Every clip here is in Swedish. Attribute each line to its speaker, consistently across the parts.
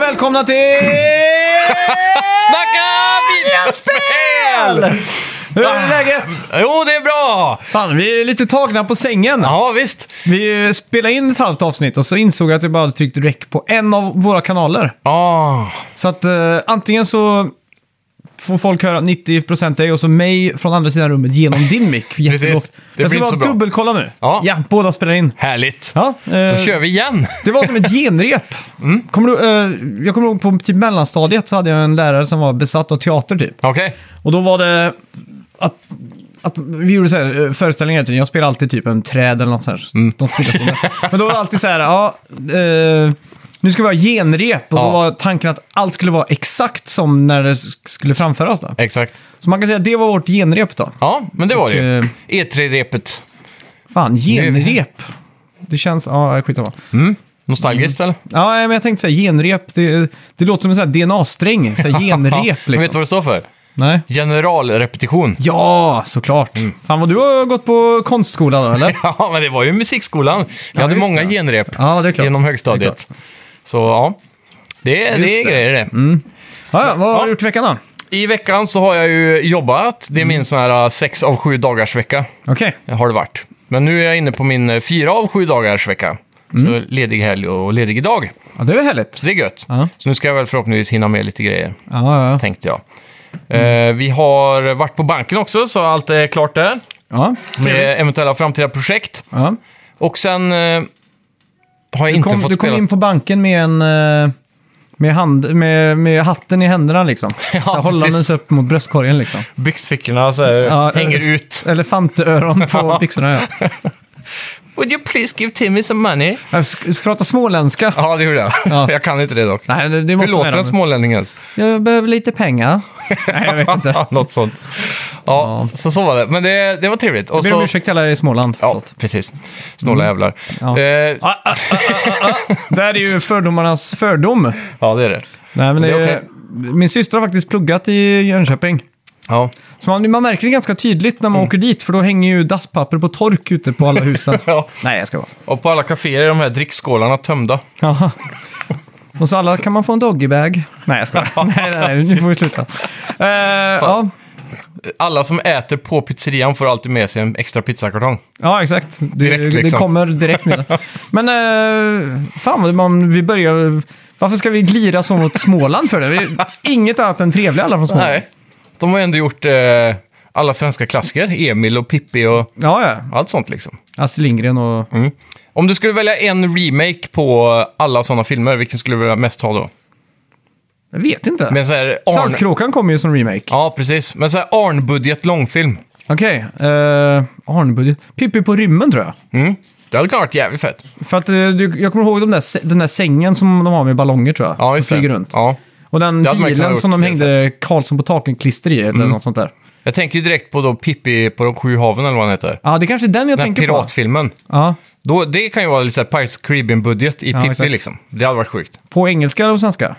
Speaker 1: välkomna till...
Speaker 2: Snacka videospel!
Speaker 1: Hur är läget?
Speaker 2: Jo, det är bra!
Speaker 1: Fan, vi är lite tagna på sängen.
Speaker 2: Ja, visst.
Speaker 1: Vi spelade in ett halvt avsnitt och så insåg jag att jag bara hade tryckt rec på en av våra kanaler.
Speaker 2: Ah,
Speaker 1: Så att eh, antingen så får folk höra 90% dig och så mig från andra sidan rummet genom din mick. Jättelågt.
Speaker 2: Det
Speaker 1: jag
Speaker 2: blir
Speaker 1: ska
Speaker 2: inte så
Speaker 1: bara
Speaker 2: bra.
Speaker 1: dubbelkolla nu.
Speaker 2: Ja.
Speaker 1: båda spelar in.
Speaker 2: härligt.
Speaker 1: Ja, eh,
Speaker 2: Då kör vi Mm. igen.
Speaker 1: Det var som ett genrep. Kommer du, eh, jag kommer ihåg på typ mellanstadiet så hade jag en lärare som var besatt av teater typ.
Speaker 2: Okej.
Speaker 1: Och då var det att, att vi gjorde så här, eh, föreställningar hela tiden. Jag spelade alltid typ en träd eller något sånt. här.
Speaker 2: Mm.
Speaker 1: Något sidospår. Men då var det alltid så här, ja, eh, nu ska vi ha genrep. Och då
Speaker 2: Ja.
Speaker 1: var tanken att allt skulle vara exakt som när det s- skulle framföras. Då.
Speaker 2: Exakt.
Speaker 1: Så man kan säga att det var vårt genrep då.
Speaker 2: Ja, men det var det ju. E
Speaker 1: eh,
Speaker 2: E3-repet.
Speaker 1: Fan,
Speaker 2: är vi-
Speaker 1: genrep. Det känns, ja skitsamma.
Speaker 2: Mm. Nostalgiskt eller?
Speaker 1: Ja, men jag tänkte säga genrep, det, det låter som en sån här DNA-sträng. Så här genrep
Speaker 2: Ja,
Speaker 1: liksom.
Speaker 2: men Vet du vad Mm. det står för?
Speaker 1: Nej.
Speaker 2: Generalrepetition.
Speaker 1: Ja, såklart. Fan vad du har gått på konstskola då, eller?
Speaker 2: Ja, men det var ju musikskolan. Vi hade
Speaker 1: visst,
Speaker 2: många
Speaker 1: ja.
Speaker 2: genrep
Speaker 1: Ja, det är klart.
Speaker 2: genom högstadiet. Så ja, det, är- det är
Speaker 1: Just det. Mm.
Speaker 2: grejer det.
Speaker 1: Ja, ja, vad har
Speaker 2: Ja.
Speaker 1: du gjort i veckan då?
Speaker 2: I veckan så har jag ju jobbat. Det är
Speaker 1: Mm.
Speaker 2: min sån här eh, sex av sju dagars vecka.
Speaker 1: Okej.
Speaker 2: har det varit. Men nu är jag inne på min eh, fyra av sju dagars vecka.
Speaker 1: Mm.
Speaker 2: Så ledig helg och ledig idag.
Speaker 1: Ja, det är väl härligt.
Speaker 2: Så det är gött.
Speaker 1: Ja.
Speaker 2: Så nu ska jag väl förhoppningsvis hinna med lite grejer,
Speaker 1: Ja, ja, ja.
Speaker 2: tänkte jag. Eh, vi har varit på banken också, så allt är klart där.
Speaker 1: ja.
Speaker 2: Med eventuella framtida projekt.
Speaker 1: ja.
Speaker 2: Och sen eh, har jag
Speaker 1: Du
Speaker 2: inte
Speaker 1: kom,
Speaker 2: fått
Speaker 1: du kom
Speaker 2: spela...
Speaker 1: in på banken med en... eh, Med, hand, med, med hatten i händerna liksom. Ja, så här, hållandes
Speaker 2: precis.
Speaker 1: upp mot bröstkorgen liksom.
Speaker 2: Byxfickorna så här,
Speaker 1: Ja,
Speaker 2: hänger
Speaker 1: eh.
Speaker 2: ut.
Speaker 1: Elefantöron på byxorna ja.
Speaker 2: Would you please give Timmy some money?
Speaker 1: Jag sk- Prata småländska.
Speaker 2: Ja, det gjorde jag.
Speaker 1: Ja.
Speaker 2: Jag kan inte det dock.
Speaker 1: Nej, det, det
Speaker 2: Hur
Speaker 1: måste
Speaker 2: låter en
Speaker 1: vara.
Speaker 2: smålänning ens?
Speaker 1: Jag behöver lite pengar. Nej, jag vet inte.
Speaker 2: Ja, Något sånt. Ja, Så så var det. Men det, det var trevligt. Och
Speaker 1: Jag ber om
Speaker 2: så,
Speaker 1: ursäkt till alla i Småland.
Speaker 2: ja,
Speaker 1: Förlåt.
Speaker 2: precis. Snåla jävlar.
Speaker 1: Mm. Ja.
Speaker 2: Eh,
Speaker 1: Ah, ah, ah, ah, ah. Där är ju fördomarnas fördom. Nej,
Speaker 2: ja, det är det.
Speaker 1: men
Speaker 2: det
Speaker 1: det
Speaker 2: är
Speaker 1: är,
Speaker 2: okej.
Speaker 1: Min syster har faktiskt pluggat i Jönköping.
Speaker 2: Ja.
Speaker 1: Så man, man märker det ganska tydligt när man
Speaker 2: Mm.
Speaker 1: åker dit, för då hänger ju dasspapper på tork ute på alla husen.
Speaker 2: ja.
Speaker 1: Nej, jag ska vara.
Speaker 2: Och på alla kaféer är de här drickskålarna tömda.
Speaker 1: Jaha. Och så alla, kan man få en doggybag? Nej, jag ska nej, nej, nej, nu får vi sluta. Eh, ja.
Speaker 2: Alla som äter på pizzerian får alltid med sig en extra pizzakartong.
Speaker 1: ja, exakt. Det,
Speaker 2: Direkt,
Speaker 1: det
Speaker 2: liksom.
Speaker 1: kommer direkt med det. Men eh, fan, vad man, vi börjar... Varför ska vi glira så mot Småland för det? Vi, inget annat än trevliga alla från Småland.
Speaker 2: Nej. De har ju ändå gjort eh, alla svenska klassiker. Emil och Pippi och
Speaker 1: Ja, ja.
Speaker 2: allt sånt liksom.
Speaker 1: Astrid Lindgren och...
Speaker 2: Mm. Om du skulle välja en remake på alla sådana filmer, vilken skulle du vilja mest ha då?
Speaker 1: Jag vet inte.
Speaker 2: Med en sån här Arn...
Speaker 1: Saltkråkan kommer ju som remake.
Speaker 2: Ja, precis. Men så här Arn-budget långfilm.
Speaker 1: Okej. eh, Arnebudget. Pippi på rymmen tror jag.
Speaker 2: Mm. Det hade kunnat varit jävligt fett.
Speaker 1: För att eh, du, jag kommer ihåg de där, sä- den där sängen som de har med ballonger tror jag.
Speaker 2: Ja,
Speaker 1: som
Speaker 2: just det.
Speaker 1: flyger runt.
Speaker 2: Ja.
Speaker 1: Och den
Speaker 2: Det hade man kunnat
Speaker 1: bilen
Speaker 2: gjort, Mm.
Speaker 1: som de
Speaker 2: det är
Speaker 1: hängde Karlsson på taken-klister i eller något sånt där.
Speaker 2: Jag tänker ju direkt på då Pippi på de sju haven eller vad han heter.
Speaker 1: Ja, det kanske är den jag
Speaker 2: Den här
Speaker 1: tänker på.
Speaker 2: piratfilmen.
Speaker 1: Ja,
Speaker 2: Då, det kan ju vara lite så här Pirates of Caribbean-budget i Pippi
Speaker 1: exakt.
Speaker 2: liksom. Det hade varit sjukt.
Speaker 1: på engelska eller på svenska?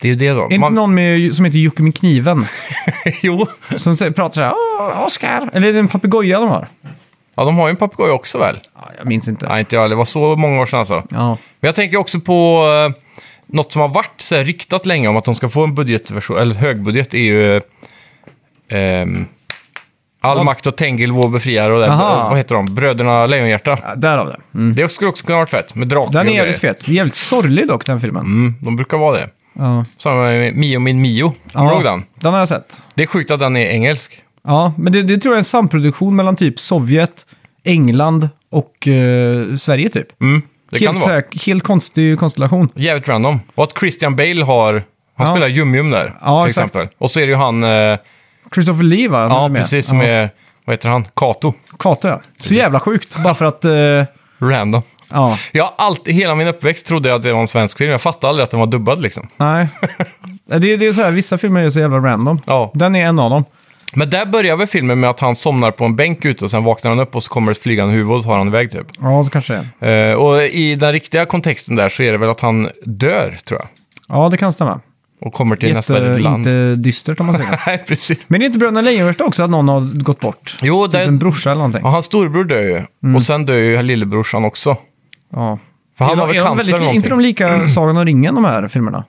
Speaker 2: Det är ju det
Speaker 1: Är
Speaker 2: då.
Speaker 1: det
Speaker 2: Man-
Speaker 1: inte någon med, som heter Jocke med kniven?
Speaker 2: jo.
Speaker 1: Som säger, pratar så här, Åh, Oscar! Eller är det en papegoja de har?
Speaker 2: Ja, de har ju en papegoja också väl?
Speaker 1: Ja, jag minns inte.
Speaker 2: Nej, inte jag. Det var så många år sedan alltså.
Speaker 1: Ja.
Speaker 2: Men jag tänker också på eh, något som har varit så här, ryktat länge om att de ska få en budgetversion, eller högbudget, är ju... Eh, ehm, All makt och Tengil, vår befriare och det,
Speaker 1: Aha.
Speaker 2: vad heter de? Bröderna Lejonhjärta.
Speaker 1: Ja, Därav det. Mm.
Speaker 2: Det skulle också kunna ha varit fett, med draken
Speaker 1: Den är
Speaker 2: och grejer.
Speaker 1: jävligt fet. Jävligt sorglig dock, den filmen.
Speaker 2: Mm, de brukar vara det.
Speaker 1: Ja.
Speaker 2: Samma med Mio min Mio. Kommer du ihåg den?
Speaker 1: Den har jag sett.
Speaker 2: Det är sjukt att den är engelsk.
Speaker 1: Ja, men det, det tror jag är en samproduktion mellan typ Sovjet, England och eh, Sverige typ.
Speaker 2: Mm, det
Speaker 1: helt,
Speaker 2: kan det
Speaker 1: så
Speaker 2: vara.
Speaker 1: här, helt konstig konstellation.
Speaker 2: Jävligt random. Och att Christian Bale har... Han
Speaker 1: Ja.
Speaker 2: spelar Jum-Jum där,
Speaker 1: Ja,
Speaker 2: till
Speaker 1: exakt.
Speaker 2: exempel. Och så är det ju han... Eh,
Speaker 1: Christopher Lee va? Han
Speaker 2: ja,
Speaker 1: är med.
Speaker 2: precis. Som är... Vad heter han? Kato.
Speaker 1: Kato ja. Så jävla sjukt. Bara för att... eh,
Speaker 2: Random.
Speaker 1: ja.
Speaker 2: Jag har alltid, hela min uppväxt trodde jag att det var en svensk film. Jag fattade aldrig att den var dubbad liksom.
Speaker 1: Nej. Nej, det, är- det är så här, vissa filmer är så jävla random.
Speaker 2: Ja.
Speaker 1: Den är en av dem.
Speaker 2: Men där börjar väl filmen med att han somnar på en bänk ute och sen vaknar han upp och så kommer ett flygande huvud och tar han iväg typ.
Speaker 1: Ja, så kanske det är.
Speaker 2: Eh, och i den riktiga kontexten där så är det väl att han dör, tror jag.
Speaker 1: Ja, det kan stämma.
Speaker 2: Och kommer till nästa
Speaker 1: Jätte,
Speaker 2: land.
Speaker 1: inte dystert om man säger.
Speaker 2: Nej, precis.
Speaker 1: Men det är inte Bröderna Lejonhjärta också att någon har gått bort?
Speaker 2: Jo,
Speaker 1: Typ en Mm.
Speaker 2: det,
Speaker 1: brorsa eller någonting?
Speaker 2: ja, hans storebror dör ju. Och sen dör ju lillebrorsan också.
Speaker 1: Ja.
Speaker 2: För han
Speaker 1: är de,
Speaker 2: har väl
Speaker 1: är de
Speaker 2: cancer
Speaker 1: väldigt,
Speaker 2: eller
Speaker 1: är inte
Speaker 2: någonting.
Speaker 1: de lika Sagan om ringen, de här filmerna?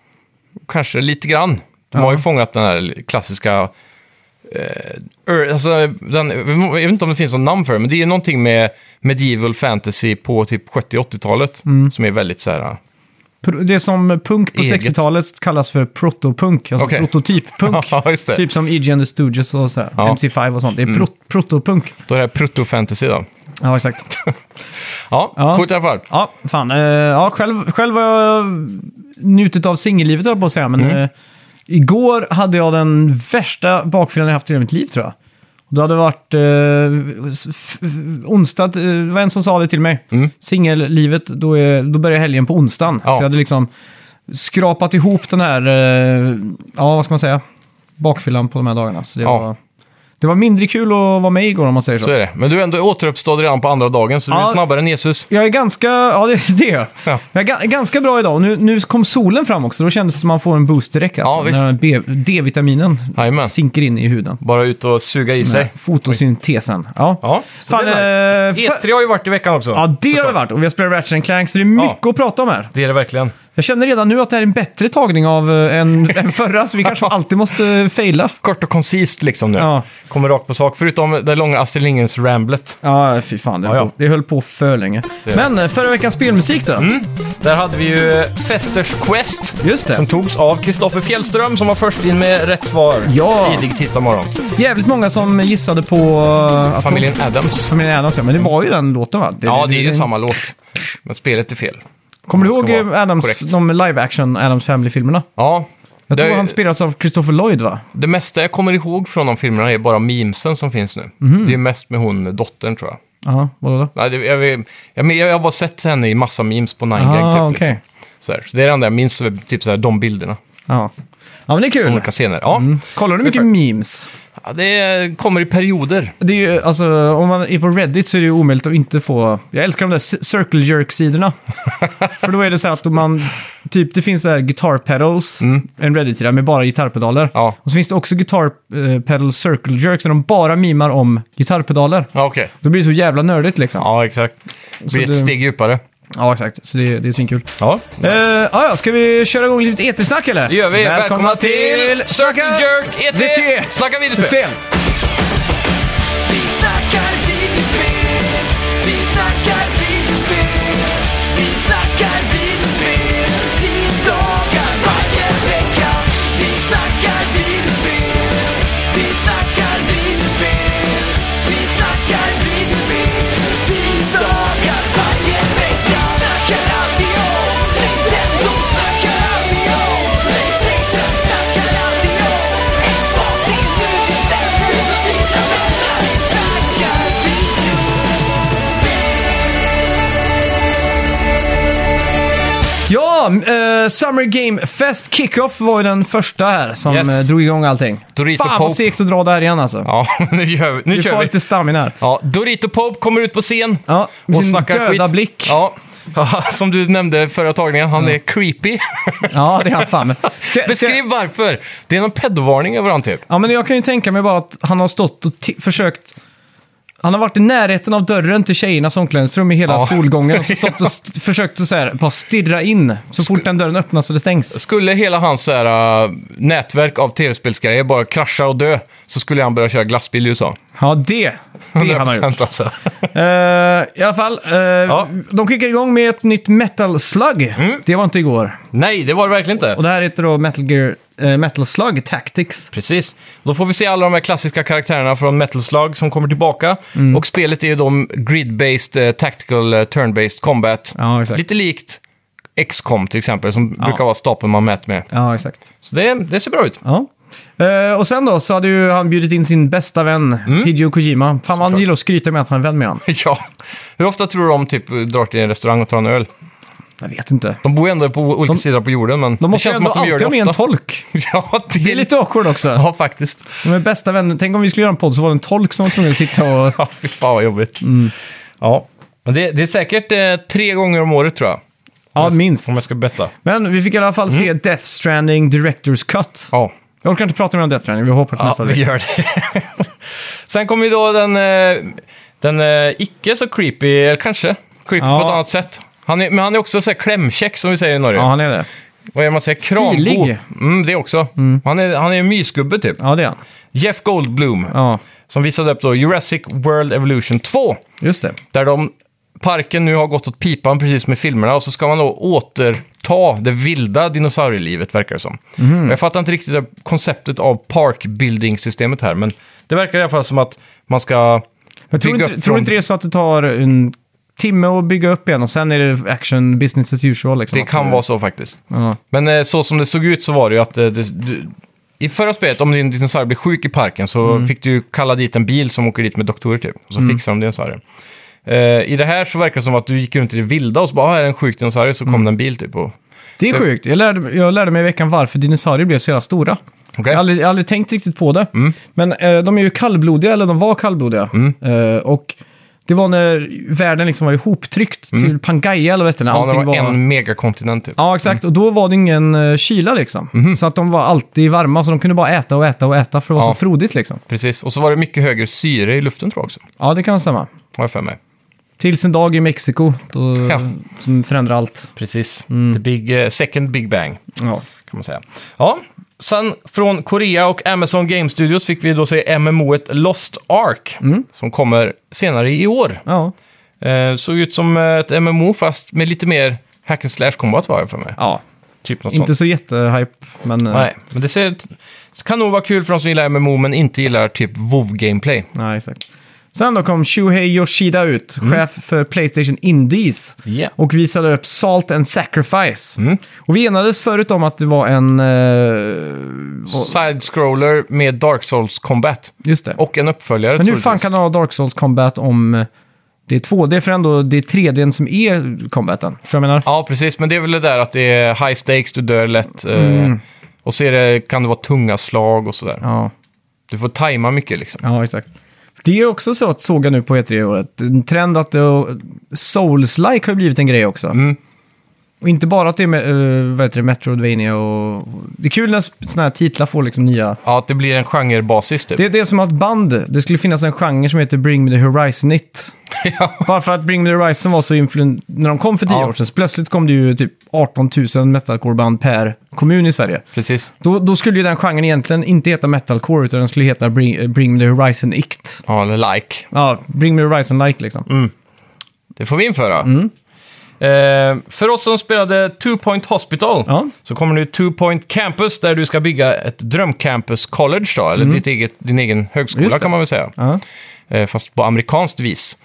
Speaker 2: Kanske lite grann. De
Speaker 1: Ja.
Speaker 2: har ju fångat den här klassiska... Eh, ur- alltså, den, jag vet inte om det finns något namn för det, men det är ju någonting med medieval fantasy på typ 70-80-talet
Speaker 1: Mm.
Speaker 2: som är väldigt så här... eh,
Speaker 1: Pro- Det som punk på
Speaker 2: Eget.
Speaker 1: 60-talet kallas för protopunk, alltså
Speaker 2: Okej.
Speaker 1: prototyppunk.
Speaker 2: Ja, just det.
Speaker 1: typ som E.G. and the Stooges och sådär,
Speaker 2: Ja.
Speaker 1: MC5 och sånt. Det är pro- protopunk.
Speaker 2: Då är det här proto-fantasy då.
Speaker 1: Mm. Ja, exakt.
Speaker 2: Ja,
Speaker 1: Ja.
Speaker 2: coolt i alla fall.
Speaker 1: Ja, fan. Eh, ja, själv, själv har jag njutit av singellivet, höll jag på att säga. Men
Speaker 2: Mm.
Speaker 1: eh, igår hade jag den värsta bakfyllan jag haft i hela mitt liv, tror jag. Då hade det varit eh, s- f- f- onsdag, eh, det var en som sa det till mig. Singellivet, då, är, då börjar helgen på onsdagen.
Speaker 2: Mm. Ja.
Speaker 1: Så jag hade liksom skrapat ihop den här, eh, ja vad ska man säga, bakfyllan på de här dagarna. Så det,
Speaker 2: Ja.
Speaker 1: var, det var mindre kul att vara med igår om man säger så.
Speaker 2: Så är det. Men du är ändå återuppstådd redan på andra dagen, så du
Speaker 1: Ja.
Speaker 2: är snabbare än Jesus.
Speaker 1: Jag är ganska, ja det, det är jag.
Speaker 2: Ja.
Speaker 1: Jag är ga- ganska bra idag. Nu, nu kom solen fram också, då kändes det som man får en boost direkt. Alltså,
Speaker 2: Ja, visst.
Speaker 1: När B- D-vitaminen
Speaker 2: Jajamän.
Speaker 1: sinker in i huden.
Speaker 2: Bara ut och suga
Speaker 1: Mm.
Speaker 2: i sig.
Speaker 1: Fotosyntesen. Ja.
Speaker 2: Ja,
Speaker 3: så det är
Speaker 1: eh,
Speaker 2: E
Speaker 1: fa-
Speaker 3: E3 E har ju varit i veckan också.
Speaker 1: ja, det har det varit. Och vi har spelat Ratchet and Clank, så det är mycket att prata om här.
Speaker 3: Det är det verkligen.
Speaker 1: Jag känner redan nu att det här är en bättre tagning av eh, än, än förra, så vi kanske alltid måste eh, faila.
Speaker 2: Kort och koncist liksom nu.
Speaker 1: Ja.
Speaker 2: Kommer rakt på sak, förutom det långa Astrid Lindgrens-ramblet.
Speaker 1: Ja, fy fan. Det,
Speaker 2: Ja, ja.
Speaker 1: det höll på för länge. Men eh, förra veckans spelmusik då?
Speaker 2: Mm. Där hade vi ju eh, Festers Quest.
Speaker 1: Just det.
Speaker 2: Som togs av Kristoffer Fjällström som var först in med rätt svar
Speaker 1: Ja.
Speaker 2: tidig tisdag morgon.
Speaker 1: Jävligt många som gissade på... eh, att de-
Speaker 2: Familjen Adams.
Speaker 1: Som är Adams, ja. Men det var ju den låten va? Det-
Speaker 2: Ja, det är
Speaker 1: det-
Speaker 2: ju samma låt. Men spelet är fel.
Speaker 1: Kommer du
Speaker 2: Det ska
Speaker 1: ihåg eh,
Speaker 2: vara
Speaker 1: Adams,
Speaker 2: korrekt.
Speaker 1: de live action Adams Family-filmerna?
Speaker 2: Ja.
Speaker 1: Jag
Speaker 2: det,
Speaker 1: tror han spelas av Christopher Lloyd va?
Speaker 2: det mesta jag kommer ihåg från de filmerna är bara memesen som finns nu.
Speaker 1: Mhm.
Speaker 2: Det är mest med hon dottern tror jag.
Speaker 1: Ja, vadå då?
Speaker 2: Nej, det, jag, vet- jag, men jag har bara sett henne i massa memes på 9gag
Speaker 1: Ah,
Speaker 2: typ.
Speaker 1: okej.
Speaker 2: Liksom. Så, här. så det är det enda jag minns, typ så här, de bilderna
Speaker 1: Ja. ja, Mm. men det är
Speaker 2: från
Speaker 1: kul.
Speaker 2: olika scener. Ja.
Speaker 1: Kollar du mycket
Speaker 2: Super.
Speaker 1: memes?
Speaker 2: ja, det kommer i perioder.
Speaker 1: Det är ju, alltså, om man är på Reddit så är det ju omöjligt att inte få... Jag älskar de där ci- circle jerk-sidorna. För då är det så här att om man... Typ, det finns så här guitar pedals, en Reddit-sida med bara gitarrpedaler.
Speaker 2: Mm. Ja.
Speaker 1: Och så finns det också guitar eh, pedal circle jerks, där de bara mimar om gitarrpedaler.
Speaker 2: Ja, okej.
Speaker 1: Då blir det så jävla nördigt liksom.
Speaker 2: Ja, exakt. Det blir ett
Speaker 1: det-
Speaker 2: steg djupare.
Speaker 1: Ja, exakt. Så det, det är svinkul.
Speaker 2: Ja.
Speaker 1: Eh, ah, ja, ska vi köra igång lite etersnack eller?
Speaker 2: Det gör vi. Välkomna, till Circle Jerk
Speaker 1: VT.
Speaker 2: ET! Snacka videospel!
Speaker 1: Spel.
Speaker 4: Vi snackar videospel, vi snackar videospel, vi snackar videospel, tisdagar varje vecka. Vi snackar videospel, vi snackar videospel, vi snackar videospel, tisdagar varje vecka. Snackar alltid om Nintendo, snackar alltid om Playstation, snackar alltid om Xbox, det är nu det stämmer. Dina vänner, vi snackar video.
Speaker 1: Ja, eh, Summer Game Fest Kickoff var ju den första här som
Speaker 2: Yes.
Speaker 1: eh, drog igång allting.
Speaker 2: Dorito
Speaker 1: Fan vad
Speaker 2: Pope.
Speaker 1: segt att dra där igen alltså.
Speaker 2: Ja, nu kör vi. Nu
Speaker 1: Vi
Speaker 2: kör
Speaker 1: får
Speaker 2: vi.
Speaker 1: lite stamina här.
Speaker 2: Ja, Dorito Pope kommer ut på scen
Speaker 1: Ja, med
Speaker 2: och
Speaker 1: sin
Speaker 2: snackar skit.
Speaker 1: döda blick.
Speaker 2: Ja. Som du nämnde förra tagningen, han är creepy.
Speaker 1: Ja, det är han fan. Men Ska,
Speaker 2: Beskriv varför. Det är någon pedovarning över han typ.
Speaker 1: Ja, men jag kan ju tänka mig bara att han har stått och ti- försökt... Han har varit i närheten av dörren till tjejernas omklädningsrum i hela
Speaker 2: Ja.
Speaker 1: skolgången och så stått och st- försökt att så här, bara stirra in så fort den dörren öppnas eller stängs.
Speaker 2: Skulle hela hans så här, äh, nätverk av tv-spelsgrejer bara krascha och dö så skulle han börja köra glassbil i USA.
Speaker 1: Ja, det, det han har gjort.
Speaker 2: 100% alltså.
Speaker 1: Eh, I alla fall, eh, de kickar igång med ett nytt Metal Slug. Det var inte igår.
Speaker 2: Nej, det var det verkligen inte.
Speaker 1: Och det här heter då Metal, Gear, eh, Metal Slug Tactics.
Speaker 2: Precis. Då får vi se alla de här klassiska karaktärerna från Metal Slug som kommer tillbaka.
Speaker 1: Mm.
Speaker 2: Och spelet är ju de grid-based, eh, tactical, eh, turn-based combat.
Speaker 1: Ja, exakt.
Speaker 2: Lite likt XCOM till exempel, som brukar vara stapeln man mäter med.
Speaker 1: Ja, exakt.
Speaker 2: Så det, det ser bra ut.
Speaker 1: Ja. Eh, och sen då så hade ju han bjudit in sin bästa vän, Hideo Kojima. Fan vad han gillar att skryta med att han är vän med honom.
Speaker 2: ja. Hur ofta tror du de typ drar till en restaurang och tar en öl?
Speaker 1: Jag vet inte.
Speaker 2: De bor ju ändå på olika sidor på jorden, men
Speaker 1: De
Speaker 2: det
Speaker 1: måste ju
Speaker 2: känns som
Speaker 1: ändå
Speaker 2: att de gör
Speaker 1: alltid
Speaker 2: det
Speaker 1: ha med en
Speaker 2: ofta.
Speaker 1: tolk.
Speaker 2: ja, det,
Speaker 1: Det är lite awkward också.
Speaker 2: Ja, faktiskt.
Speaker 1: De är bästa vänner. Tänk om vi skulle göra en podd så var det en tolk som var tvungen att sitta och...
Speaker 2: Ja, fy fan vad jobbigt.
Speaker 1: Mm.
Speaker 2: Ja. Men det, det är säkert eh, tre gånger om året tror jag.
Speaker 1: Ja, minst.
Speaker 2: Om jag ska Mm. betta.
Speaker 1: Men vi fick i alla fall se Death Stranding Directors Cut.
Speaker 2: Ja.
Speaker 1: Jag orkar inte prata mer om Death Stranding, vi hoppar till
Speaker 2: Ja,
Speaker 1: nästa.
Speaker 2: vi
Speaker 1: vecka.
Speaker 2: gör det. Sen kommer ju då den, eh, den eh, icke så creepy, eller kanske, creepy
Speaker 1: Ja.
Speaker 2: på ett annat sätt. Han är, men han är också så här klämkäck som vi säger i Norge.
Speaker 1: Ja, han är det.
Speaker 2: Vad är man säger? Krambo.
Speaker 1: Stilig.
Speaker 2: Mm, det också. Han, är, han är en mysgubbe typ.
Speaker 1: Ja, det är han.
Speaker 2: Jeff Goldblum,
Speaker 1: Ja,
Speaker 2: som visade upp då Jurassic World Evolution 2.
Speaker 1: just det.
Speaker 2: Där de, parken nu har gått åt pipan precis med filmerna och så ska man då återta det vilda dinosaurielivet verkar det som.
Speaker 1: Mhm.
Speaker 2: Jag fattar inte riktigt det konceptet av park building-systemet här, men det verkar i alla fall som att man ska
Speaker 1: Men tror
Speaker 2: bygga
Speaker 1: inte,
Speaker 2: upp
Speaker 1: tror
Speaker 2: från...
Speaker 1: inte det är så att det tar en timme att bygga upp igen och sen är det action business as usual? Liksom,
Speaker 2: det kan vara så faktiskt.
Speaker 1: Ja.
Speaker 2: Men eh, så som det såg ut så var det ju att eh, det, du, i förra spelet, om din dinosaurie blev sjuk i parken så
Speaker 1: Mm.
Speaker 2: fick du ju kalla dit en bil som åker dit med doktorer typ. Och så fixar de dinosaurien. Eh, I det här så verkar det som att du gick runt i det vilda och så bara, ah, här är en sjuk dinosaurie, så kom
Speaker 1: Mm.
Speaker 2: det en bil typ. Och...
Speaker 1: Det är
Speaker 2: Så-
Speaker 1: sjukt. Jag lärde, jag lärde mig i veckan varför dinosaurier blev så jävla stora.
Speaker 2: Okej. Mm.
Speaker 1: Jag har aldrig, jag har aldrig tänkt riktigt på det. Men eh, de är ju kallblodiga, eller de var kallblodiga. Eh, och det var när världen liksom var ihoptryckt till Pangaea eller vad hette det?
Speaker 2: Mm. Ja, det
Speaker 1: Allting
Speaker 2: var en megakontinent typ.
Speaker 1: Ja, exakt. Och då var det ingen eh, kyla liksom. Så att de var alltid varma, så de kunde bara äta och äta och äta för det var
Speaker 2: Mhm. Ja.
Speaker 1: så frodigt liksom.
Speaker 2: Precis, och så var det mycket högre syre i luften tror jag också.
Speaker 1: Ja, det kan stämma.
Speaker 2: Har jag för mig.
Speaker 1: Tills en dag i Mexiko, då,
Speaker 2: Ja.
Speaker 1: som förändrar allt.
Speaker 2: Precis.
Speaker 1: Mm.
Speaker 2: The big, eh, second big bang.
Speaker 1: Ja.
Speaker 2: kan man säga. Ja, sen från Korea och Amazon Game Studios fick vi då se MMOet Lost Ark
Speaker 1: Mm.
Speaker 2: som kommer senare i år.
Speaker 1: Ja.
Speaker 2: Eh, såg ut som ett MMO fast med lite mer hack and slash combat var jag för mig.
Speaker 1: ja.
Speaker 2: Typ något
Speaker 1: Inte
Speaker 2: sånt.
Speaker 1: så jättehype, men... eh,
Speaker 2: Nej, men det ser, kan nog vara kul för de som gillar MMO men inte gillar typ WoW gameplay
Speaker 1: Nej, exakt. Sen då kom Shuhei Yoshida ut, chef för Playstation Indies.
Speaker 2: Ja.
Speaker 1: Och visade upp Salt and Sacrifice. Och vi enades förut om att det var en... eh,
Speaker 2: Side-scroller med Dark Souls combat.
Speaker 1: just det.
Speaker 2: Och en uppföljare
Speaker 1: Men hur
Speaker 2: troligtvis.
Speaker 1: fan kan han ha Dark Souls Combat om eh, det är 2D? För ändå det är 3D som är combaten. Förstår du vad jag menar?
Speaker 2: Ja, precis. Men det är väl det där att det är high stakes, du dör lätt. eh,
Speaker 1: Mm.
Speaker 2: Och så är det, kan det vara tunga slag och sådär.
Speaker 1: Ja,
Speaker 2: Du får tajma mycket liksom.
Speaker 1: ja exakt. Det är också så att såg jag nu på E3 i år, att en trend att det, Souls-like har ju blivit en grej också. Och inte bara att det är med, eh, vad heter det, Metroidvania och... Det är kul när sådana här titlar får liksom nya...
Speaker 2: Ja, att det blir en genrebasis typ.
Speaker 1: Det, det är som att band, det skulle finnas en genre som heter Bring Me The Horizon It.
Speaker 2: Ja.
Speaker 1: Bara för att Bring Me The Horizon var så influent... När de kom för tio
Speaker 2: Ja.
Speaker 1: år sedan, så plötsligt kom det ju typ 18 000 metalcore-band per kommun i Sverige.
Speaker 2: Precis.
Speaker 1: Då, då skulle ju den genren egentligen inte heta metalcore, utan den skulle heta Bring, eh, Bring Me The Horizon Ict.
Speaker 2: Ja, eller like.
Speaker 1: Ja, Bring Me The Horizon Like liksom.
Speaker 2: Mm. Det får vi införa.
Speaker 1: Mm.
Speaker 2: Eh, för oss som spelade Two Point Hospital
Speaker 1: Ja.
Speaker 2: så kommer nu Two Point Campus där du ska bygga ett drömcampus college då, eller ditt eget, din egen
Speaker 1: Mm. Just
Speaker 2: högskola
Speaker 1: det.
Speaker 2: kan man väl säga.
Speaker 1: Ja. Mm.
Speaker 2: Eh, fast på amerikanskt vis.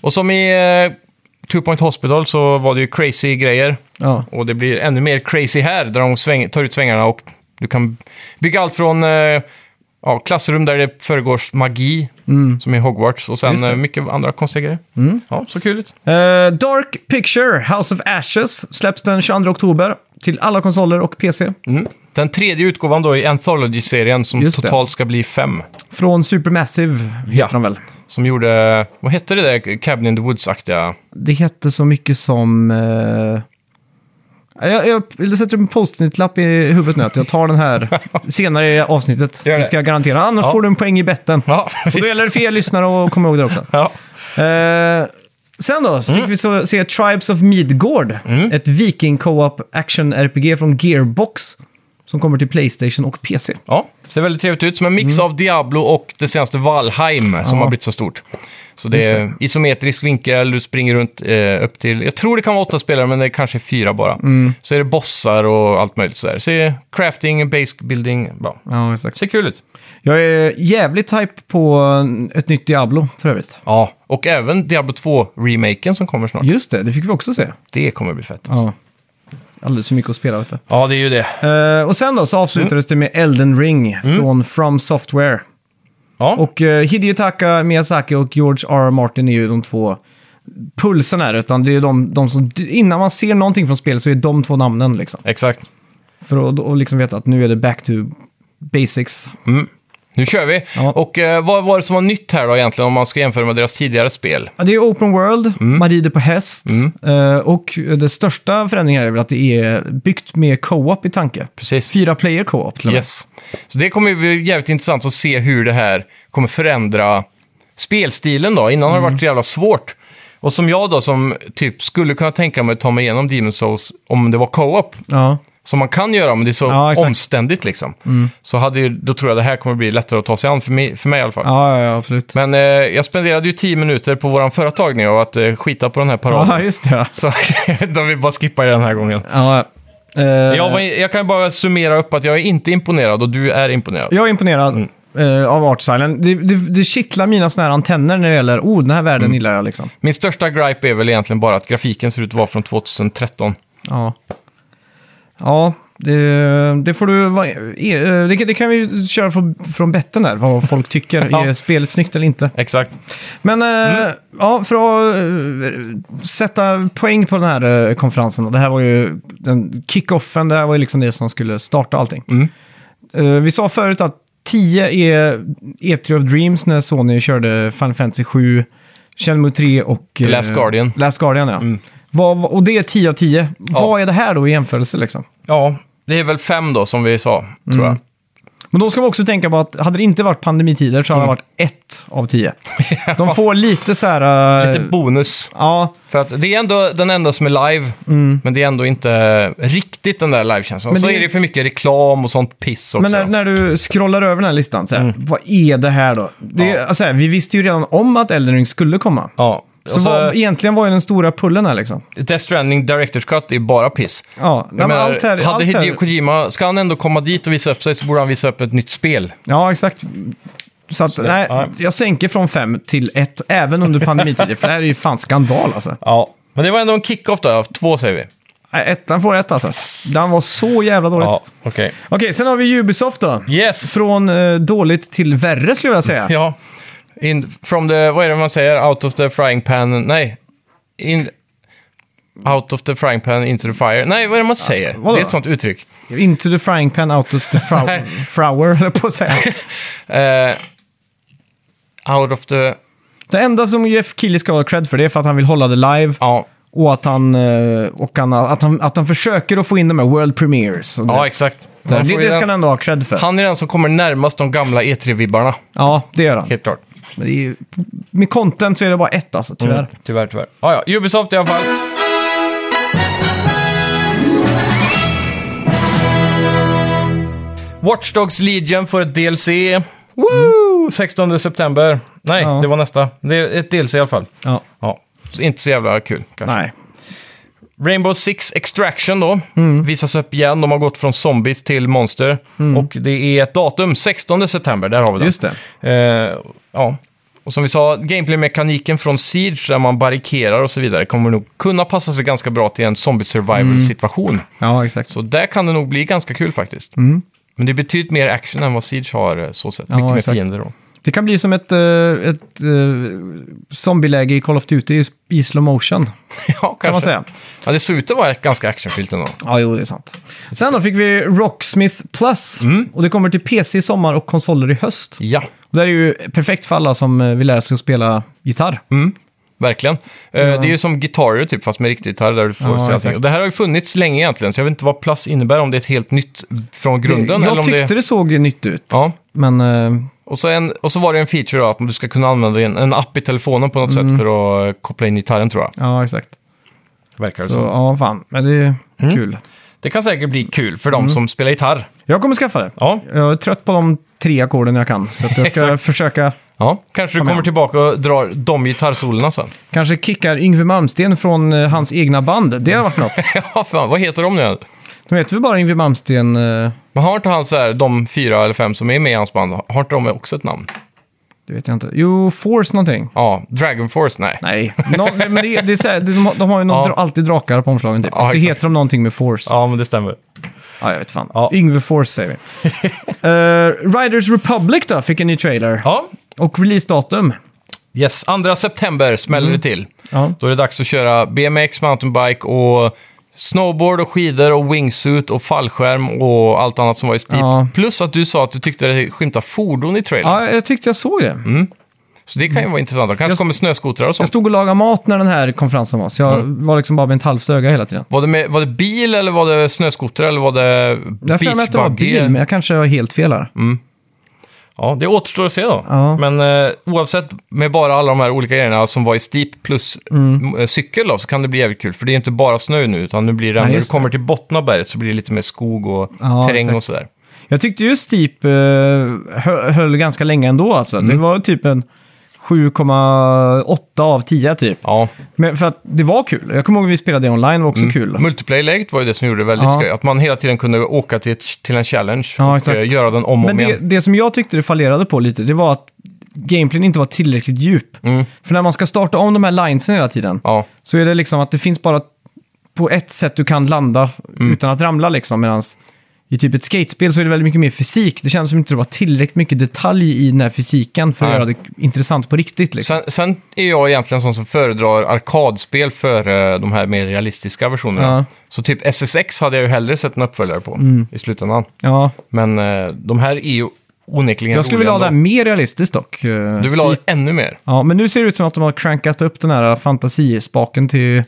Speaker 2: Och som i eh, Two Point Hospital så var det ju crazy grejer.
Speaker 1: Ja.
Speaker 2: Och det blir ännu mer crazy här, där de sväng, tar ut svängarna och du kan bygga allt från eh, ja, klassrum där det föregår magi, som i Hogwarts, och sen
Speaker 1: Mm. Just det. Mm.
Speaker 2: eh, mycket andra konstiga grejer. Ja, så kul ut.
Speaker 1: Eh, Dark Picture, House of Ashes, släpps den 22 oktober till alla konsoler och PC.
Speaker 2: Mm. Den tredje utgåvan då i Anthology-serien som
Speaker 1: Just det.
Speaker 2: totalt ska bli fem.
Speaker 1: Från Supermassive, heter
Speaker 2: Ja.
Speaker 1: de väl.
Speaker 2: Som gjorde, vad hette det där Cabin in the Woods-aktiga?
Speaker 1: Det hette så mycket som... eh, Jag, jag sätter en post-it-lapp i huvudet nu att jag tar den här senare i avsnittet.
Speaker 2: Gör det.
Speaker 1: Det ska jag garantera. Annars
Speaker 2: Ja.
Speaker 1: får du en poäng i betten.
Speaker 2: Ja,
Speaker 1: Och då
Speaker 2: visst.
Speaker 1: gäller det för er lyssnare att komma ihåg det också.
Speaker 2: Ja.
Speaker 1: Eh, sen då fick vi så, se Tribes of Midgård. Ett viking co-op action-RPG från Gearbox. Som kommer till Playstation och PC.
Speaker 2: ja, ser väldigt trevligt ut. Som en mix av Diablo och det senaste Valheim som
Speaker 1: Ja.
Speaker 2: har blivit så stort. Så det
Speaker 1: Just
Speaker 2: är isometrisk vinkel, du springer runt eh, upp till, jag tror det kan vara åtta spelare men det kanske är fyra bara. Så är det bossar och allt möjligt sådär. Så crafting, base building, ja.
Speaker 1: Ja, exakt.
Speaker 2: ser kul ut.
Speaker 1: Jag är jävligt hype på ett nytt Diablo för övrigt.
Speaker 2: Ja, och även Diablo 2-remaken som kommer snart.
Speaker 1: Just det, det fick vi också se.
Speaker 2: Det kommer bli fett alltså.
Speaker 1: Ja. Alldeles för mycket att spela, vet du.
Speaker 2: Ja, det är ju det.
Speaker 1: Eh, och sen då så avslutades det med Elden Ring från From Software.
Speaker 2: Ja.
Speaker 1: Och uh, Hidetaka Miyazaki och George R. R. Martin är ju de två pulsen här. Utan det är de, de som, innan man ser någonting från spelet så är de två namnen liksom.
Speaker 2: Exakt.
Speaker 1: För att och liksom veta att nu är det back to basics.
Speaker 2: Nu kör vi.
Speaker 1: Ja.
Speaker 2: Och eh, vad var det som var nytt här då egentligen om man ska jämföra med deras tidigare spel?
Speaker 1: Ja, Det är open world,
Speaker 2: Mm.
Speaker 1: man rider på häst. eh, och det största förändringen är väl att det är byggt med co-op i tanke.
Speaker 2: Precis.
Speaker 1: Fyra player co-op till och med.
Speaker 2: Yes. Så det kommer ju bli jävligt intressant att
Speaker 1: Mm.
Speaker 2: se hur det här kommer förändra spelstilen då. Innan har det varit så jävla svårt. Och som jag då, som typ skulle kunna tänka mig att ta mig igenom Demon's Souls om det var co-op,
Speaker 1: Ja.
Speaker 2: som man kan göra, men det är så
Speaker 1: Ja, exakt. Mm.
Speaker 2: omständigt liksom. Så hade ju, då tror jag det här kommer bli lättare att ta sig an för mig, för mig i alla fall.
Speaker 1: Ja, ja, ja, absolut.
Speaker 2: Men eh, jag spenderade ju 10 minuter på våran förra tagning av att eh, skita på den här paraden.
Speaker 1: Ja, just det. ja.
Speaker 2: Så de vill bara skippa det den här gången.
Speaker 1: Ja, eh,
Speaker 2: Jag, var, jag kan bara summera upp att jag är inte imponerad och du är imponerad.
Speaker 1: jag är imponerad eh, av Art Silent. Det, det, det kittlar mina såna här antenner när det gäller, oh, den här världen gillar jag liksom.
Speaker 2: Min största gripe är väl egentligen bara att grafiken ser ut att vara från 2013.
Speaker 1: Ja, ja det, det får du... vara- eh, Det, kan- det kan vi ju köra från, från betten där, vad folk tycker.
Speaker 2: Ja.
Speaker 1: Är spelet snyggt eller inte?
Speaker 2: Exakt.
Speaker 1: Men eh,
Speaker 2: Mm.
Speaker 1: ja, för att eh, sätta poäng på den här eh, konferensen. då. Det här var ju den kickoffen, det här var ju liksom det som skulle starta allting.
Speaker 2: Mm.
Speaker 1: Eh, vi sa förut att 10 är E3 of Dreams när Sony körde Final Fantasy 7, Shenmue 3 och... The
Speaker 2: Last Guardian. Mm.
Speaker 1: Last Guardian, ja. Vad, vad- och det är 10 av 10. Vad är det här då i jämförelse liksom?
Speaker 2: Ja, det är väl fem då som vi sa, tror
Speaker 1: Mm.
Speaker 2: jag.
Speaker 1: Men då ska man också tänka på att hade det inte varit pandemitider så hade
Speaker 2: Mm.
Speaker 1: det varit 1 av 10. De får lite så här... eh,
Speaker 2: Lite bonus.
Speaker 1: ja,
Speaker 2: För att det är ändå den enda som är live, men det är ändå inte riktigt den där livekänslan.
Speaker 1: Mm. Men
Speaker 2: Och så
Speaker 1: det-
Speaker 2: är det för mycket reklam och sånt piss också. Mm.
Speaker 1: Men när, när du scrollar över den här listan, så här, vad är det här då? Det, är- alltså, så här, vi visste ju redan om att Elden Ring skulle komma.
Speaker 2: Ja. Och
Speaker 1: Så,
Speaker 2: så,
Speaker 1: vad, egentligen var ju den stora pullen här liksom.
Speaker 2: Death Stranding Director's Cut är bara piss.
Speaker 1: Ja, nej, men
Speaker 2: Jag menar,
Speaker 1: allt här,
Speaker 2: hade
Speaker 1: allt
Speaker 2: Hideo
Speaker 1: här,
Speaker 2: Kojima, ska han ändå komma dit och visa upp sig så borde han visa upp ett nytt spel.
Speaker 1: Ja, exakt. Så att, nej,
Speaker 2: ja.
Speaker 1: jag sänker från fem till ett, även under pandemitider, för det här är ju fan skandal alltså.
Speaker 2: Ja. Men det var ändå en kick-off då, två säger vi.
Speaker 1: Nej, ettan får ett alltså. Den var så jävla dåligt.
Speaker 2: Ja, okej.
Speaker 1: Okej, sen har vi Ubisoft då.
Speaker 2: Yes!
Speaker 1: Från eh, dåligt till värre skulle jag säga.
Speaker 2: Ja. In, from the, vad är det man säger? Out of the frying pan, nej. In, out of the frying pan into the fire. Nej, vad är det man säger?
Speaker 1: vadå?
Speaker 2: det är ett sånt uttryck.
Speaker 1: Into the frying pan, out of the frow-
Speaker 2: Nej.
Speaker 1: frower, höll jag på att säga.
Speaker 2: Eh, out of the...
Speaker 1: Det enda som Jeff Keely ska ha cred för det är för att han vill hålla det live
Speaker 2: Ja,
Speaker 1: och att han, eh, och han, att han, att han försöker att få in de här World Premiers. Och det.
Speaker 2: ja exakt.
Speaker 1: Så
Speaker 2: Man
Speaker 1: det,
Speaker 2: får ju
Speaker 1: det ska han
Speaker 2: den,
Speaker 1: ändå ha cred för.
Speaker 2: han är den som kommer närmast de gamla E3-vibbarna.
Speaker 1: Ja, det gör han.
Speaker 2: Helt klart.
Speaker 1: Men det är ju, med content så är det bara ett alltså, tyvärr.
Speaker 2: Mm, tyvärr, tyvärr. Ah, ja, Ubisoft i alla fall. Watch Dogs Legion får ett DLC. Woo! 16 september. Nej,
Speaker 1: Ja.
Speaker 2: det var nästa. Det är ett DLC i alla fall.
Speaker 1: Ja.
Speaker 2: Ja, så inte så jävla kul kanske.
Speaker 1: Nej.
Speaker 2: Rainbow Six Extraction då.
Speaker 1: Mm.
Speaker 2: Visas upp igen. De har gått från zombies till monster. Och det är ett datum, 16 september. Där har vi den.
Speaker 1: Just det.
Speaker 2: Eh, ja. Och som vi sa, gameplay-mekaniken från Siege, där man barrikerar och så vidare, kommer nog kunna passa sig ganska bra till en
Speaker 1: Mm.
Speaker 2: zombie-survival-situation.
Speaker 1: Ja, exakt.
Speaker 2: Så där kan det nog bli ganska kul faktiskt. Men det är betydligt mer action än vad Siege har, eh, så sett.
Speaker 1: Mm. Ja,
Speaker 2: Mycket mer
Speaker 1: exakt.
Speaker 2: fiender då.
Speaker 1: Det kan bli som ett, eh, ett uh, zombieläge i Call of Duty i, i slow motion, kan
Speaker 2: ja, kanske.
Speaker 1: man säga.
Speaker 2: Ja, det såg ut att vara ganska actionfyllt ändå.
Speaker 1: Ja, jo, det är sant. Sen då fick vi Rocksmith Plus. Och det kommer till PC i sommar och konsoler i höst.
Speaker 2: Mm. Ja.
Speaker 1: Och Det här är ju perfekt för alla som eh, vill lära sig att spela gitarr.
Speaker 2: Mm, verkligen. Eh, Det är ju som gitarrer typ, fast med riktigt gitarr där du får
Speaker 1: Ja,
Speaker 2: se allting.
Speaker 1: exakt.
Speaker 2: Och Det här har ju funnits länge egentligen, så jag vet inte vad plus innebär, om det är ett helt nytt från grunden.
Speaker 1: jag
Speaker 2: eller om
Speaker 1: tyckte det...
Speaker 2: det...
Speaker 1: såg nytt ut.
Speaker 2: Ja,
Speaker 1: Men eh,
Speaker 2: och så, en, och så var det en feature då, att du ska kunna använda en, en app i telefonen på något sätt för att eh, koppla in gitarren tror jag.
Speaker 1: ja, exakt.
Speaker 2: Verkar det
Speaker 1: Så
Speaker 2: som.
Speaker 1: ja, fan. Men det är
Speaker 2: Mm.
Speaker 1: kul.
Speaker 2: Det kan säkert bli kul för de som spelar gitarr.
Speaker 1: Jag kommer skaffa det.
Speaker 2: Ja,
Speaker 1: Jag är trött på de tre ackorden jag kan. Så att jag ska försöka.
Speaker 2: ja. kanske du
Speaker 1: igen.
Speaker 2: kommer tillbaka och drar de gitarrsolerna sen.
Speaker 1: Kanske kickar Yngwie Malmsteen från eh, hans egna band. Det har varit något.
Speaker 2: ja, fan, vad heter de nu igen?
Speaker 1: Nu vet vi bara Yngwie Malmsteen. eh,
Speaker 2: Men har inte han så här, de fyra eller fem som är med i hans band, har inte de också ett namn?
Speaker 1: Det vet jag inte. Jo, Force någonting.
Speaker 2: Ja, Dragon Force? Nej.
Speaker 1: Nej, Nå- nej, men det, det är så här, de, har- de har ju något,
Speaker 2: Ja.
Speaker 1: alltid drakar på omslagen typ.
Speaker 2: Ja,
Speaker 1: och så
Speaker 2: exakt.
Speaker 1: heter de någonting med Force.
Speaker 2: Ja, men det stämmer.
Speaker 1: Ja, jag vet fan.
Speaker 2: Ja.
Speaker 1: Yngve Force säger vi. Eh, Riders Republic då, fick en ny trailer.
Speaker 2: Ja,
Speaker 1: Och releasedatum.
Speaker 2: Yes, 2 september smäller
Speaker 1: Mm.
Speaker 2: det till.
Speaker 1: Ja.
Speaker 2: Då är det dags att köra BMX, mountainbike och snowboard och skidor och wingsuit och fallskärm och allt annat som var i Steep.
Speaker 1: Ja.
Speaker 2: Plus att du sa att du tyckte det skymtade fordon i trailern.
Speaker 1: Ja, jag tyckte jag såg det.
Speaker 2: Så det kan ju vara intressant. Det kanske kommer snöskotrar och
Speaker 1: Jag
Speaker 2: sånt.
Speaker 1: stod och lagade mat när den här konferensen var, så jag var liksom bara med ett halvt öga hela tiden.
Speaker 2: Var det, med, var det bil eller var det snöskotrar eller var det
Speaker 1: Jag har för mig att det var
Speaker 2: beachbuggy?
Speaker 1: bil, men jag kanske har helt fel här.
Speaker 2: Ja, det återstår att se då.
Speaker 1: Ja.
Speaker 2: Men eh, oavsett med bara alla de här olika grejerna som var i steep plus
Speaker 1: Mm.
Speaker 2: eh, cykel då, så kan det bli jävligt kul. För det är inte bara snö nu, utan nu blir det, när du
Speaker 1: just det.
Speaker 2: kommer till botten av berget så blir det lite mer skog och
Speaker 1: Ja,
Speaker 2: terräng
Speaker 1: exakt.
Speaker 2: och sådär.
Speaker 1: Jag tyckte ju Steep eh, hö- höll ganska länge ändå alltså. Det var typ en 7,8 av 10 typ.
Speaker 2: Ja. Mm.
Speaker 1: Men för att det var kul. Jag kommer ihåg att vi spelade det online, det var också kul.
Speaker 2: Multiplayer-läget var ju det som gjorde det väldigt
Speaker 1: Ja.
Speaker 2: skoj. Att man hela tiden kunde åka till, ett- till en challenge
Speaker 1: Ja,
Speaker 2: och
Speaker 1: exakt.
Speaker 2: eh, göra den om och
Speaker 1: Men
Speaker 2: om
Speaker 1: det,
Speaker 2: igen.
Speaker 1: det som jag tyckte det fallerade på lite, det var att gameplayen inte var tillräckligt djup.
Speaker 2: Mm.
Speaker 1: För när man ska starta om de här linesen hela tiden,
Speaker 2: Ja,
Speaker 1: så är det liksom att det finns bara på ett sätt du kan landa
Speaker 2: Mm.
Speaker 1: utan att ramla liksom. Medan i typ ett skatespel så är det väldigt mycket mer fysik. Det känns som inte det var tillräckligt mycket detalj i den här fysiken för att
Speaker 2: Nej.
Speaker 1: göra det intressant på riktigt. Liksom.
Speaker 2: Sen, sen är jag egentligen sån som föredrar arkadspel före eh, de här mer realistiska versionerna.
Speaker 1: Ja. Mm.
Speaker 2: Så typ SSX hade jag ju hellre sett en uppföljare på i slutändan.
Speaker 1: Ja.
Speaker 2: Men eh, de här är ju onekligen
Speaker 1: Jag skulle
Speaker 2: roliga
Speaker 1: vilja ha det här
Speaker 2: ändå.
Speaker 1: mer realistiskt dock. eh,
Speaker 2: Du vill ha
Speaker 1: Steve.
Speaker 2: det ännu mer?
Speaker 1: Ja, men nu ser det ut som att de har crankat upp den här eh, fantasispaken till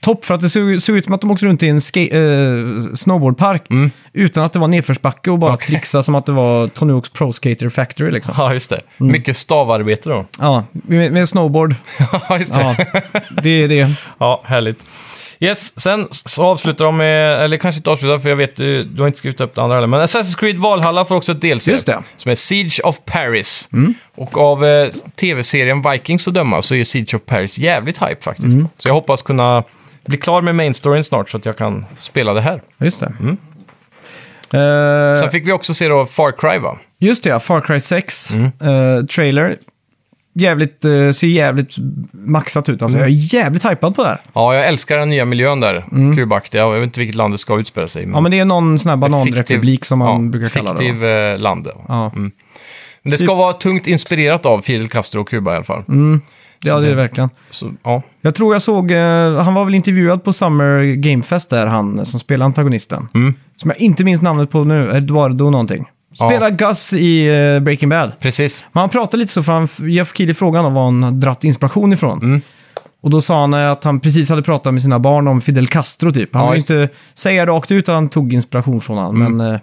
Speaker 1: topp. För att det såg, såg ut som att de åkte runt i en ska- eh, snowboardpark utan att det var nedförsbacke och bara
Speaker 2: Mm. Okej.
Speaker 1: trixa som att det var Tony Hawk's Pro Skater Factory liksom.
Speaker 2: Ja, just det. Mycket stavarbete då.
Speaker 1: Ja, med, med snowboard.
Speaker 2: ja, just det.
Speaker 1: Ja, det är det.
Speaker 2: Ja, härligt. Yes, sen så avslutar de med, eller kanske inte avslutar för jag vet du, du har inte skrivit upp det andra heller, men Assassin's Creed Valhalla får också ett DLC.
Speaker 1: Just det. Mm.
Speaker 2: Som är Siege of Paris. Och av eh, tv-serien Vikings att döma så är Siege of Paris jävligt hype faktiskt.
Speaker 1: Mm.
Speaker 2: Så jag hoppas kunna bli klar med main storyn snart så att jag kan spela det här.
Speaker 1: Just det.
Speaker 2: Mm.
Speaker 1: Eh,
Speaker 2: Sen fick vi också se då Far Cry va?
Speaker 1: just det, ja, Far Cry 6
Speaker 2: Mm.
Speaker 1: eh, trailer. Jävligt, eh, ser jävligt maxat ut.
Speaker 2: Mm.
Speaker 1: Alltså, Jag är jävligt hypad på det här.
Speaker 2: Ja, jag älskar den nya miljön där, kubaktiga. Jag vet inte vilket land det ska utspela sig i. men-
Speaker 1: Mm. Ja, men det är någon sån här bananrepublik
Speaker 2: Fiktiv-
Speaker 1: som man
Speaker 2: ja,
Speaker 1: brukar kalla det. va?
Speaker 2: Fiktiv eh, land. ja.
Speaker 1: Ja.
Speaker 2: Men det ska vara tungt inspirerat av Fidel Castro och Kuba i alla fall.
Speaker 1: Mm. Ja, det är det verkligen.
Speaker 2: Så, ja.
Speaker 1: Jag tror jag såg, eh, han var väl intervjuad på Summer Game Fest där, han som spelar antagonisten. Som jag inte minns namnet på nu, Eduardo någonting.
Speaker 2: Mm. Ja.
Speaker 1: Spelar Gus i eh, Breaking Bad.
Speaker 2: Precis.
Speaker 1: Men han pratade lite så, för han, jag fick i frågan om var han har dratt inspiration ifrån.
Speaker 2: Mm.
Speaker 1: Och då sa han eh, att han precis hade pratat med sina barn om Fidel Castro typ. Han
Speaker 2: Ja,
Speaker 1: ville
Speaker 2: just- Mm.
Speaker 1: inte säga rakt ut att han tog inspiration från honom. Men eh,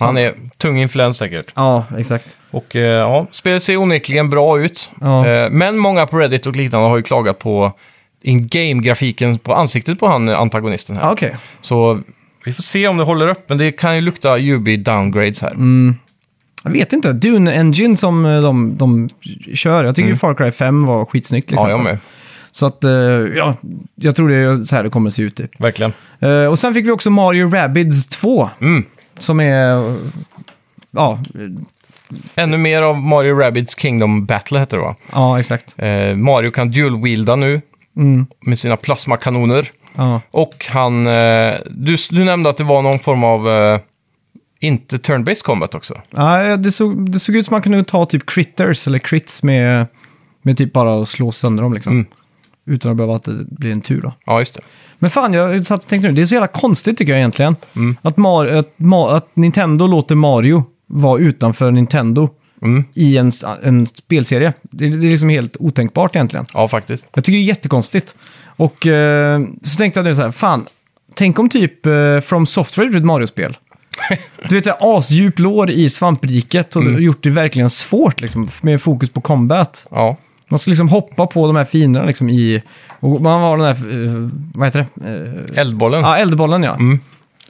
Speaker 2: Han är tung influens säkert.
Speaker 1: ja, exakt.
Speaker 2: Och eh, ja, spelet ser onekligen bra ut.
Speaker 1: Ja.
Speaker 2: Eh, Men många på Reddit och liknande har ju klagat på in-game-grafiken på ansiktet på han eh, antagonisten här.
Speaker 1: Ja, Okej.
Speaker 2: Så vi får se om det håller upp, men det kan ju lukta UB-downgrades här.
Speaker 1: Mm, Jag vet inte. Dune Engine som eh, de, de kör. Jag tycker ju Far Cry 5 var skitsnyggt. Liksom.
Speaker 2: Mm. ja, jag med.
Speaker 1: Så att, eh, ja, jag tror det är så här det kommer se ut. Typ.
Speaker 2: Verkligen.
Speaker 1: Eh, Och sen fick vi också Mario Rabbids 2.
Speaker 2: Mm.
Speaker 1: Som är... eh, Ja,
Speaker 2: Ännu mer av Mario Rabbids Kingdom Battle heter det va?
Speaker 1: ja exakt.
Speaker 2: Eh, Mario kan dual-wielda nu med sina plasmakanoner.
Speaker 1: Ja.
Speaker 2: Och han... Eh, du, du nämnde att det var någon form av... Eh, inte turn-based combat också.
Speaker 1: Ja, det, såg, det såg ut som man kunde ta typ critters eller crits med, med typ bara att slå sönder dem liksom.
Speaker 2: Mm.
Speaker 1: Utan att behöva att det blir en tur då.
Speaker 2: Ja, just det.
Speaker 1: Men fan, jag satt och tänkte nu, det är så jävla konstigt tycker jag egentligen.
Speaker 2: Mm.
Speaker 1: Att, Mar- att, Ma- att Nintendo låter Mario vara utanför Nintendo
Speaker 2: Mm.
Speaker 1: i en, s- en spelserie. Det, det är liksom helt otänkbart egentligen.
Speaker 2: Ja, faktiskt.
Speaker 1: Jag tycker det är jättekonstigt. Och eh, så tänkte jag nu så här, fan, tänk om typ eh, From Software gjorde ett Mario-spel. Du vet, så här, asdjup lår i svampriket och
Speaker 2: Mm.
Speaker 1: gjort det verkligen svårt liksom, med fokus på combat.
Speaker 2: Ja.
Speaker 1: Man ska liksom hoppa på de här finerna liksom i... Och man var den här, eh, vad heter det? Eh,
Speaker 2: Eldbollen.
Speaker 1: Ja, eldbollen ja.
Speaker 2: Mm.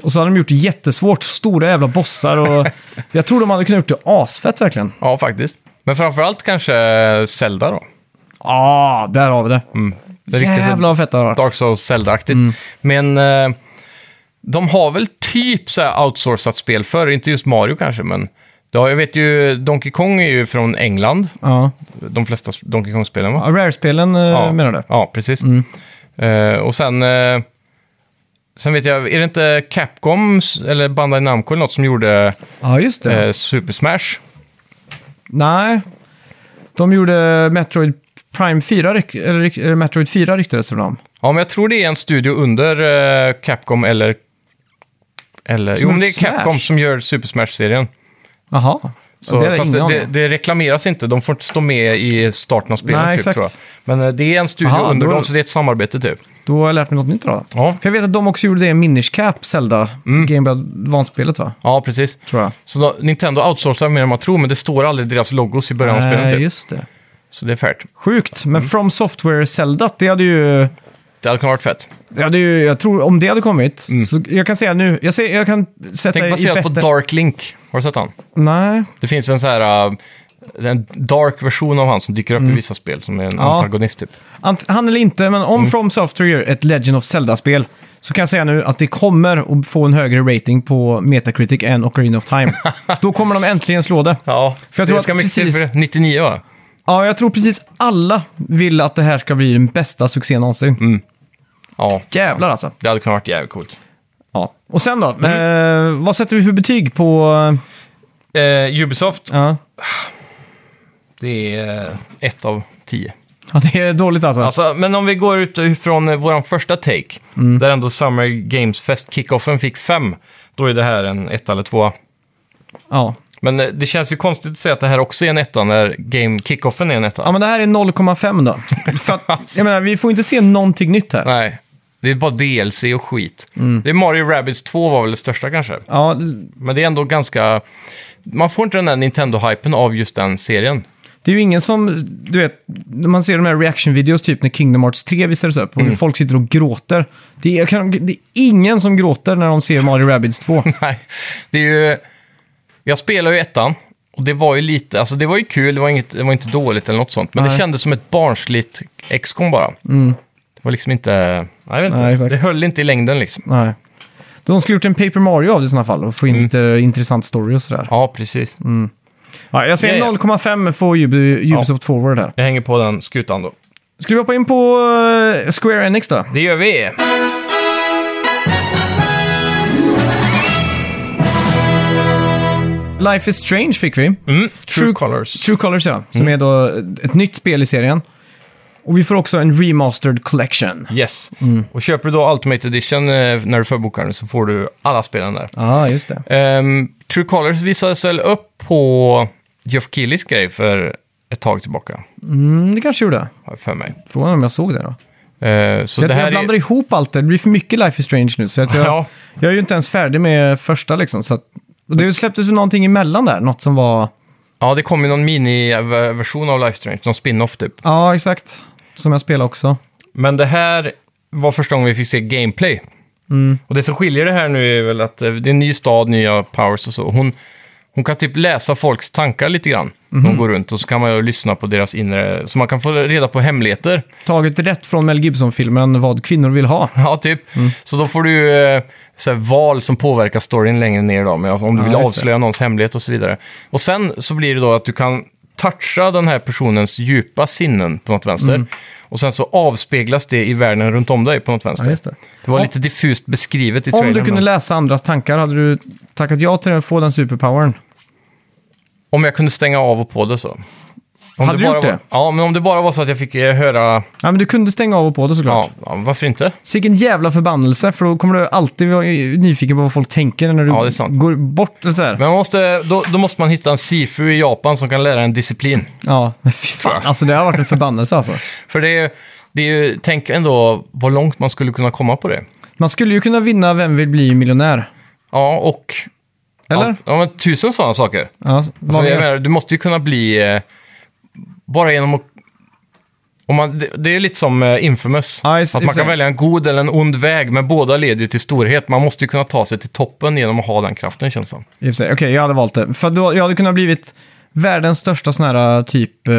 Speaker 1: Och så hade de gjort det jättesvårt, stora jävla bossar och... jag tror de hade kunnat gjort det asfett verkligen.
Speaker 2: Ja, faktiskt. Men framförallt kanske Zelda då.
Speaker 1: Ja, ah, där har vi det. Mm.
Speaker 2: Det är riktigt så
Speaker 1: Jävlar vad fett det hade varit.
Speaker 2: Dark Souls Zelda-aktigt. Men eh, de har väl typ så här outsourcat spel förr, inte just Mario kanske, men... Ja, jag vet ju, Donkey Kong är ju från England,
Speaker 1: Ja.
Speaker 2: de flesta Donkey Kong-spelen va?
Speaker 1: Ja, Rare-spelen eh,
Speaker 2: Ja,
Speaker 1: menar Mm. du?
Speaker 2: Ja, precis. Eh, och sen... eh, sen vet jag, är det inte Capcom s- eller Bandai Namco eller något som gjorde
Speaker 1: Ja, just det.
Speaker 2: eh, Super Smash?
Speaker 1: Nej. De gjorde Metroid Prime 4, ryk- eller ryk- eller Metroid 4 ryktades det om.
Speaker 2: Ja, men jag tror det är en studio under eh, Capcom eller... eller
Speaker 1: Som
Speaker 2: jo, men det är
Speaker 1: gjort Smash?
Speaker 2: Capcom som gör Super Smash-serien.
Speaker 1: Jaha.
Speaker 2: Så,
Speaker 1: det är
Speaker 2: fast
Speaker 1: ingen
Speaker 2: det,
Speaker 1: aning.
Speaker 2: det, det reklameras inte, de får inte stå med i starten av spelet
Speaker 1: Nej,
Speaker 2: typ,
Speaker 1: exakt.
Speaker 2: tror jag. Men eh, det är en studio
Speaker 1: Aha,
Speaker 2: under
Speaker 1: då-
Speaker 2: dem, så det är ett samarbete typ.
Speaker 1: Då har jag lärt mig något nytt då.
Speaker 2: Ja. Mm.
Speaker 1: För jag vet att de också gjorde det i Minish Cap, Zelda, Game Boy Advance-spelet va?
Speaker 2: Ja, precis.
Speaker 1: Tror jag.
Speaker 2: Så då, Nintendo outsourcar mer än man tror, men det står aldrig deras logos i början av spelet.
Speaker 1: Nej, Eh,
Speaker 2: Typ. Mm.
Speaker 1: just det.
Speaker 2: Så det är färt.
Speaker 1: Sjukt, men From Software-Zelda, det hade ju...
Speaker 2: Det hade kunnat varit fett.
Speaker 1: Det hade ju, jag tror, om det hade kommit, så jag kan säga nu, jag, ser, jag kan sätta
Speaker 2: Mm. Tänk
Speaker 1: i
Speaker 2: baserat på
Speaker 1: bättre...
Speaker 2: Dark Link. Har du sett han?
Speaker 1: Nej,
Speaker 2: Det finns en så här... eh, en dark version av han som dyker upp i vissa spel som är en
Speaker 1: Mm. Ja.
Speaker 2: antagonist typ.
Speaker 1: Ant- han eller inte, men om From Software gör ett Legend of Zelda-spel så kan jag säga nu att det kommer att få en högre rating på Metacritic än Ocarina of Time. Då kommer de äntligen slå det.
Speaker 2: Ja,
Speaker 1: För jag
Speaker 2: det
Speaker 1: tror
Speaker 2: ska
Speaker 1: att
Speaker 2: mycket till
Speaker 1: precis-
Speaker 2: för det. 99 va?
Speaker 1: Ja, jag tror precis alla vill att det här ska bli den bästa succén någonsin.
Speaker 2: Ja,
Speaker 1: Jävlar alltså.
Speaker 2: det hade kunnat varit jävligt coolt.
Speaker 1: Ja. Och sen då? Eh, vad sätter vi för betyg på...
Speaker 2: Eh, Ubisoft,
Speaker 1: Ja,
Speaker 2: det är eh, ett av tio.
Speaker 1: ja det är dåligt alltså.
Speaker 2: Alltså, men om vi går ut från eh, vår första take,
Speaker 1: Mm.
Speaker 2: där ändå Summer Games Fest kickoffen fick fem, då är det här en etta eller tvåa.
Speaker 1: Ja.
Speaker 2: Men eh, det känns ju konstigt att säga att det här också är en etta när game kickoffen är en etta.
Speaker 1: ja, men det här är 0,5 då. För att, jag menar, vi får inte se någonting nytt här.
Speaker 2: Nej, det är bara DLC och skit.
Speaker 1: Mm.
Speaker 2: Det är Mario Rabbids 2 var väl det största kanske.
Speaker 1: Ja,
Speaker 2: Men det är ändå ganska... Man får inte den där Nintendo-hypen av just den serien.
Speaker 1: Det är ju ingen som, du vet, när man ser de här reaction-videos typ när Kingdom Hearts 3 visades upp och
Speaker 2: Mm.
Speaker 1: folk sitter och gråter. Det är, jag kan, det är ingen som gråter när de ser Mario Rabbids 2.
Speaker 2: Nej, det är ju... Jag spelade ju ettan. Och det var ju lite, alltså det var ju kul, det var, inget, det var inte dåligt eller något sånt. Men
Speaker 1: Nej. Mm.
Speaker 2: det kändes som ett barnsligt XCOM bara. Det var liksom inte, nej, jag vet inte,
Speaker 1: Nej, exakt.
Speaker 2: det höll inte i längden liksom.
Speaker 1: Nej. De skulle gjort en Paper Mario av det i sådana fall och få in lite intressant story och sådär.
Speaker 2: Mm. Ja, precis.
Speaker 1: Mm. Ja, jag
Speaker 2: Ja,
Speaker 1: säger
Speaker 2: ja.
Speaker 1: 0,5 får Ubi- Ubisoft Forward här.
Speaker 2: Jag hänger på den skutan då.
Speaker 1: Ska vi hoppa in på eh, Square Enix då?
Speaker 2: Det gör vi!
Speaker 1: Life is Strange fick vi.
Speaker 2: Mm. True, Colors. Mm.
Speaker 1: True Colors ja, som är då ett nytt spel i serien. Och vi får också en remastered collection.
Speaker 2: Yes.
Speaker 1: Mm.
Speaker 2: Och köper du då Ultimate Edition eh, när du förbokar den så får du alla spelen där.
Speaker 1: Ja, just det.
Speaker 2: Ehm, True Colors visades väl upp på Geoff Keighlys grej för ett tag tillbaka,
Speaker 1: Mm, det kanske gjorde.
Speaker 2: har jag för mig.
Speaker 1: Frågan om jag såg det då.
Speaker 2: Ehm, så
Speaker 1: Jag,
Speaker 2: det här
Speaker 1: jag
Speaker 2: är-
Speaker 1: blandar ihop allt det. Det blir för mycket Life is Strange nu. Så att jag,
Speaker 2: Ja.
Speaker 1: jag är ju inte ens färdig med första liksom. Så att, och det släpptes ju någonting emellan där. Något som var...
Speaker 2: Ja, det kom ju någon mini-version av Life is Strange, någon spin-off typ.
Speaker 1: Ja, exakt. Som jag spelade också.
Speaker 2: Men det här var första gången vi fick se gameplay.
Speaker 1: Mm.
Speaker 2: Och det som skiljer det här nu är väl att eh, det är en ny stad, nya powers och så. Hon, hon kan typ läsa folks tankar lite grann.
Speaker 1: Mhm.
Speaker 2: De går runt och så kan man ju lyssna på deras inre... Så man kan få reda på hemligheter.
Speaker 1: Taget rätt från Mel Gibson-filmen Vad kvinnor vill ha.
Speaker 2: Ja, typ. Så då får du eh, så här, val som påverkar storyn längre ner då, med, om du vill
Speaker 1: just det.
Speaker 2: avslöja någons hemlighet och så vidare. Och sen så blir det då att du kan toucha den här personens djupa sinnen på något vänster.
Speaker 1: Mm.
Speaker 2: Och sen så avspeglas det i världen runt om dig på något vänster.
Speaker 1: Ja, just det.
Speaker 2: det var
Speaker 1: Om-
Speaker 2: lite diffust beskrivet i
Speaker 1: Om du
Speaker 2: trailern,
Speaker 1: kunde
Speaker 2: men-
Speaker 1: läsa andras tankar, hade du tackat ja till att få den superpowern?
Speaker 2: Om jag kunde stänga av och på det så. Om
Speaker 1: Hade du
Speaker 2: bara
Speaker 1: gjort
Speaker 2: var...
Speaker 1: det?
Speaker 2: Ja, men om det bara var så att jag fick eh, höra...
Speaker 1: Ja, men du kunde stänga av och på det såklart.
Speaker 2: Ja, ja, varför inte?
Speaker 1: Sicken jävla förbannelse, för då kommer du alltid vara nyfiken på vad folk tänker när du
Speaker 2: Ja, det är sant.
Speaker 1: går bort. Eller så här.
Speaker 2: Men man måste, då, då måste man hitta en sifu i Japan som kan lära en disciplin.
Speaker 1: Ja, fy fan. Alltså det har varit en förbannelse alltså.
Speaker 2: För det är, det är ju, tänk ändå vad långt man skulle kunna komma på det.
Speaker 1: Man skulle ju kunna vinna Vem vill bli miljonär?
Speaker 2: Ja, och...
Speaker 1: Eller?
Speaker 2: Ja, men tusen sådana saker.
Speaker 1: Ja,
Speaker 2: Alltså,
Speaker 1: vad
Speaker 2: jag
Speaker 1: mer?
Speaker 2: menar, du måste ju kunna bli... Eh, bara genom att... Om man, det, det är lite som eh, Infamous.
Speaker 1: Ja, just-
Speaker 2: att man kan
Speaker 1: exakt.
Speaker 2: välja en god eller en ond väg, men båda leder ju till storhet. Man måste ju kunna ta sig till toppen genom att ha den kraften, känns det som.
Speaker 1: I och för sig. Okej, jag hade valt det. För då, jag hade kunnat blivit världens största sån här typ... eh,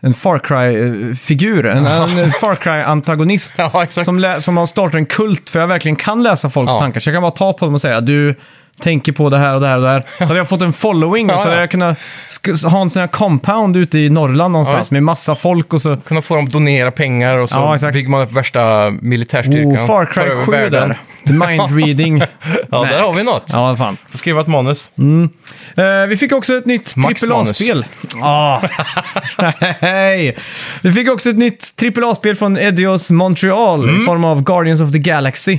Speaker 1: en Far Cry-figur. En, en Far Cry-antagonist.
Speaker 2: Ja, exakt.
Speaker 1: som, lä- som har startat en kult, för jag verkligen kan läsa folks
Speaker 2: Ja.
Speaker 1: tankar. Så jag kan bara ta på dem och säga du tänker på det här och det här och det här. Så hade jag fått en following och
Speaker 2: Ja,
Speaker 1: så hade
Speaker 2: ja.
Speaker 1: jag kunnat sk- ha en sån här compound ute i Norrland någonstans
Speaker 2: Ja.
Speaker 1: med massa folk och så...
Speaker 2: Kunna få dem att donera pengar och så
Speaker 1: Ja, exakt.
Speaker 2: bygger man upp värsta militärstyrkan.
Speaker 1: Oh, Far
Speaker 2: tar
Speaker 1: Cry
Speaker 2: över
Speaker 1: 7
Speaker 2: världen.
Speaker 1: där. The mind reading.
Speaker 2: Ja, där
Speaker 1: Max.
Speaker 2: har vi något.
Speaker 1: Ja, fan.
Speaker 2: Får skriva ett manus.
Speaker 1: Eh, vi fick också ett nytt
Speaker 2: Max
Speaker 1: AAA-spel. Ah. Nej. vi fick också ett nytt AAA-spel från Edios Montreal
Speaker 2: Mm.
Speaker 1: i form av Guardians of the Galaxy.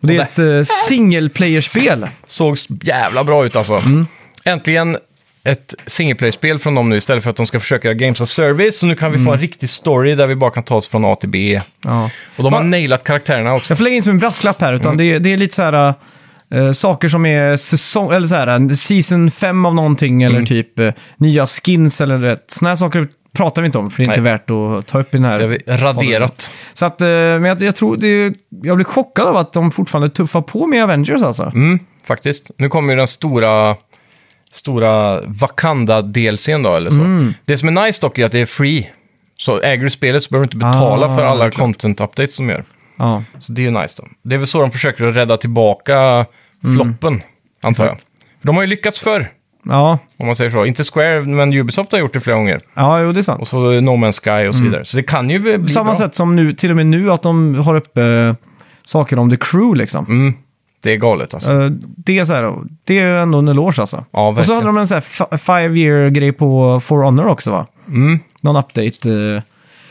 Speaker 1: Och det är ett eh, single player-spel. Mm.
Speaker 2: Såg jävla bra ut alltså. Äntligen ett singleplay-spel från dem nu istället för att de ska försöka göra Games of Service. Så nu kan vi få en riktig story där vi bara kan ta oss från A till B.
Speaker 1: Mm. Ja.
Speaker 2: Och de har
Speaker 1: Va-
Speaker 2: nailat karaktärerna också.
Speaker 1: Jag får lägga in som en brasklapp här,
Speaker 2: Mm.
Speaker 1: utan det, är- det är lite så här... eh, saker som är säsong, eller så här, en season 5 av någonting,
Speaker 2: Mm.
Speaker 1: eller typ eh, nya skins eller rätt. Sådana här saker pratar vi inte om, för det är inte
Speaker 2: Nej.
Speaker 1: värt att ta upp i den här.
Speaker 2: Det har vi raderat.
Speaker 1: Så att, eh, men jag, jag tror det, jag blir chockad av att de fortfarande tuffar på med Avengers alltså.
Speaker 2: Mm, faktiskt. Nu kommer ju den stora, stora Wakanda-delscen då, eller så.
Speaker 1: Mm.
Speaker 2: Det som är nice dock är att det är free. Så äger du spelet så behöver du inte betala
Speaker 1: Ah,
Speaker 2: för alla
Speaker 1: klart.
Speaker 2: content-updates de gör.
Speaker 1: Ja.
Speaker 2: Så det är ju nice då. Det är väl så de försöker att rädda tillbaka
Speaker 1: Mm.
Speaker 2: floppen, antar jag. De har ju lyckats förr,
Speaker 1: Ja,
Speaker 2: om man säger så. Inte Square, men Ubisoft har gjort det flera gånger.
Speaker 1: ja jo, det är sant.
Speaker 2: Och så No Man's Sky och så vidare. Så det kan ju bli
Speaker 1: Mm. På samma
Speaker 2: bra.
Speaker 1: sätt som nu, till och med nu, att de har uppe eh, saker om The Crew liksom.
Speaker 2: Mm, det är galet alltså.
Speaker 1: Eh, Det är, så här, det är ändå en eloge alltså.
Speaker 2: Ja,
Speaker 1: och så
Speaker 2: verkligen.
Speaker 1: hade de en så här fi- five year grej på For Honor också va?
Speaker 2: Mm.
Speaker 1: Någon update. eh.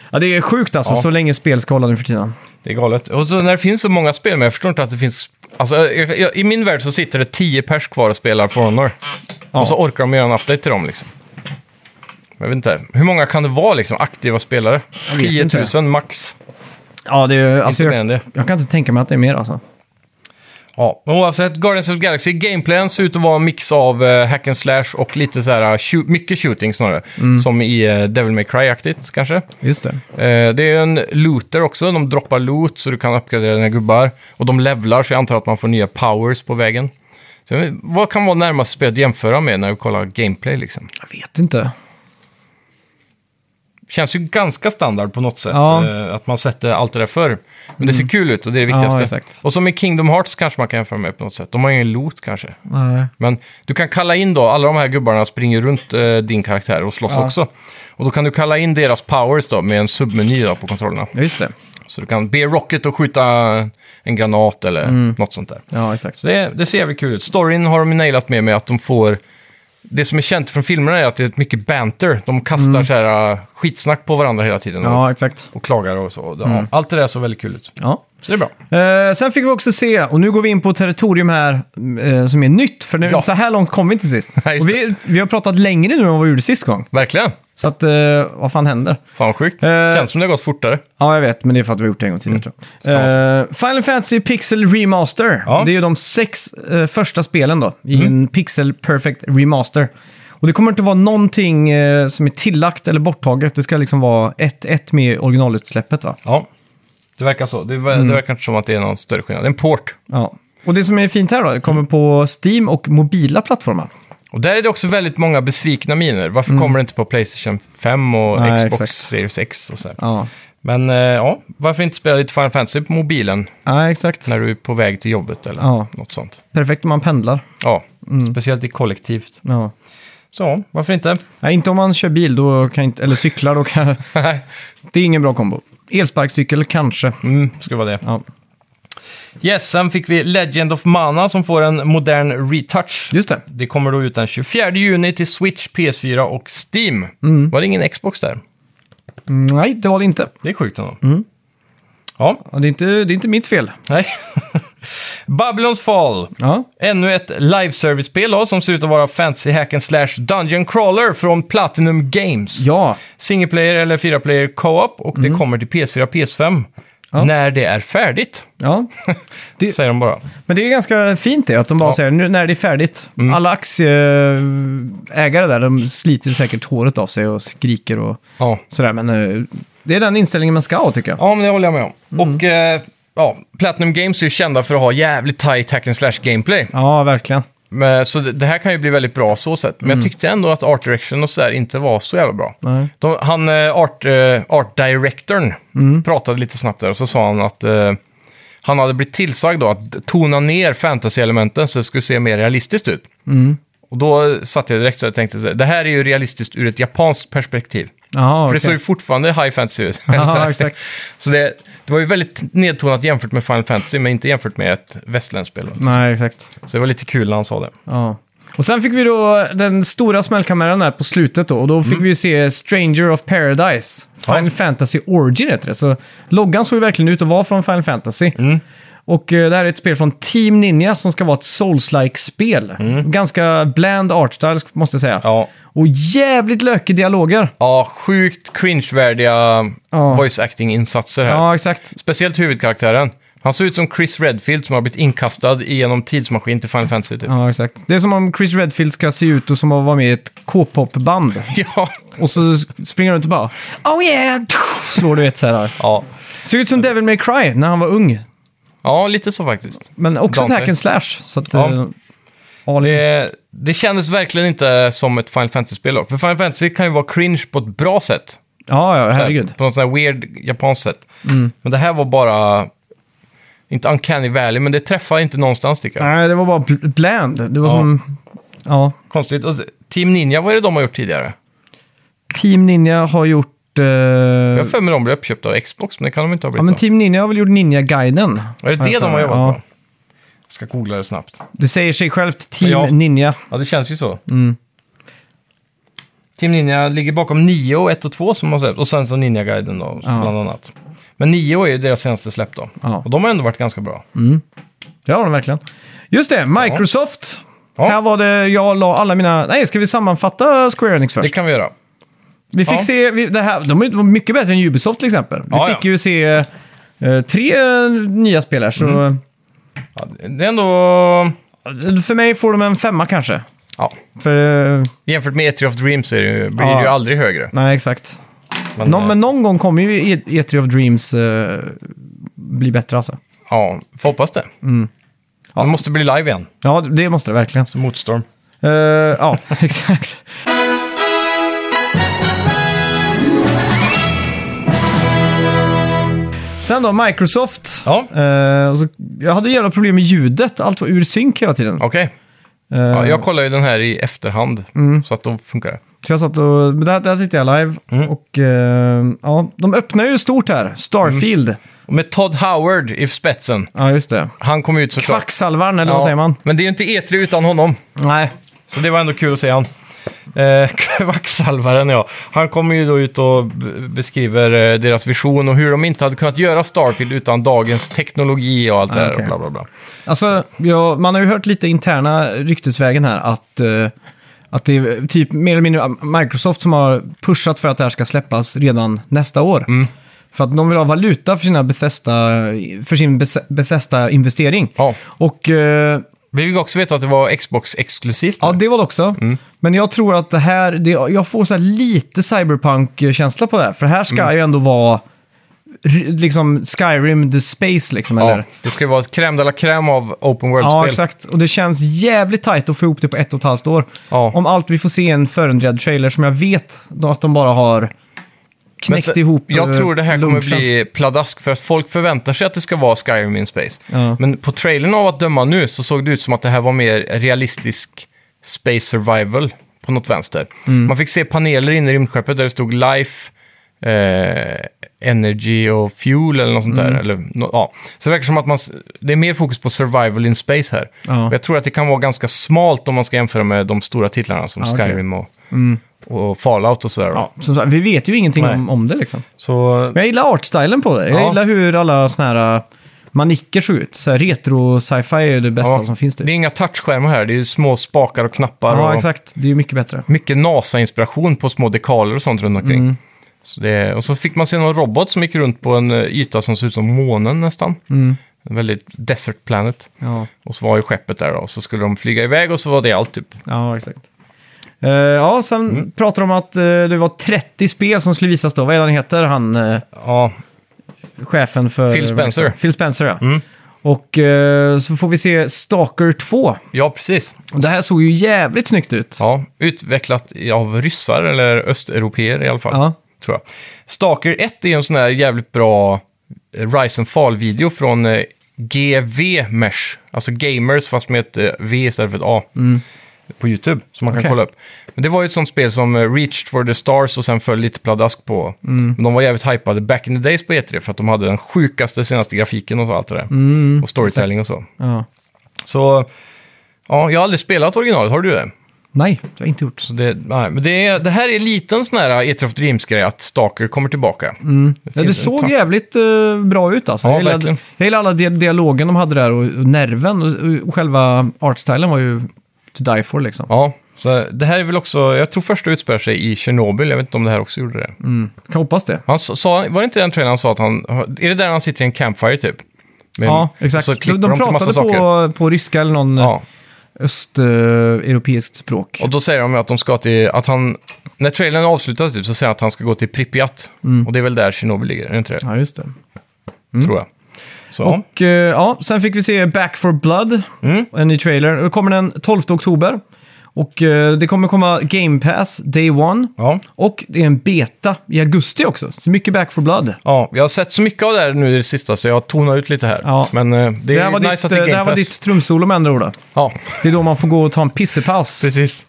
Speaker 1: Ja, det är sjukt alltså,
Speaker 2: Ja.
Speaker 1: så länge spel ska hålla nu för tiden.
Speaker 2: Det är galet. Och så när det finns så många spel, men jag förstår inte att det finns... Alltså, jag, jag, I min värld så sitter det tio pers kvar och spelar For Honor.
Speaker 1: Ja.
Speaker 2: Och så orkar de göra en update till dem liksom. Jag vet inte. Hur många kan det vara liksom, aktiva spelare?
Speaker 1: vet
Speaker 2: 10
Speaker 1: inte.
Speaker 2: 000 max.
Speaker 1: Ja, det är, alltså,
Speaker 2: inte mer än
Speaker 1: jag,
Speaker 2: det.
Speaker 1: jag kan inte tänka mig att det är mer alltså.
Speaker 2: Ja, men oavsett, Guardians of the Galaxy, gameplayen ser ut att vara en mix av eh, hack and slash och lite så här, eh, shoot, mycket shooting snarare.
Speaker 1: Mm.
Speaker 2: Som i eh, Devil May Cry-aktigt kanske.
Speaker 1: Just det.
Speaker 2: Eh, det är en looter också, de droppar loot så du kan uppgradera dina gubbar. Och de levlar så jag antar att man får nya powers på vägen. Så, jag vet- vad kan vara närmaste spel att jämföra med när du kollar gameplay liksom?
Speaker 1: Jag vet inte.
Speaker 2: Känns ju ganska standard på något sätt.
Speaker 1: Ja. Mm.
Speaker 2: eh, Att man sätter allt det där förr. Men det ser kul ut och det är det
Speaker 1: Ja,
Speaker 2: viktigaste.
Speaker 1: exakt.
Speaker 2: och som i Kingdom Hearts kanske man kan jämföra med på något sätt. De har ju ingen loot kanske.
Speaker 1: Nej.
Speaker 2: Men du kan kalla in då, alla de här gubbarna springer runt eh, din karaktär och slåss
Speaker 1: Ja.
Speaker 2: också. Och då kan du kalla in deras powers då med en submeny då på kontrollerna.
Speaker 1: Ja, just det.
Speaker 2: Så du kan be Rocket att skjuta en granat eller
Speaker 1: Mm.
Speaker 2: något sånt där.
Speaker 1: Ja, exakt.
Speaker 2: Så det, det ser jävligt kul ut. Storyn har de ju nailat med med att de får... Det som är känt från filmerna är att det är mycket banter. De kastar så här äh, skitsnack på varandra hela tiden och,
Speaker 1: Mm. Ja, Mm. exakt.
Speaker 2: och klagar och så. Ja, Allt det där såg väldigt kul ut.
Speaker 1: Ja.
Speaker 2: Så det är bra.
Speaker 1: Eh, sen fick vi också se, och nu går vi in på territorium här eh, som är nytt, för nu,
Speaker 2: Ja.
Speaker 1: så här långt kom vi inte sist.
Speaker 2: Nej, just
Speaker 1: och vi, vi har pratat längre nu än vad vi gjorde sist gång.
Speaker 2: Verkligen.
Speaker 1: Så att, eh, vad fan händer?
Speaker 2: Fan vad sjukt.
Speaker 1: Eh.
Speaker 2: Känns som det har gått fortare.
Speaker 1: Ja, jag vet, men det är för att vi har gjort det en gång
Speaker 2: Mm.
Speaker 1: tidigare tror
Speaker 2: man
Speaker 1: jag. Eh, Final Fantasy Pixel Remaster.
Speaker 2: Ja. Mm.
Speaker 1: Det är ju de sex eh, första spelen då, i en Pixel Perfect Remaster. Och det kommer inte vara någonting eh, som är tillagt eller borttaget. Det ska liksom vara 1-1 med originalutsläppet va?
Speaker 2: Ja, det verkar så. Det, ver-
Speaker 1: Mm.
Speaker 2: det verkar inte som att det är någon större skillnad. Det är en port.
Speaker 1: Ja. Och det som är fint här då, det
Speaker 2: Mm.
Speaker 1: kommer på Steam och mobila plattformar.
Speaker 2: Och där är det också väldigt många besvikna miner. Varför kommer det inte på Playstation 5 och
Speaker 1: Mm. Nej,
Speaker 2: Xbox
Speaker 1: exakt.
Speaker 2: Series X och så här.
Speaker 1: Ja,
Speaker 2: Men eh, ja, varför inte spela lite Final Fantasy på mobilen
Speaker 1: ja exakt.
Speaker 2: när du är på väg till jobbet eller
Speaker 1: Ja. Mm.
Speaker 2: något sånt?
Speaker 1: Perfekt om man pendlar.
Speaker 2: Ja, speciellt i kollektivt.
Speaker 1: Ja.
Speaker 2: Så ja, varför inte?
Speaker 1: Nej, inte om man kör bil då kan jag inte, eller cyklar. Då kan jag, det är ingen bra kombo. Elsparkcykel kanske.
Speaker 2: Mm, skulle vara det.
Speaker 1: Ja.
Speaker 2: Yes, sen fick vi Legend of Mana som får en modern retouch.
Speaker 1: Just det.
Speaker 2: Det kommer då ut den 24 juni till Switch, PS4 och Steam. Var det ingen Xbox där?
Speaker 1: Mm, Nej, det var det inte.
Speaker 2: Det är sjukt ändå.
Speaker 1: Mm.
Speaker 2: Ja,
Speaker 1: Ja, det, är inte det är inte mitt fel.
Speaker 2: nej. Babylons Fall.
Speaker 1: Ja.
Speaker 2: Ännu ett live-service-spel då, som ser ut att vara Fantasy Hack and Slash Dungeon Crawler från Platinum Games.
Speaker 1: Ja, Mm.
Speaker 2: Single player eller fyra player co-op och det kommer till PS4 PS5 när det är färdigt.
Speaker 1: ja. Det-
Speaker 2: Säger de bara.
Speaker 1: Men det är ganska fint det, att de bara
Speaker 2: Ja. Mm.
Speaker 1: säger nu när det är färdigt. Alla aktieägare där, de sliter säkert håret av sig och skriker och
Speaker 2: Ja,
Speaker 1: sådär. Men eh, det är den inställningen man ska ha tycker jag.
Speaker 2: ja men det håller jag med om.
Speaker 1: Mm.
Speaker 2: Och eh, ja, Platinum Games är ju kända för att ha jävligt tight hack and slash gameplay.
Speaker 1: Ja, verkligen.
Speaker 2: Men, så det, det här kan ju bli väldigt bra så sätt. Men jag tyckte ändå att art direction och sådär inte var så jävla bra.
Speaker 1: Mm. Nej.
Speaker 2: De, han, eh, art, eh, art directorn
Speaker 1: Mm.
Speaker 2: pratade lite snabbt där och så sa han att eh, han hade blivit tillsagd då att tona ner fantasy-elementen så det skulle se mer realistiskt ut.
Speaker 1: Mm.
Speaker 2: Och då satt jag direkt så och tänkte så här, det här är ju realistiskt ur ett japanskt perspektiv.
Speaker 1: Ja,
Speaker 2: För det
Speaker 1: okej.
Speaker 2: såg ju fortfarande high fantasy ut.
Speaker 1: Ja,
Speaker 2: Så här.
Speaker 1: exakt.
Speaker 2: Så det, det var ju väldigt nedtonat jämfört med Final Fantasy, men inte jämfört med ett västerländskt spel.
Speaker 1: Nej, exakt.
Speaker 2: Så det var lite kul när han sa det.
Speaker 1: Ja. Och sen fick vi då den stora smällkameran här på slutet då, och då fick vi ju se Stranger of Paradise Final Fantasy Origin heter det. Så loggan såg ju verkligen ut att vara från Final Fantasy. Och eh, det här är ett spel från Team Ninja som ska vara ett Souls-like spel. Ganska bland artstyle måste jag säga.
Speaker 2: Ja.
Speaker 1: Och jävligt lökiga dialoger.
Speaker 2: Ja, sjukt cringe-värdiga
Speaker 1: Ja.
Speaker 2: voice acting-insatser här.
Speaker 1: Ja, exakt.
Speaker 2: Speciellt huvudkaraktären. Han ser ut som Chris Redfield som har blivit inkastad i en tidsmaskin till Final Fantasy typ.
Speaker 1: Ja, exakt. Det är som om Chris Redfield ska se ut och som att vara med i ett K-pop-band.
Speaker 2: Ja.
Speaker 1: Och så springer han runt och bara Oh yeah! Slår du ett så här.
Speaker 2: ja.
Speaker 1: Ser ut som Devil May Cry när han var ung.
Speaker 2: Ja, lite så faktiskt.
Speaker 1: Men också ett
Speaker 2: Dante.
Speaker 1: hack and slash. Så att,
Speaker 2: Ja.
Speaker 1: eh, all in.
Speaker 2: Det, det kändes verkligen inte som ett Final Fantasy-spel då. För Final Fantasy kan ju vara cringe på ett bra sätt.
Speaker 1: Ja, ja, herregud. Mm.
Speaker 2: På något sånt här weird japanskt sätt. Men det här var bara... Inte uncanny valley, men det träffar inte någonstans tycker jag.
Speaker 1: Nej, det var bara bl- bland. Det var
Speaker 2: Ja.
Speaker 1: som... Ja.
Speaker 2: Konstigt. Och, Team Ninja, vad är det de har gjort tidigare?
Speaker 1: Team Ninja har gjort... eh,
Speaker 2: Jag har för mig de blev uppköpta av Xbox, men det kan de inte ha
Speaker 1: ja,
Speaker 2: blivit.
Speaker 1: men
Speaker 2: då.
Speaker 1: Team Ninja har väl gjort Ninja-guiden?
Speaker 2: Är det det de har jobbat
Speaker 1: Ja.
Speaker 2: på? Jag ska googla det snabbt.
Speaker 1: Det säger sig självt, Team
Speaker 2: Ja.
Speaker 1: Ninja.
Speaker 2: Ja, det känns ju så.
Speaker 1: Mm.
Speaker 2: Team Ninja ligger bakom Nio, 1 och 2 som har släppt. Och sen så Ninja-guiden då, bland annat. Men Nio är ju deras senaste släpp då.
Speaker 1: Ja.
Speaker 2: Och de har ändå varit ganska bra.
Speaker 1: Det har de verkligen. Just det, Microsoft.
Speaker 2: Ja.
Speaker 1: Här var det jag la alla mina... Nej, ska vi sammanfatta Square Enix först?
Speaker 2: Det kan vi göra.
Speaker 1: Vi fick
Speaker 2: Ja.
Speaker 1: se, vi, det här, de var mycket bättre än Ubisoft till exempel. Vi
Speaker 2: Ja, ja.
Speaker 1: fick ju se eh, tre eh, nya spel här, så
Speaker 2: Mm. Ja, det är ändå...
Speaker 1: eh, för mig får de en femma kanske.
Speaker 2: Ja.
Speaker 1: För, eh,
Speaker 2: Jämfört med E3 of Dreams är det, ju- blir
Speaker 1: Ja.
Speaker 2: det ju aldrig högre.
Speaker 1: nej exakt.
Speaker 2: Men,
Speaker 1: Nå,
Speaker 2: eh,
Speaker 1: men någon gång kommer ju E- E3 of Dreams eh, bli bättre alltså.
Speaker 2: eh, Ja, får hoppas det.
Speaker 1: Mm.
Speaker 2: Det måste bli live igen,
Speaker 1: Ja, det måste det verkligen.
Speaker 2: som motstorm.
Speaker 1: Eh, ja, exakt. Sen då, Microsoft.
Speaker 2: Ja,
Speaker 1: Eh, och så, jag hade jävla problem med ljudet. Allt var ur synk hela tiden.
Speaker 2: okej.
Speaker 1: Eh.
Speaker 2: Ja, jag kollar ju den här i efterhand,
Speaker 1: Mm.
Speaker 2: så att då funkar det.
Speaker 1: Så jag satt och... Men det här, det här tittade jag live.
Speaker 2: Mm.
Speaker 1: Och eh, ja, de öppnar ju stort här. Starfield.
Speaker 2: Och med Todd Howard i spetsen.
Speaker 1: Ja, just det.
Speaker 2: Han kom ut såklart.
Speaker 1: Kvacksalvaren, eller vad
Speaker 2: Ja,
Speaker 1: säger man?
Speaker 2: Men det är ju inte E3 utan honom.
Speaker 1: Nej.
Speaker 2: Så det var ändå kul att se han. Eh, Kvacksalvaren, ja. Han kommer ju då ut och b- beskriver eh, deras vision och hur de inte hade kunnat göra Starfield utan dagens teknologi och allt det
Speaker 1: Ah,
Speaker 2: där.
Speaker 1: okej.
Speaker 2: och Bla, bla, bla.
Speaker 1: Alltså, ja, man har ju hört lite interna ryktesvägen här att, eh, att det är typ mer eller mindre Microsoft som har pushat för att det här ska släppas redan nästa år.
Speaker 2: Mm.
Speaker 1: För att de vill ha valuta för, sina Bethesda, för sin Bes- Bethesda-investering.
Speaker 2: Ja.
Speaker 1: Och eh,
Speaker 2: Vi fick också veta att det var Xbox-exklusivt.
Speaker 1: ja, det var det också.
Speaker 2: Mm.
Speaker 1: Men jag tror att det här, det, jag får så här lite cyberpunk-känsla på det här. För här ska
Speaker 2: Mm.
Speaker 1: ju ändå vara r- liksom Skyrim the Space liksom.
Speaker 2: Ja,
Speaker 1: Eller?
Speaker 2: det ska ju vara ett crème de la crème av open world-spel.
Speaker 1: Ja, exakt. Och det känns jävligt tajt att få ihop det på ett och ett halvt år.
Speaker 2: Ja.
Speaker 1: Om allt vi får se är en förändrad trailer som jag vet då att de bara har
Speaker 2: Men
Speaker 1: knäckt
Speaker 2: så,
Speaker 1: ihop. eh,
Speaker 2: jag tror det här kommer
Speaker 1: lunchen.
Speaker 2: bli pladask för att folk förväntar sig att det ska vara Skyrim in Space.
Speaker 1: Ja.
Speaker 2: Men på trailern av att döma nu så såg det ut som att det här var mer realistisk Space Survival på något vänster.
Speaker 1: Mm.
Speaker 2: Man fick se paneler inne i rymdskeppet där det stod Life, eh, Energy och Fuel eller något sånt
Speaker 1: Mm.
Speaker 2: där. Eller, nå- ja. Så det verkar som att man, s- det är mer fokus på Survival in Space här.
Speaker 1: Ja.
Speaker 2: Och jag tror att det kan vara ganska smalt om man ska jämföra med de stora titlarna som
Speaker 1: okej. Mm.
Speaker 2: Skyrim och, och Fallout och sådär.
Speaker 1: Ja, som sagt, vi vet ju ingenting
Speaker 2: Nej.
Speaker 1: om, om det liksom.
Speaker 2: Så
Speaker 1: Men jag gillar artstylen på det. Jag
Speaker 2: Ja.
Speaker 1: gillar hur alla såna här eh, manicker såg ut. Så här, retro sci-fi är ju det bästa
Speaker 2: Ja,
Speaker 1: som finns. Typ.
Speaker 2: Det är inga touchskärmar här, det är ju små spakar och knappar
Speaker 1: Ja,
Speaker 2: och
Speaker 1: exakt. Det är ju mycket bättre.
Speaker 2: mycket NASA-inspiration på små dekaler och sånt runt omkring.
Speaker 1: Mm.
Speaker 2: Så det, och så fick man se någon robot som gick runt på en eh, yta som såg ut som månen nästan. En väldigt desert planet.
Speaker 1: Ja,
Speaker 2: Och så var ju skeppet där då, och så skulle de flyga iväg och så var det allt typ.
Speaker 1: ja exakt. Eh, ja, sen
Speaker 2: Mm.
Speaker 1: pratar de om att eh, det var 30 spel som skulle visas då. Vad är det han heter, han... eh,
Speaker 2: Ja,
Speaker 1: chefen för...
Speaker 2: Phil Spencer. Mm.
Speaker 1: Phil Spencer, ja. Och eh, så får vi se Stalker 2.
Speaker 2: ja precis.
Speaker 1: Och det här såg ju jävligt snyggt ut.
Speaker 2: Ja, utvecklat i- av ryssar eller östeuropeer i alla fall.
Speaker 1: Ja.
Speaker 2: Tror jag. Stalker 1 är ju en sån här jävligt bra eh, Rise and Fall-video från eh, GV Mesh. Alltså Gamers fast med ett eh, V istället för ett A. På YouTube, som man
Speaker 1: Mm.
Speaker 2: kan
Speaker 1: Okej.
Speaker 2: kolla upp. Men det var ju ett sånt spel som eh, Reached for the Stars och sen föll lite pladask på.
Speaker 1: Mm.
Speaker 2: Men de var jävligt hypade back in the days på E3 för att de hade den sjukaste senaste grafiken och så allt det där.
Speaker 1: Mm.
Speaker 2: Och storytelling och så.
Speaker 1: Ja.
Speaker 2: Så, ja, jag har aldrig spelat originalet, har du det?
Speaker 1: Nej, det har jag inte gjort.
Speaker 2: Så det, nej, men det, är, det här är en liten sån här Eater of Dreams-grej, att Stalker kommer tillbaka.
Speaker 1: Mm. Ja, det
Speaker 2: finns en
Speaker 1: såg
Speaker 2: tanke.
Speaker 1: jävligt eh, bra ut alltså.
Speaker 2: Ja,
Speaker 1: jag, gillade,
Speaker 2: verkligen.
Speaker 1: jag gillade alla di- dialogen de hade där och, och nerven och, och själva artstylen var ju to die for liksom.
Speaker 2: Ja, så det här är väl också, jag tror första utspelar sig i Tjernobyl, jag vet inte om det här också gjorde det.
Speaker 1: Kan hoppas det.
Speaker 2: Han sa- sa, var det inte den trailern han sa att han, är det där han sitter i en campfire typ? Med-
Speaker 1: ja, exakt.
Speaker 2: Så
Speaker 1: de,
Speaker 2: klipper de,
Speaker 1: de
Speaker 2: till massa
Speaker 1: pratade
Speaker 2: saker.
Speaker 1: på, på ryska eller någon eh,
Speaker 2: Ja,
Speaker 1: östeuropeiskt språk.
Speaker 2: och då säger de att de ska till, att han, när trailern avslutas typ så säger han att han ska gå till Pripyat.
Speaker 1: Mm.
Speaker 2: Och det är väl där Tjernobyl ligger, är det inte det?
Speaker 1: Ja, just det.
Speaker 2: Tror jag. Så,
Speaker 1: Mm. Och eh, ja, sen fick vi se Back for Blood,
Speaker 2: Mm.
Speaker 1: en ny trailer. Och Då kommer den 12 oktober. Och eh, det kommer komma Game Pass Day One.
Speaker 2: ja.
Speaker 1: Och det är en beta i augusti också. Så mycket Back for Blood.
Speaker 2: Ja, jag har sett så mycket av det här nu i det sista så jag har tonat ut lite här.
Speaker 1: Ja.
Speaker 2: Men eh, det
Speaker 1: Det,
Speaker 2: är
Speaker 1: här, var
Speaker 2: nice
Speaker 1: ditt,
Speaker 2: att det
Speaker 1: eh, det
Speaker 2: är
Speaker 1: här
Speaker 2: Game
Speaker 1: var
Speaker 2: Pass.
Speaker 1: ditt trumsolo med andra ord. då.
Speaker 2: Ja,
Speaker 1: Det är då man får gå och ta en pissepaus.
Speaker 2: precis.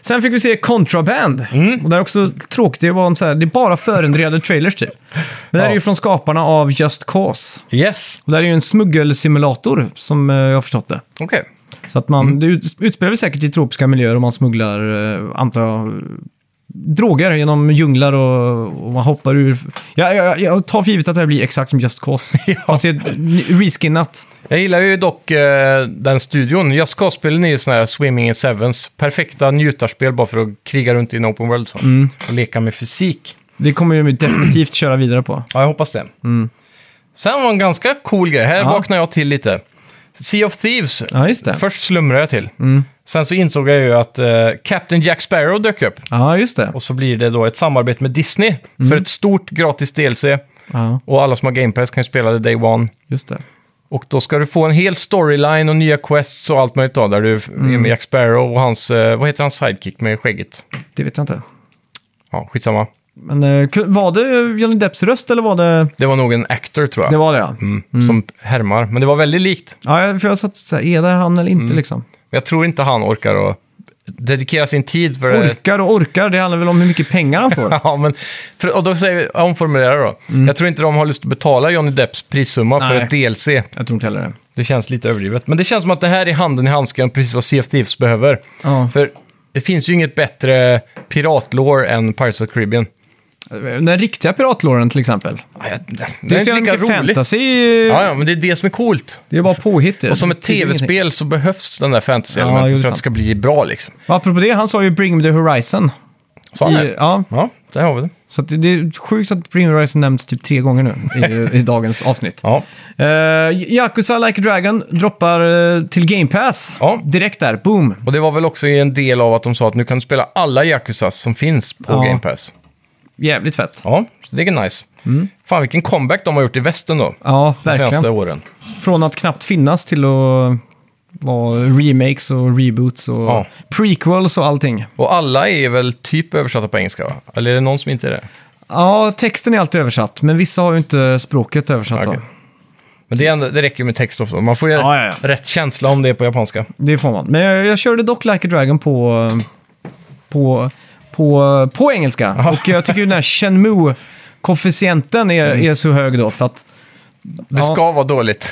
Speaker 1: Sen fick vi se Contraband. Och det är också tråkigt, det, var en så här, det är bara förändrade trailers typ. Men det här är
Speaker 2: Ja.
Speaker 1: ju från skaparna av Just Cause.
Speaker 2: Yes,
Speaker 1: Och det här är ju en smuggelsimulator, som eh, jag har förstått det.
Speaker 2: okej.
Speaker 1: Så att man, det ut- utspelar sig säkert i tropiska miljöer och man smugglar, eh, antar jag, droger genom djunglar och, och man hoppar ur. Jag, jag, jag tar för givet att det här blir exakt som Just Cause. Fast det är ett n- reskinnat.
Speaker 2: Jag gillar ju dock eh, den studion. Just Cause-spelen är ju sån här Swimming in Sevens. Perfekta njutarspel bara för att kriga runt i en open world så.
Speaker 1: Mm.
Speaker 2: och leka med fysik.
Speaker 1: Det kommer ju definitivt köra vidare på.
Speaker 2: Ja, jag hoppas det. Sen var en ganska cool grej. Här
Speaker 1: Mm. Ja.
Speaker 2: vaknade jag till lite. Sea of Thieves.
Speaker 1: Ja, just det. Mm.
Speaker 2: Först slumrade jag till. Sen så insåg jag ju att eh, Captain Jack Sparrow dök upp.
Speaker 1: Ja, just det.
Speaker 2: Och så blir det då ett samarbete med Disney för
Speaker 1: Mm.
Speaker 2: ett stort gratis DLC.
Speaker 1: Ja,
Speaker 2: Och alla som har Game Pass kan ju spela det day one.
Speaker 1: just det.
Speaker 2: Och då ska du få en hel storyline och nya quests och allt möjligt då, där du
Speaker 1: Mm.
Speaker 2: är med Jack Sparrow och hans, eh, vad heter hans sidekick med skägget?
Speaker 1: Det vet jag inte.
Speaker 2: Ja, skitsamma.
Speaker 1: Men eh, ku- var det Johnny Depps röst eller var det...
Speaker 2: Det var nog en actor tror jag,
Speaker 1: Det var det ja.
Speaker 2: Mm, som härmar. Men det var väldigt likt.
Speaker 1: Ja, jag- för jag satt såhär, är det han eller inte
Speaker 2: Mm.
Speaker 1: liksom?
Speaker 2: Men Jag tror inte han orkar att dedikera sin tid för det.
Speaker 1: Orkar och orkar, det handlar väl om hur mycket pengar han får.
Speaker 2: Eh. Ja, men, för, och då säger vi, jag omformulerar då. Jag tror inte de har lust att betala Johnny Depps prissumma för
Speaker 1: Mm. Nej.
Speaker 2: ett DLC.
Speaker 1: jag tror inte heller det.
Speaker 2: Det känns lite överdrivet. Men det känns som att det här är handen i handsken, precis vad Sea of Thieves behöver.
Speaker 1: Ja.
Speaker 2: För det finns ju inget bättre piratlår än Pirates of the Caribbean.
Speaker 1: Eh, Den riktiga piratlåren till exempel.
Speaker 2: Nej, jag- Det,
Speaker 1: Det är
Speaker 2: är
Speaker 1: så
Speaker 2: inte
Speaker 1: jävla
Speaker 2: lika
Speaker 1: mycket
Speaker 2: roligt.
Speaker 1: fantasy. eh,
Speaker 2: Ja, ja, men det är det som är coolt.
Speaker 1: Det är bara påhitt.
Speaker 2: Och som ett tv-spel så behövs den där
Speaker 1: Ja,
Speaker 2: fantasy-elementet
Speaker 1: jo, det är
Speaker 2: för att
Speaker 1: sant.
Speaker 2: det ska bli bra liksom.
Speaker 1: Apropå det, han sa ju Bring Me The Horizon.
Speaker 2: Så han
Speaker 1: I,
Speaker 2: är.
Speaker 1: ja,
Speaker 2: Ja, där har vi det.
Speaker 1: så att det det är sjukt att Bring Me The Horizon nämns typ tre gånger nu i, i dagens avsnitt.
Speaker 2: Ja.
Speaker 1: Eh, Yakuza Like a Dragon droppar eh, till Game Pass.
Speaker 2: Ja.
Speaker 1: Direkt där, boom.
Speaker 2: Och det var väl också en del av att de sa att nu kan du spela alla Yakuza som finns på
Speaker 1: Ja.
Speaker 2: Game Pass.
Speaker 1: Jävligt fett.
Speaker 2: Ja, så det är nice. Fan vilken comeback de har gjort i västen då.
Speaker 1: Ja,
Speaker 2: De senaste
Speaker 1: Mm. verkligen.
Speaker 2: åren.
Speaker 1: Från att knappt finnas till att vara remakes och reboots och
Speaker 2: Ja.
Speaker 1: prequels och allting.
Speaker 2: Och alla är väl typ översatta på engelska va? Eller är det någon som inte är det?
Speaker 1: Ja, texten är alltid översatt, men vissa har ju inte språket översatt. då.
Speaker 2: Okej. Men det, är ändå, det räcker med text också. Man får ju
Speaker 1: Ja, ja, ja.
Speaker 2: rätt känsla om det är på japanska.
Speaker 1: Det får man. Men jag, jag körde dock Like a Dragon på, på, på, på engelska. Och jag tycker ju den här shenmue koefficienten är, är så hög då. För att,
Speaker 2: Mm. Det
Speaker 1: Ja.
Speaker 2: ska vara dåligt.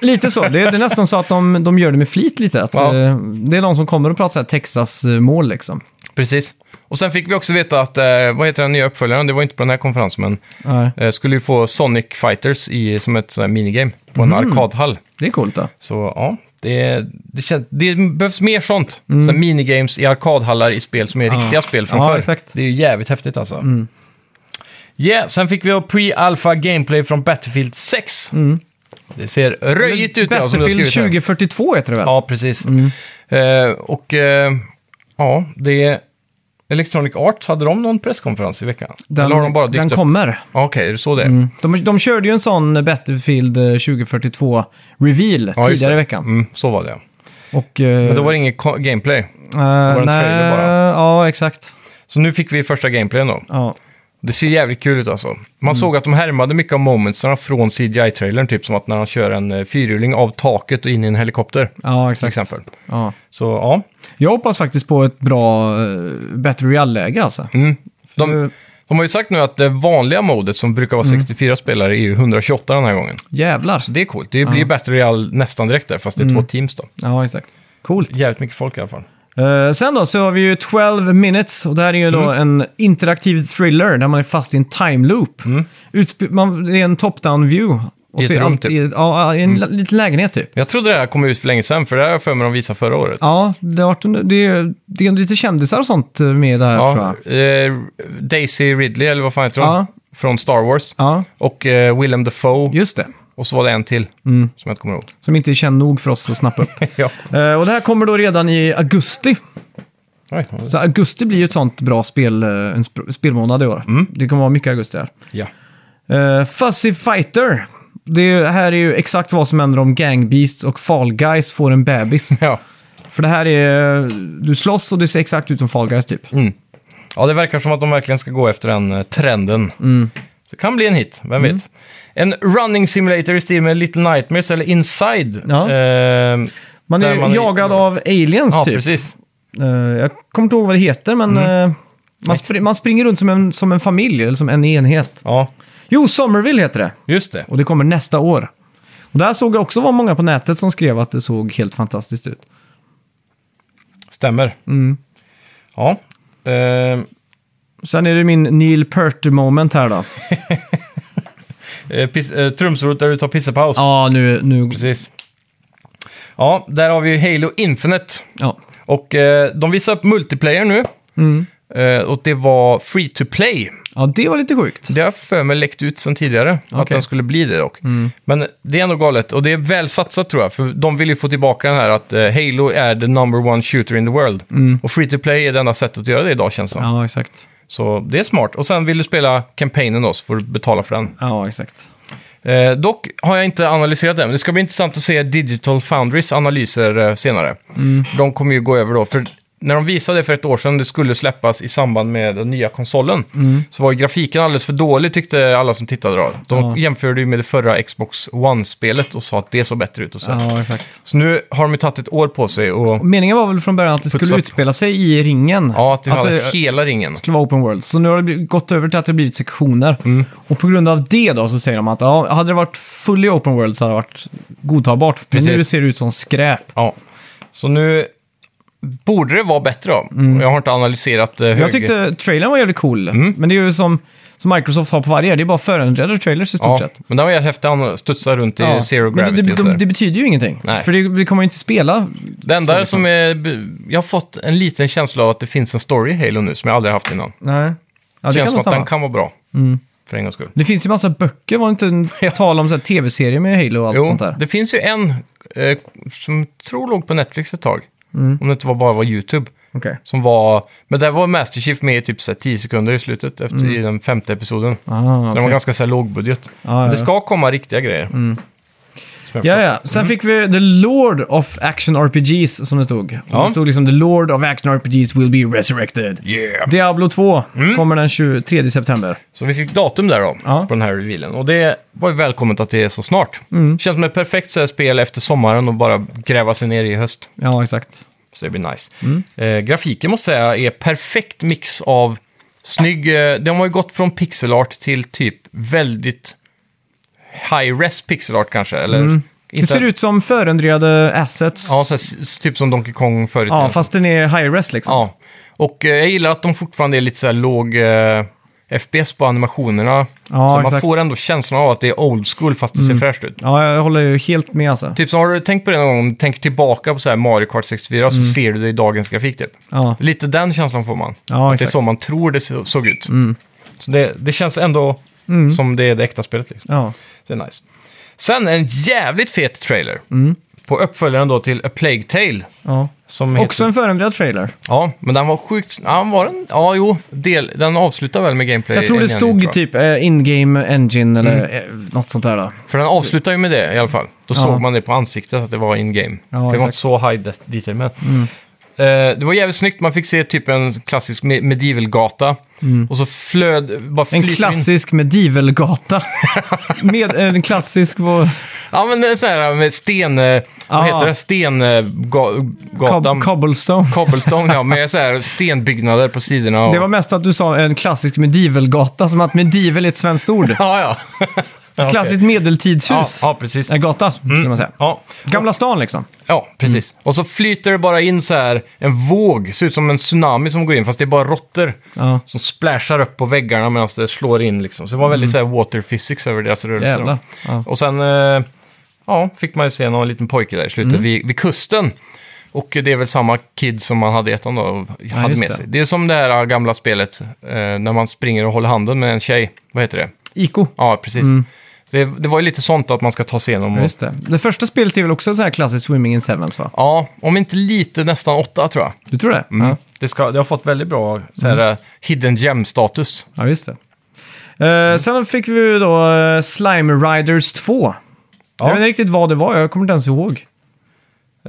Speaker 1: lite så. Det, det är nästan så att de, de gör det med flit lite. Att,
Speaker 2: Ja.
Speaker 1: eh, Det är de som kommer och pratar så här Texas-mål liksom.
Speaker 2: Precis. Och sen fick vi också veta att, eh, vad heter den nya uppföljaren? Det var inte på den här konferensen, men
Speaker 1: Nej,
Speaker 2: eh, skulle ju få Sonic Fighters i, som ett sånt här minigame på en arkadhall.
Speaker 1: det är coolt då.
Speaker 2: Så ja, det, det, känns, det behövs mer sånt. Så här minigames i arkadhallar i spel som är riktiga spel från
Speaker 1: Mm. Ja,
Speaker 2: förr.
Speaker 1: exakt. Mm.
Speaker 2: Det är ju jävligt häftigt alltså. Yeah, sen fick vi ha pre-alpha gameplay från Battlefield 6. Det ser röjigt ut idag som du har
Speaker 1: Mm. Battlefield Mm.
Speaker 2: skrivit här.
Speaker 1: 2042 heter det väl?
Speaker 2: Ja, precis. Eh, och eh, ja, det är Electronic Arts, hade de någon presskonferens i veckan?
Speaker 1: Den,
Speaker 2: Eller har de bara Mm. dykt
Speaker 1: den Mm.
Speaker 2: upp?
Speaker 1: kommer.
Speaker 2: Ja, Okej, är det så det är?
Speaker 1: De, de körde ju en sån Battlefield 2042-reveal
Speaker 2: Ja, just
Speaker 1: tidigare i
Speaker 2: det.
Speaker 1: veckan.
Speaker 2: Mm, så var det, ja.
Speaker 1: Och, eh,
Speaker 2: Men då var det ingen ko- gameplay.
Speaker 1: var
Speaker 2: en trailer bara.
Speaker 1: Ja, exakt.
Speaker 2: Så nu fick vi första gameplayen då.
Speaker 1: Ja.
Speaker 2: Det ser jävligt kul ut alltså. Man
Speaker 1: Mm.
Speaker 2: såg att de härmade mycket av momentsarna från CGI-trailern, typ som att när han kör en eh, fyrhjuling av taket och in i en helikopter,
Speaker 1: Ja,
Speaker 2: till
Speaker 1: exakt.
Speaker 2: exempel.
Speaker 1: Ja.
Speaker 2: Så ja,
Speaker 1: Jag hoppas faktiskt på ett bra uh, Battle Royale-läge alltså.
Speaker 2: mm. de,
Speaker 1: Eh,
Speaker 2: de har ju sagt nu att det vanliga modet som brukar
Speaker 1: Mm.
Speaker 2: vara 64 spelare är ju 128 den här gången.
Speaker 1: Jävlar.
Speaker 2: Det är
Speaker 1: Mm.
Speaker 2: coolt. Det blir ju Battle Royale nästan direkt där, fast det är två teams då.
Speaker 1: Ja, exakt. Coolt.
Speaker 2: Jävligt mycket folk i alla fall.
Speaker 1: Eh, sen då så har vi ju 12 minutes och det här är ju då
Speaker 2: Mm.
Speaker 1: en interaktiv thriller där man är fast i en time loop. Utsp- man, det är en top-down view. Och
Speaker 2: Mm. I
Speaker 1: ser
Speaker 2: ett rum, typ. Mm.
Speaker 1: allt i- Ja, i en la- liten lägenhet typ.
Speaker 2: Jag trodde det här kom ut för länge sedan, för det här har jag för mig de visade förra året.
Speaker 1: Ja, det, har varit en- det, är, det är lite kändisar och sånt eh, med där tror jag.
Speaker 2: eh, Daisy Ridley, eller vad fan heter hon?
Speaker 1: Ja.
Speaker 2: Från Star Wars.
Speaker 1: Ja,
Speaker 2: Och eh, Willem Dafoe.
Speaker 1: just det.
Speaker 2: Och så var det en till,
Speaker 1: Mm.
Speaker 2: som jag inte kommer ihåg.
Speaker 1: Som inte är känd nog för oss att snappa upp.
Speaker 2: ja.
Speaker 1: Eh, och det här kommer då redan i augusti.
Speaker 2: Oj.
Speaker 1: Så augusti blir ju ett sånt bra spel, eh, en sp- spelmånad i år.
Speaker 2: Mm.
Speaker 1: Det kommer vara mycket augusti här.
Speaker 2: ja.
Speaker 1: Eh, Fuzzy Fighter. Det är, ju- här är ju exakt vad som händer om Gang Beasts och Fall Guys får en bebis.
Speaker 2: Ja.
Speaker 1: För det här är... Du slåss och det ser exakt ut som Fall Guys typ.
Speaker 2: Mm. ja, det verkar som att de verkligen ska gå efter den eh, trenden.
Speaker 1: Mm.
Speaker 2: Så det kan bli en hit, vem vet. En running simulator i stil med Little Nightmares eller Inside.
Speaker 1: Ja.
Speaker 2: Eh,
Speaker 1: Man är
Speaker 2: där
Speaker 1: ju
Speaker 2: man-
Speaker 1: jagad av aliens
Speaker 2: Ja,
Speaker 1: typ.
Speaker 2: precis.
Speaker 1: Eh, jag kommer inte ihåg vad det heter, men... eh, man, spri- man springer runt som en, som en familj, eller som en enhet.
Speaker 2: Ja,
Speaker 1: Jo, Somerville heter det.
Speaker 2: just det.
Speaker 1: Och det kommer nästa år. Och där såg jag också var många på nätet som skrev att det såg helt fantastiskt ut.
Speaker 2: Stämmer.
Speaker 1: Mm.
Speaker 2: Ja. Eh,
Speaker 1: Sen är det min Neil Peart-moment här då.
Speaker 2: Eh, piss- eh, Trumsrot där du tar pissepaus.
Speaker 1: Ja, nu... nu
Speaker 2: Precis. Ja, där har vi ju Halo Infinite.
Speaker 1: ja.
Speaker 2: Och eh, de visar upp multiplayer nu.
Speaker 1: Mm.
Speaker 2: Eh, och det var free to play.
Speaker 1: ja, det var lite sjukt.
Speaker 2: Det har jag för mig läckt ut sedan tidigare, att
Speaker 1: Okej. Mm.
Speaker 2: den skulle bli det dock. Men det är ändå galet, och det är väl satsat tror jag, för de vill ju få tillbaka den här att eh, Halo är the number one shooter in the world. Och free to play är det enda sättet att göra det idag känns det som.
Speaker 1: Mm. Ja, exakt.
Speaker 2: Så det är smart. Och sen vill du spela campaignen då, så får du betala för den.
Speaker 1: Ja, exakt.
Speaker 2: Eh, dock har jag inte analyserat den, men det ska bli intressant att se Digital Foundries analyser eh, senare.
Speaker 1: Mm.
Speaker 2: De kommer ju gå över då, för när de visade det för ett år sedan, det skulle släppas i samband med den nya konsolen,
Speaker 1: Mm.
Speaker 2: så var ju grafiken alldeles för dålig tyckte alla som tittade då. De
Speaker 1: Ja.
Speaker 2: jämförde ju med det förra Xbox One-spelet och sa att det såg bättre ut och så.
Speaker 1: Ja, exakt.
Speaker 2: Så nu har de ju tagit ett år på sig och
Speaker 1: Meningen var väl från början att det skulle
Speaker 2: upp.
Speaker 1: utspela sig i ringen.
Speaker 2: ja, att vi
Speaker 1: Alltså,
Speaker 2: hade hela ringen.
Speaker 1: skulle vara open world. Så nu har det blivit- gått över till att det har blivit sektioner.
Speaker 2: Mm.
Speaker 1: Och på grund av det då så säger de att ja, hade det varit full i open world så hade det varit godtagbart. Men
Speaker 2: Precis.
Speaker 1: nu ser det ut som skräp.
Speaker 2: Ja. Så nu borde det vara bättre då. Jag har inte analyserat eh, hög...
Speaker 1: Mm. Jag tyckte trailern var jävligt cool.
Speaker 2: Mm.
Speaker 1: Men det är ju som, som Microsoft har på varje, det är bara förändrade trailers i stort
Speaker 2: Ja,
Speaker 1: sett.
Speaker 2: men den var ju häftig. Han studsar runt i zero
Speaker 1: Men det,
Speaker 2: gravity
Speaker 1: det,
Speaker 2: och så
Speaker 1: det,
Speaker 2: där.
Speaker 1: det betyder ju ingenting.
Speaker 2: Nej.
Speaker 1: För det, vi kommer ju inte spela.
Speaker 2: Det
Speaker 1: så
Speaker 2: enda
Speaker 1: liksom.
Speaker 2: som är... Jag har fått en liten känsla av att det finns en story i Halo nu som jag aldrig haft innan.
Speaker 1: Nej. Ja, det
Speaker 2: det känns
Speaker 1: kan Mm.
Speaker 2: som
Speaker 1: nog
Speaker 2: att
Speaker 1: stanna.
Speaker 2: den kan vara bra. För en gångs skull.
Speaker 1: Det finns ju massa böcker, var det inte en tal om så här tv-serier med Halo och allt
Speaker 2: Jo,
Speaker 1: sånt där?
Speaker 2: det finns ju en eh, som jag tror låg på Netflix ett tag.
Speaker 1: Mm.
Speaker 2: Om det inte var bara var YouTube.
Speaker 1: Okej.
Speaker 2: Som var... Men där var Master Chief med i typ så här 10 sekunder i slutet, efter, i den femte episoden.
Speaker 1: Mm. Ah,
Speaker 2: Så
Speaker 1: okej.
Speaker 2: den var ganska så här lågbudget.
Speaker 1: Ja,
Speaker 2: Men
Speaker 1: ja,
Speaker 2: det
Speaker 1: ja. Mm.
Speaker 2: ska komma riktiga grejer. Som jag
Speaker 1: Ja,
Speaker 2: förstår.
Speaker 1: ja. Sen fick vi The Lord of Action RPGs, som det stod.
Speaker 2: Ja.
Speaker 1: Det stod liksom The Lord of Action RPGs will be resurrected.
Speaker 2: Yeah.
Speaker 1: Diablo 2
Speaker 2: Mm.
Speaker 1: kommer den 23 september.
Speaker 2: Så vi fick datum där då,
Speaker 1: Ja.
Speaker 2: på den här revealen. Och det var ju välkommet att det är så snart.
Speaker 1: Mm.
Speaker 2: Känns som ett perfekt så här spel efter sommaren och bara gräva sig ner i höst.
Speaker 1: Ja, exakt.
Speaker 2: Så det blir nice.
Speaker 1: Mm.
Speaker 2: Eh, grafiken måste jag säga är perfekt mix av snygg... Eh, de har ju gått från pixelart till typ väldigt high-res pixelart kanske. Eller
Speaker 1: Mm. Det ser ut som förändrade assets.
Speaker 2: Ja, så här, s- s- typ som Donkey Kong förut.
Speaker 1: Ja, fast den är high-res liksom.
Speaker 2: Ja, och eh, jag gillar att de fortfarande är lite så här låg eh, FPS på animationerna. så man
Speaker 1: exakt. Mm.
Speaker 2: får ändå känslan av att det är old school fast det ser fräscht ut.
Speaker 1: Ja, jag håller ju helt med alltså.
Speaker 2: Typ så har du tänkt på det någon gång, om du tänker tillbaka på så här Mario Kart 64 så ser du det i dagens grafik typ.
Speaker 1: Mm. Ja,
Speaker 2: Lite den känslan får man.
Speaker 1: Ja,
Speaker 2: att det är
Speaker 1: exakt. Mm.
Speaker 2: så man tror det så- såg ut. Så det, det känns ändå som det är det äkta spelet. Liksom.
Speaker 1: ja.
Speaker 2: Så det är nice. Sen en jävligt fet trailer.
Speaker 1: Mm.
Speaker 2: På uppföljaren då till A Plague Tale.
Speaker 1: ja.
Speaker 2: Som
Speaker 1: Också
Speaker 2: heter...
Speaker 1: en förändrad trailer.
Speaker 2: Ja, men den var sjukt... Ja, var den? Ja, jo. Del... Den avslutar väl med gameplay.
Speaker 1: Jag tror det
Speaker 2: igen,
Speaker 1: stod
Speaker 2: jag.
Speaker 1: typ eh, in-game engine eller
Speaker 2: Mm.
Speaker 1: eh, något sånt där då.
Speaker 2: För den avslutar ju med det i alla fall. Då såg man det på ansiktet att det var in-game.
Speaker 1: Ja,
Speaker 2: det var
Speaker 1: exakt. Mm.
Speaker 2: inte så high de- detail, men... Eh, det var jävligt snyggt, man fick se typ en klassisk me- medievalgata. Och så flöd... Bara
Speaker 1: Mm. En
Speaker 2: flyter in.
Speaker 1: klassisk medievalgata. med eh, en klassisk... vad-
Speaker 2: Ja, men det är så här med sten... eh, Vad
Speaker 1: Ah.
Speaker 2: heter det? Stengatan.
Speaker 1: Cob- cobblestone.
Speaker 2: Cobblestone, ja. Med så här stenbyggnader på sidorna. Och...
Speaker 1: Det var mest att du sa en klassisk medievalgata, som att medieval är ett svenskt ord.
Speaker 2: Ja, ja.
Speaker 1: Klassiskt medeltidshus.
Speaker 2: Ja, ja, precis.
Speaker 1: En gata, skulle man säga.
Speaker 2: Ja,
Speaker 1: Gamla stan liksom.
Speaker 2: ja precis. Och så flyter det bara in så här en våg, ser ut som en tsunami som går in, fast det är bara råttor
Speaker 1: Ja.
Speaker 2: som splashar upp på väggarna medan det slår in liksom. Så det var väldigt så här water physics över deras rörelser. då.
Speaker 1: Mm. Jävlar. Ja.
Speaker 2: Och sen eh, ja, fick man ju se någon liten pojke där i slutet
Speaker 1: Mm.
Speaker 2: vid, vid kusten. Och det är väl samma kid som man hade i ettan då, och hade
Speaker 1: just
Speaker 2: med
Speaker 1: det.
Speaker 2: sig. Det är som det här gamla spelet eh, när man springer och håller handen med en tjej. Vad heter det?
Speaker 1: Iko.
Speaker 2: Ja, precis. Så Det, det var ju lite sånt då, att man ska ta sig igenom. Och,
Speaker 1: Mm. Just det. Det första spelet är väl också så här klassiskt Swimming in Sevens va?
Speaker 2: ja, om inte lite, nästan åtta tror jag.
Speaker 1: Du tror det? Ja.
Speaker 2: Det, ska, det har fått väldigt bra så här,
Speaker 1: Mm.
Speaker 2: eh, hidden gem-status.
Speaker 1: ja, just det. Eh,
Speaker 2: Mm.
Speaker 1: Sen fick vi ju då eh, Slime Riders 2. Jag vet inte riktigt vad det var, jag kommer inte ens ihåg.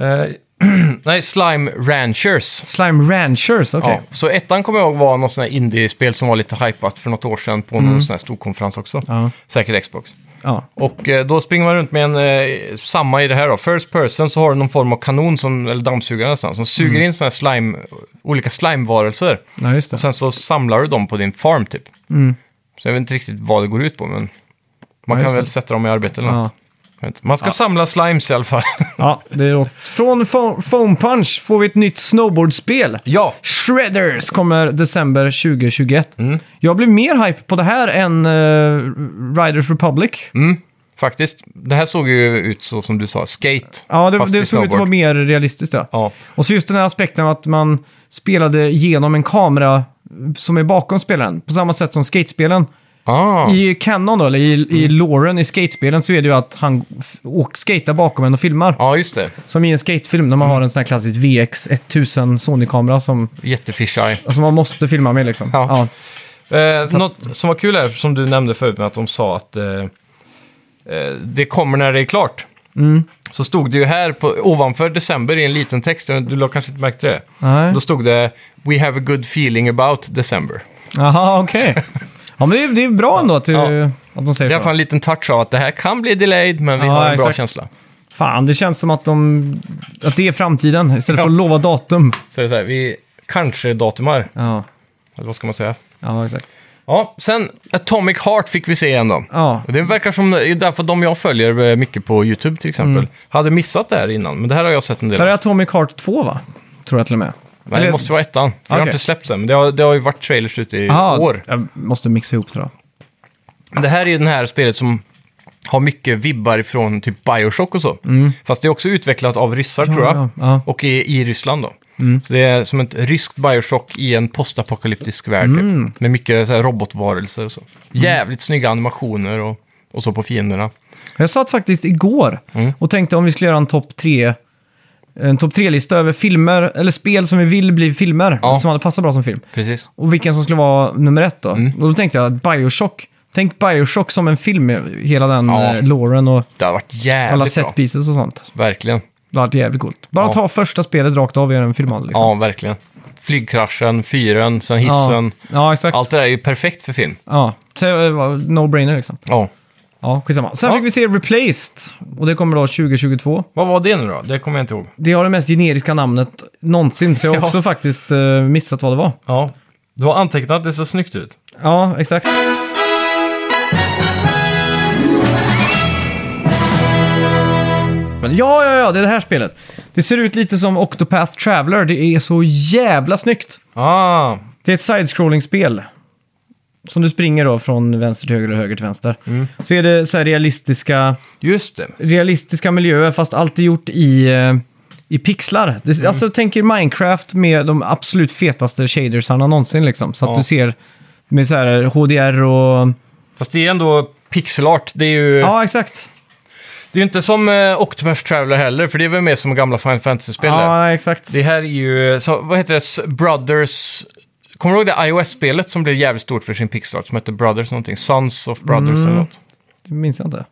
Speaker 2: Eh, nej, Slime Ranchers.
Speaker 1: Slime Ranchers, okej.
Speaker 2: Ja, så ettan kommer jag ihåg var något sånt här indie-spel som var lite hypat för något år sedan på någon sån här stor konferens också.
Speaker 1: Mm. Ja.
Speaker 2: Säkert Xbox.
Speaker 1: Ja.
Speaker 2: Och eh, då springer man runt med en, eh, samma i det här då, First Person så har du någon form av kanon, som, eller dammsugare nästan, som
Speaker 1: Mm.
Speaker 2: suger in såna här slime, olika slime-varelser.
Speaker 1: Ja, just det. Mm.
Speaker 2: Och sen så samlar du dem på din farm typ. Så jag vet inte riktigt vad det går ut på, men man
Speaker 1: Ja,
Speaker 2: kan
Speaker 1: just
Speaker 2: väl
Speaker 1: det.
Speaker 2: sätta dem i arbete eller
Speaker 1: Ja.
Speaker 2: något. Jag vet inte. Man ska samla slimes i alla fall.
Speaker 1: Ja, det är Från Fo- Foam Punch får vi ett nytt snowboardspel.
Speaker 2: ja,
Speaker 1: Shredders kommer december 2021.
Speaker 2: Mm.
Speaker 1: Jag blev mer hype på det här än eh, Riders Republic.
Speaker 2: Mm. faktiskt. Det här såg ju ut så som du sa, skate.
Speaker 1: Ja, det,
Speaker 2: fast i
Speaker 1: det såg ut att
Speaker 2: snowboard.
Speaker 1: vara mer realistiskt. Ja.
Speaker 2: Ja.
Speaker 1: Och så just den här aspekten av att man spelade genom en kamera som är bakom spelaren. På samma sätt som skatespelen.
Speaker 2: Ah.
Speaker 1: I Canon då, eller i,
Speaker 2: Mm.
Speaker 1: i loren i skatespelen så är det ju att han f- åk, skatar bakom en och filmar.
Speaker 2: ja, just det.
Speaker 1: Som i en skatefilm när man har en sån här klassisk VX 1000 Sony-kamera som,
Speaker 2: Jättefisheye.
Speaker 1: som man måste filma med liksom.
Speaker 2: Ja.
Speaker 1: Ja.
Speaker 2: Eh, Något som var kul är, som du nämnde förut med att de sa att eh, eh, det kommer när det är klart.
Speaker 1: Mm.
Speaker 2: Så stod det ju här på, ovanför december i en liten text, du la kanske inte märkt det.
Speaker 1: Nej.
Speaker 2: Då stod det “We have a good feeling about December”.
Speaker 1: Jaha, okej. Ja, men det är, det är bra ändå att, du,
Speaker 2: Ja.
Speaker 1: att de
Speaker 2: Det är i
Speaker 1: säger
Speaker 2: alla fall
Speaker 1: så.
Speaker 2: en liten touch av att det här kan bli delayed, men vi
Speaker 1: Ja,
Speaker 2: har en bra
Speaker 1: exakt.
Speaker 2: känsla.
Speaker 1: Fan, det känns som att, de, att det är framtiden istället för att lova datum.
Speaker 2: Så det är så här, vi kanske datumar,
Speaker 1: Ja,
Speaker 2: eller vad ska man säga?
Speaker 1: ja exakt.
Speaker 2: Ja, sen Atomic Heart fick vi se igen då.
Speaker 1: Ja.
Speaker 2: Och Det verkar som, det är därför de jag följer eh, mycket på YouTube till exempel,
Speaker 1: Mm.
Speaker 2: hade missat det här innan. Men det här har jag sett en del
Speaker 1: Det här
Speaker 2: av.
Speaker 1: är Atomic Heart 2 va? Tror jag till och med.
Speaker 2: Nej, det måste vara ettan. För det har
Speaker 1: Okej.
Speaker 2: inte släppts än. Men det har, det har ju varit trailers ute i
Speaker 1: Aha,
Speaker 2: år.
Speaker 1: Jag måste mixa ihop det då.
Speaker 2: Det här är ju det här spelet som har mycket vibbar ifrån typ Bioshock och så. Fast det är också utvecklat av ryssar tror jag.
Speaker 1: Mm. ja, ja. Mm.
Speaker 2: Och i, i Ryssland då. Så det är som ett ryskt Bioshock i en postapokalyptisk värld.
Speaker 1: Mm.
Speaker 2: Typ, med mycket så här, robotvarelser och så. Jävligt snygga animationer och, och så på fienderna.
Speaker 1: Jag satt faktiskt igår
Speaker 2: Mm.
Speaker 1: och tänkte om vi skulle göra en topp tre en topp tre-lista över filmer, eller spel som vi vill bli filmer,
Speaker 2: Ja.
Speaker 1: som hade passat bra som film.
Speaker 2: Precis.
Speaker 1: Och vilken som skulle vara nummer ett då.
Speaker 2: Mm.
Speaker 1: Och då tänkte jag att Bioshock, tänk Bioshock som en film, hela den
Speaker 2: Ja.
Speaker 1: ja. Lauren och
Speaker 2: Det har varit
Speaker 1: alla
Speaker 2: jävligt bra.
Speaker 1: set pieces och sånt.
Speaker 2: Verkligen.
Speaker 1: Det hade varit jävligt coolt. Bara
Speaker 2: Ja.
Speaker 1: ta första spelet rakt av och göra en film av det, liksom.
Speaker 2: Ja, verkligen. Flygkraschen, fyren, sen hissen.
Speaker 1: ja. ja, exakt.
Speaker 2: Allt det där är ju perfekt för film.
Speaker 1: Ja. Så, eh, No-brainer liksom.
Speaker 2: Ja.
Speaker 1: Ja, skitsamma. Sen
Speaker 2: Ja.
Speaker 1: fick vi se Replaced. Och det kommer då 2022.
Speaker 2: Vad var det nu då? Det kommer jag inte ihåg.
Speaker 1: Det har det mest generiska namnet någonsin, så jag har
Speaker 2: Ja.
Speaker 1: också faktiskt eh, missat vad det var.
Speaker 2: Ja. Du har antecknat det så snyggt ut.
Speaker 1: Ja, exakt. Men ja, ja, ja, det är det här spelet. Det ser ut lite som Octopath Traveler. Det är så jävla snyggt.
Speaker 2: Ah,
Speaker 1: Det är ett side-scrolling-spel. Som du springer då från vänster till höger och höger till vänster. Så är det så här realistiska
Speaker 2: just det.
Speaker 1: realistiska miljöer fast allt är gjort i, eh, i pixlar. Det,
Speaker 2: Mm.
Speaker 1: Alltså tänk er Minecraft med de absolut fetaste shadersarna någonsin liksom. Så att
Speaker 2: Ja.
Speaker 1: du ser med så här HDR och...
Speaker 2: Fast det är ändå pixelart. Det är ju
Speaker 1: Ja, exakt.
Speaker 2: det är ju inte som eh, Octopath Traveler heller, för det är väl mer som gamla Final Fantasy-spel. där.
Speaker 1: Ja, exakt.
Speaker 2: Det här är ju, så, vad heter det, S- Brothers... Kommer du ihåg det iOS-spelet som blev jävligt stort för sin pixelart som hette Brothers någonting? Sons of Brothers eller något.
Speaker 1: Det minns jag inte.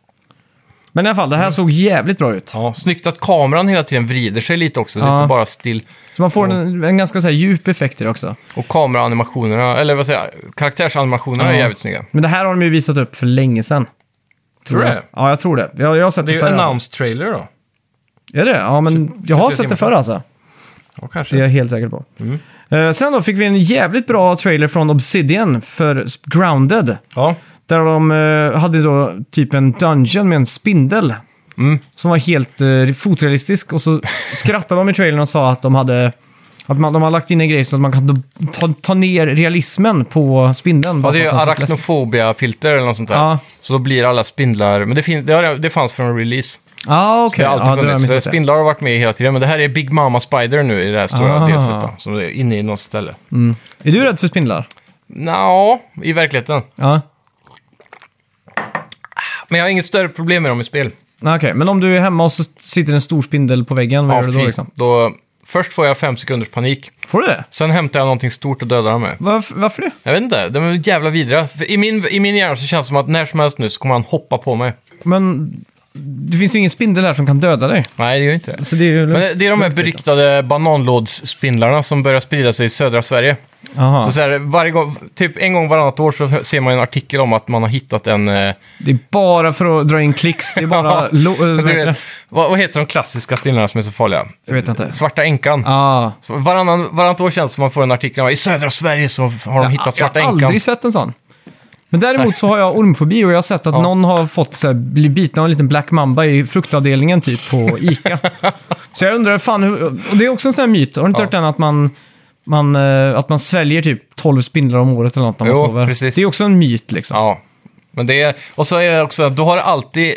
Speaker 1: Men i alla fall,
Speaker 2: Mm.
Speaker 1: det här såg jävligt bra ut.
Speaker 2: Ja, snyggt att kameran hela tiden vrider sig lite också. Det är
Speaker 1: Ja.
Speaker 2: inte bara still.
Speaker 1: Så man får en, en ganska så här djup effekt i det också.
Speaker 2: Och kameraanimationerna, eller vad säger jag, karaktärsanimationerna är
Speaker 1: Ja.
Speaker 2: jävligt snygga.
Speaker 1: Men det här har de ju visat upp för länge sedan.
Speaker 2: Tror du
Speaker 1: jag.
Speaker 2: det?
Speaker 1: Ja, jag tror det. Jag, jag har sett
Speaker 2: Det
Speaker 1: det,
Speaker 2: är ju
Speaker 1: förr.
Speaker 2: announced trailer då.
Speaker 1: Är det? Ja, men jag har
Speaker 2: 23
Speaker 1: sett det
Speaker 2: timmar.
Speaker 1: förr alltså.
Speaker 2: Ja,
Speaker 1: Det är
Speaker 2: kanske.
Speaker 1: jag helt säker på.
Speaker 2: Mm.
Speaker 1: Eh, sen då fick vi en jävligt bra trailer från Obsidian för Grounded.
Speaker 2: Ja,
Speaker 1: Där de eh, hade då typ en dungeon med en spindel.
Speaker 2: Mm.
Speaker 1: Som var helt eh, fotrealistisk. Och så skrattade de i trailern och sa att de hade... Att man, de har lagt in en grej så att man kan ta, ta ner realismen på spindeln.
Speaker 2: Ja,
Speaker 1: bara
Speaker 2: det är ju
Speaker 1: för att den ska-
Speaker 2: arachnofobia-filter eller något sånt där.
Speaker 1: Ja.
Speaker 2: Så då blir alla spindlar... Men det, fin- det, har, det fanns från release.
Speaker 1: Ah, okej.
Speaker 2: Det har alltid
Speaker 1: Ja, det har jag
Speaker 2: funnits. eh, Så
Speaker 1: missat. det.
Speaker 2: Spindlar har varit med hela tiden. Men det här är Big Mama Spider nu i det här stora
Speaker 1: Ah.
Speaker 2: DLCt då. Som är inne i något ställe.
Speaker 1: Är du rädd för spindlar?
Speaker 2: Nja, i verkligheten.
Speaker 1: Ja.
Speaker 2: Men jag har inget större problem med dem i spel.
Speaker 1: Nej, Okej, men om du är hemma och så sitter en stor spindel på väggen, vad
Speaker 2: Ja,
Speaker 1: gör du då
Speaker 2: fy.
Speaker 1: liksom?
Speaker 2: Då- Först får jag fem sekunders panik.
Speaker 1: Får du det?
Speaker 2: Sen hämtar jag någonting stort och dödar dem med.
Speaker 1: Varför, varför det?
Speaker 2: Jag vet inte, de är jävla vidriga. För I min, I min hjärna så känns det som att när som helst nu så kommer han hoppa på mig.
Speaker 1: Men det finns ju ingen spindel här som kan döda dig.
Speaker 2: Nej, det gör inte det.
Speaker 1: Så det är ju...
Speaker 2: Men det, det är de här
Speaker 1: liksom.
Speaker 2: beryktade bananlådsspindlarna som börjar sprida sig i södra Sverige.
Speaker 1: Aha.
Speaker 2: Så så här, varje gång, typ en gång varannat år så ser man en artikel om att man har hittat en... eh,
Speaker 1: Det är bara för att dra in klicks. Det är bara... lo- eh,
Speaker 2: du
Speaker 1: vad heter
Speaker 2: vet,
Speaker 1: det?
Speaker 2: vad, vad heter de klassiska spindlarna som är så farliga?
Speaker 1: Jag vet inte.
Speaker 2: Svarta änkan.
Speaker 1: Ah.
Speaker 2: Så Varannan, varannat år känns det som man får en artikel om att i södra Sverige så har de hittat svarta
Speaker 1: jag har
Speaker 2: änkan.
Speaker 1: aldrig sett en sån. Men däremot så har jag ormfobi och jag har sett att någon har fått så här, bli biten av en liten black mamba i fruktavdelningen typ på ICA. så jag undrar, fan, hur, och det är också en sån här myt. Har du inte
Speaker 2: Ja.
Speaker 1: hört den att man, man, eh, att man sväljer typ 12 spindlar om året eller något när man
Speaker 2: Jo,
Speaker 1: sover?
Speaker 2: precis.
Speaker 1: Det är också en myt liksom.
Speaker 2: Ja, men det är... Och så är det också att du har alltid...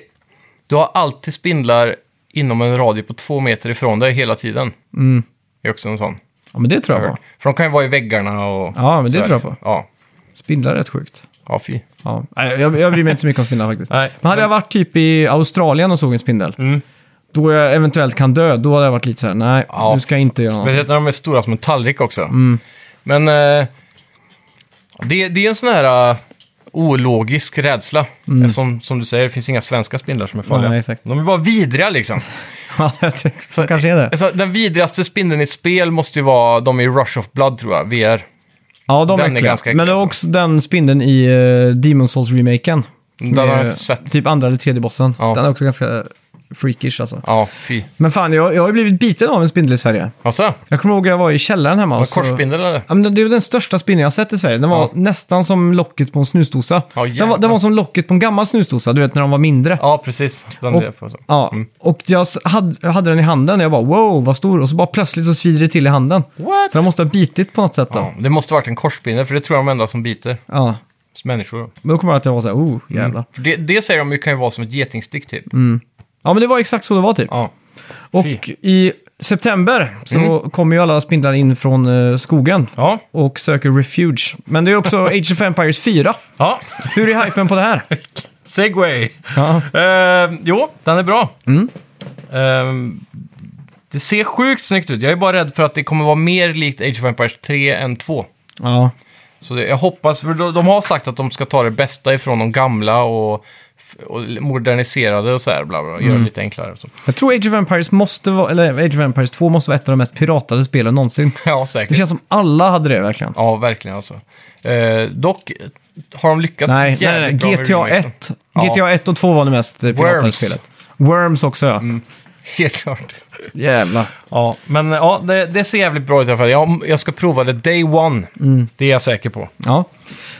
Speaker 2: Du har alltid spindlar inom en radie på två meter ifrån dig hela tiden.
Speaker 1: Mm.
Speaker 2: Det är också en sån.
Speaker 1: Ja, men det tror jag på.
Speaker 2: För de kan ju vara i väggarna och...
Speaker 1: Ja, men det
Speaker 2: sådär,
Speaker 1: tror jag på.
Speaker 2: liksom. Ja,
Speaker 1: Spindlar är rätt sjukt.
Speaker 2: ja fy.
Speaker 1: Ja. Nej, jag, jag bryr mig inte så mycket om spindlar faktiskt.
Speaker 2: Nej, Mm.
Speaker 1: men hade jag varit typ i Australien och såg en spindel, då jag eventuellt kan dö, då hade jag varit lite så här, nej,
Speaker 2: Ja,
Speaker 1: nu ska jag inte göra något.
Speaker 2: Speciellt när de är stora som en tallrik också.
Speaker 1: Mm.
Speaker 2: Men eh, det, det är en sån här eh, ologisk rädsla. Eftersom, som du säger, det finns inga svenska spindlar som är farliga.
Speaker 1: Mm. Nej, exakt.
Speaker 2: De är bara vidriga liksom.
Speaker 1: Ja, jag tänkte, så kanske är det.
Speaker 2: Alltså, den vidrigaste spindeln i spel måste ju vara de i Rush of Blood, tror jag. VR.
Speaker 1: Ja, de
Speaker 2: den är
Speaker 1: är äckliga.
Speaker 2: ganska äcklig,
Speaker 1: Men det är
Speaker 2: alltså.
Speaker 1: också den spindeln i eh, Demon Souls-remaken.
Speaker 2: Den har jag
Speaker 1: Med
Speaker 2: inte sett.
Speaker 1: Typ andra eller tredje bossen.
Speaker 2: Ja.
Speaker 1: Den är också ganska eh, freakish alltså.
Speaker 2: Ja, fy.
Speaker 1: Men fan, jag, jag har ju blivit biten av en spindel i Sverige.
Speaker 2: Alltså,
Speaker 1: Jag kommer ihåg jag var i källaren hemma.
Speaker 2: en
Speaker 1: och så-
Speaker 2: korsspindel eller?
Speaker 1: Ja, men det- det är den största spindeln jag har sett i Sverige. Den var
Speaker 2: Ja.
Speaker 1: nästan som locket på en snusdosa.
Speaker 2: Ja,
Speaker 1: den, var, den var som locket på en gammal snusdosa, du vet när de var mindre.
Speaker 2: Ja, Mm. precis. Den
Speaker 1: Och-
Speaker 2: blev på så.
Speaker 1: Ja, och jag s- hade, jag hade den i handen och jag bara wow, vad stor. Och så bara plötsligt så svider det till i handen.
Speaker 2: What?
Speaker 1: Så den måste ha bitit på något sätt då.
Speaker 2: Ja, det måste ha varit en korsspindel, för det tror jag de enda som biter.
Speaker 1: Ja.
Speaker 2: Människor.
Speaker 1: Men då kommer jag att jag var så här, oh, jävlar.
Speaker 2: För det, det säger de ju kan ju vara som ett getingstick typ.
Speaker 1: Mm. Ja, men det var exakt så det var typ.
Speaker 2: Ja.
Speaker 1: och
Speaker 2: fy. Mm.
Speaker 1: i september så kommer ju alla spindlar in från eh, skogen
Speaker 2: Ja.
Speaker 1: och söker refuge. Men det är också Age of Empires 4.
Speaker 2: Ja.
Speaker 1: Hur är hypen på det här?
Speaker 2: Segway.
Speaker 1: Ja.
Speaker 2: Eh, jo, den är bra.
Speaker 1: Mm.
Speaker 2: Eh, det ser sjukt snyggt ut. Jag är bara rädd för att det kommer vara mer likt Age of Empires 3 än 2.
Speaker 1: ja.
Speaker 2: Så det, jag hoppas, för de, de har sagt att de ska ta det bästa ifrån de gamla och, och moderniserade och så här, bla bla, bla
Speaker 1: Mm.
Speaker 2: göra det lite enklare. Och så.
Speaker 1: Jag tror Age of Empires måste vara, eller Age of Empires 2 måste vara ett av de mest piratade spelen någonsin.
Speaker 2: Ja,
Speaker 1: Det
Speaker 2: säkert.
Speaker 1: känns som alla hade det verkligen.
Speaker 2: Ja, verkligen alltså. Eh, dock har de lyckats
Speaker 1: Nej, nej, nej,
Speaker 2: jävligt bra med
Speaker 1: GTA
Speaker 2: remaken.
Speaker 1: 1.
Speaker 2: Ja.
Speaker 1: GTA 1 och 2 var det mest eh, piratade
Speaker 2: Worms. Mm.
Speaker 1: spelet. Worms också ja.
Speaker 2: Helt klart.
Speaker 1: Jävlar.
Speaker 2: Ja, men ja, det, det ser jävligt bra ut i alla fall. Jag, jag ska prova det day one. Det är jag säker på.
Speaker 1: Ja.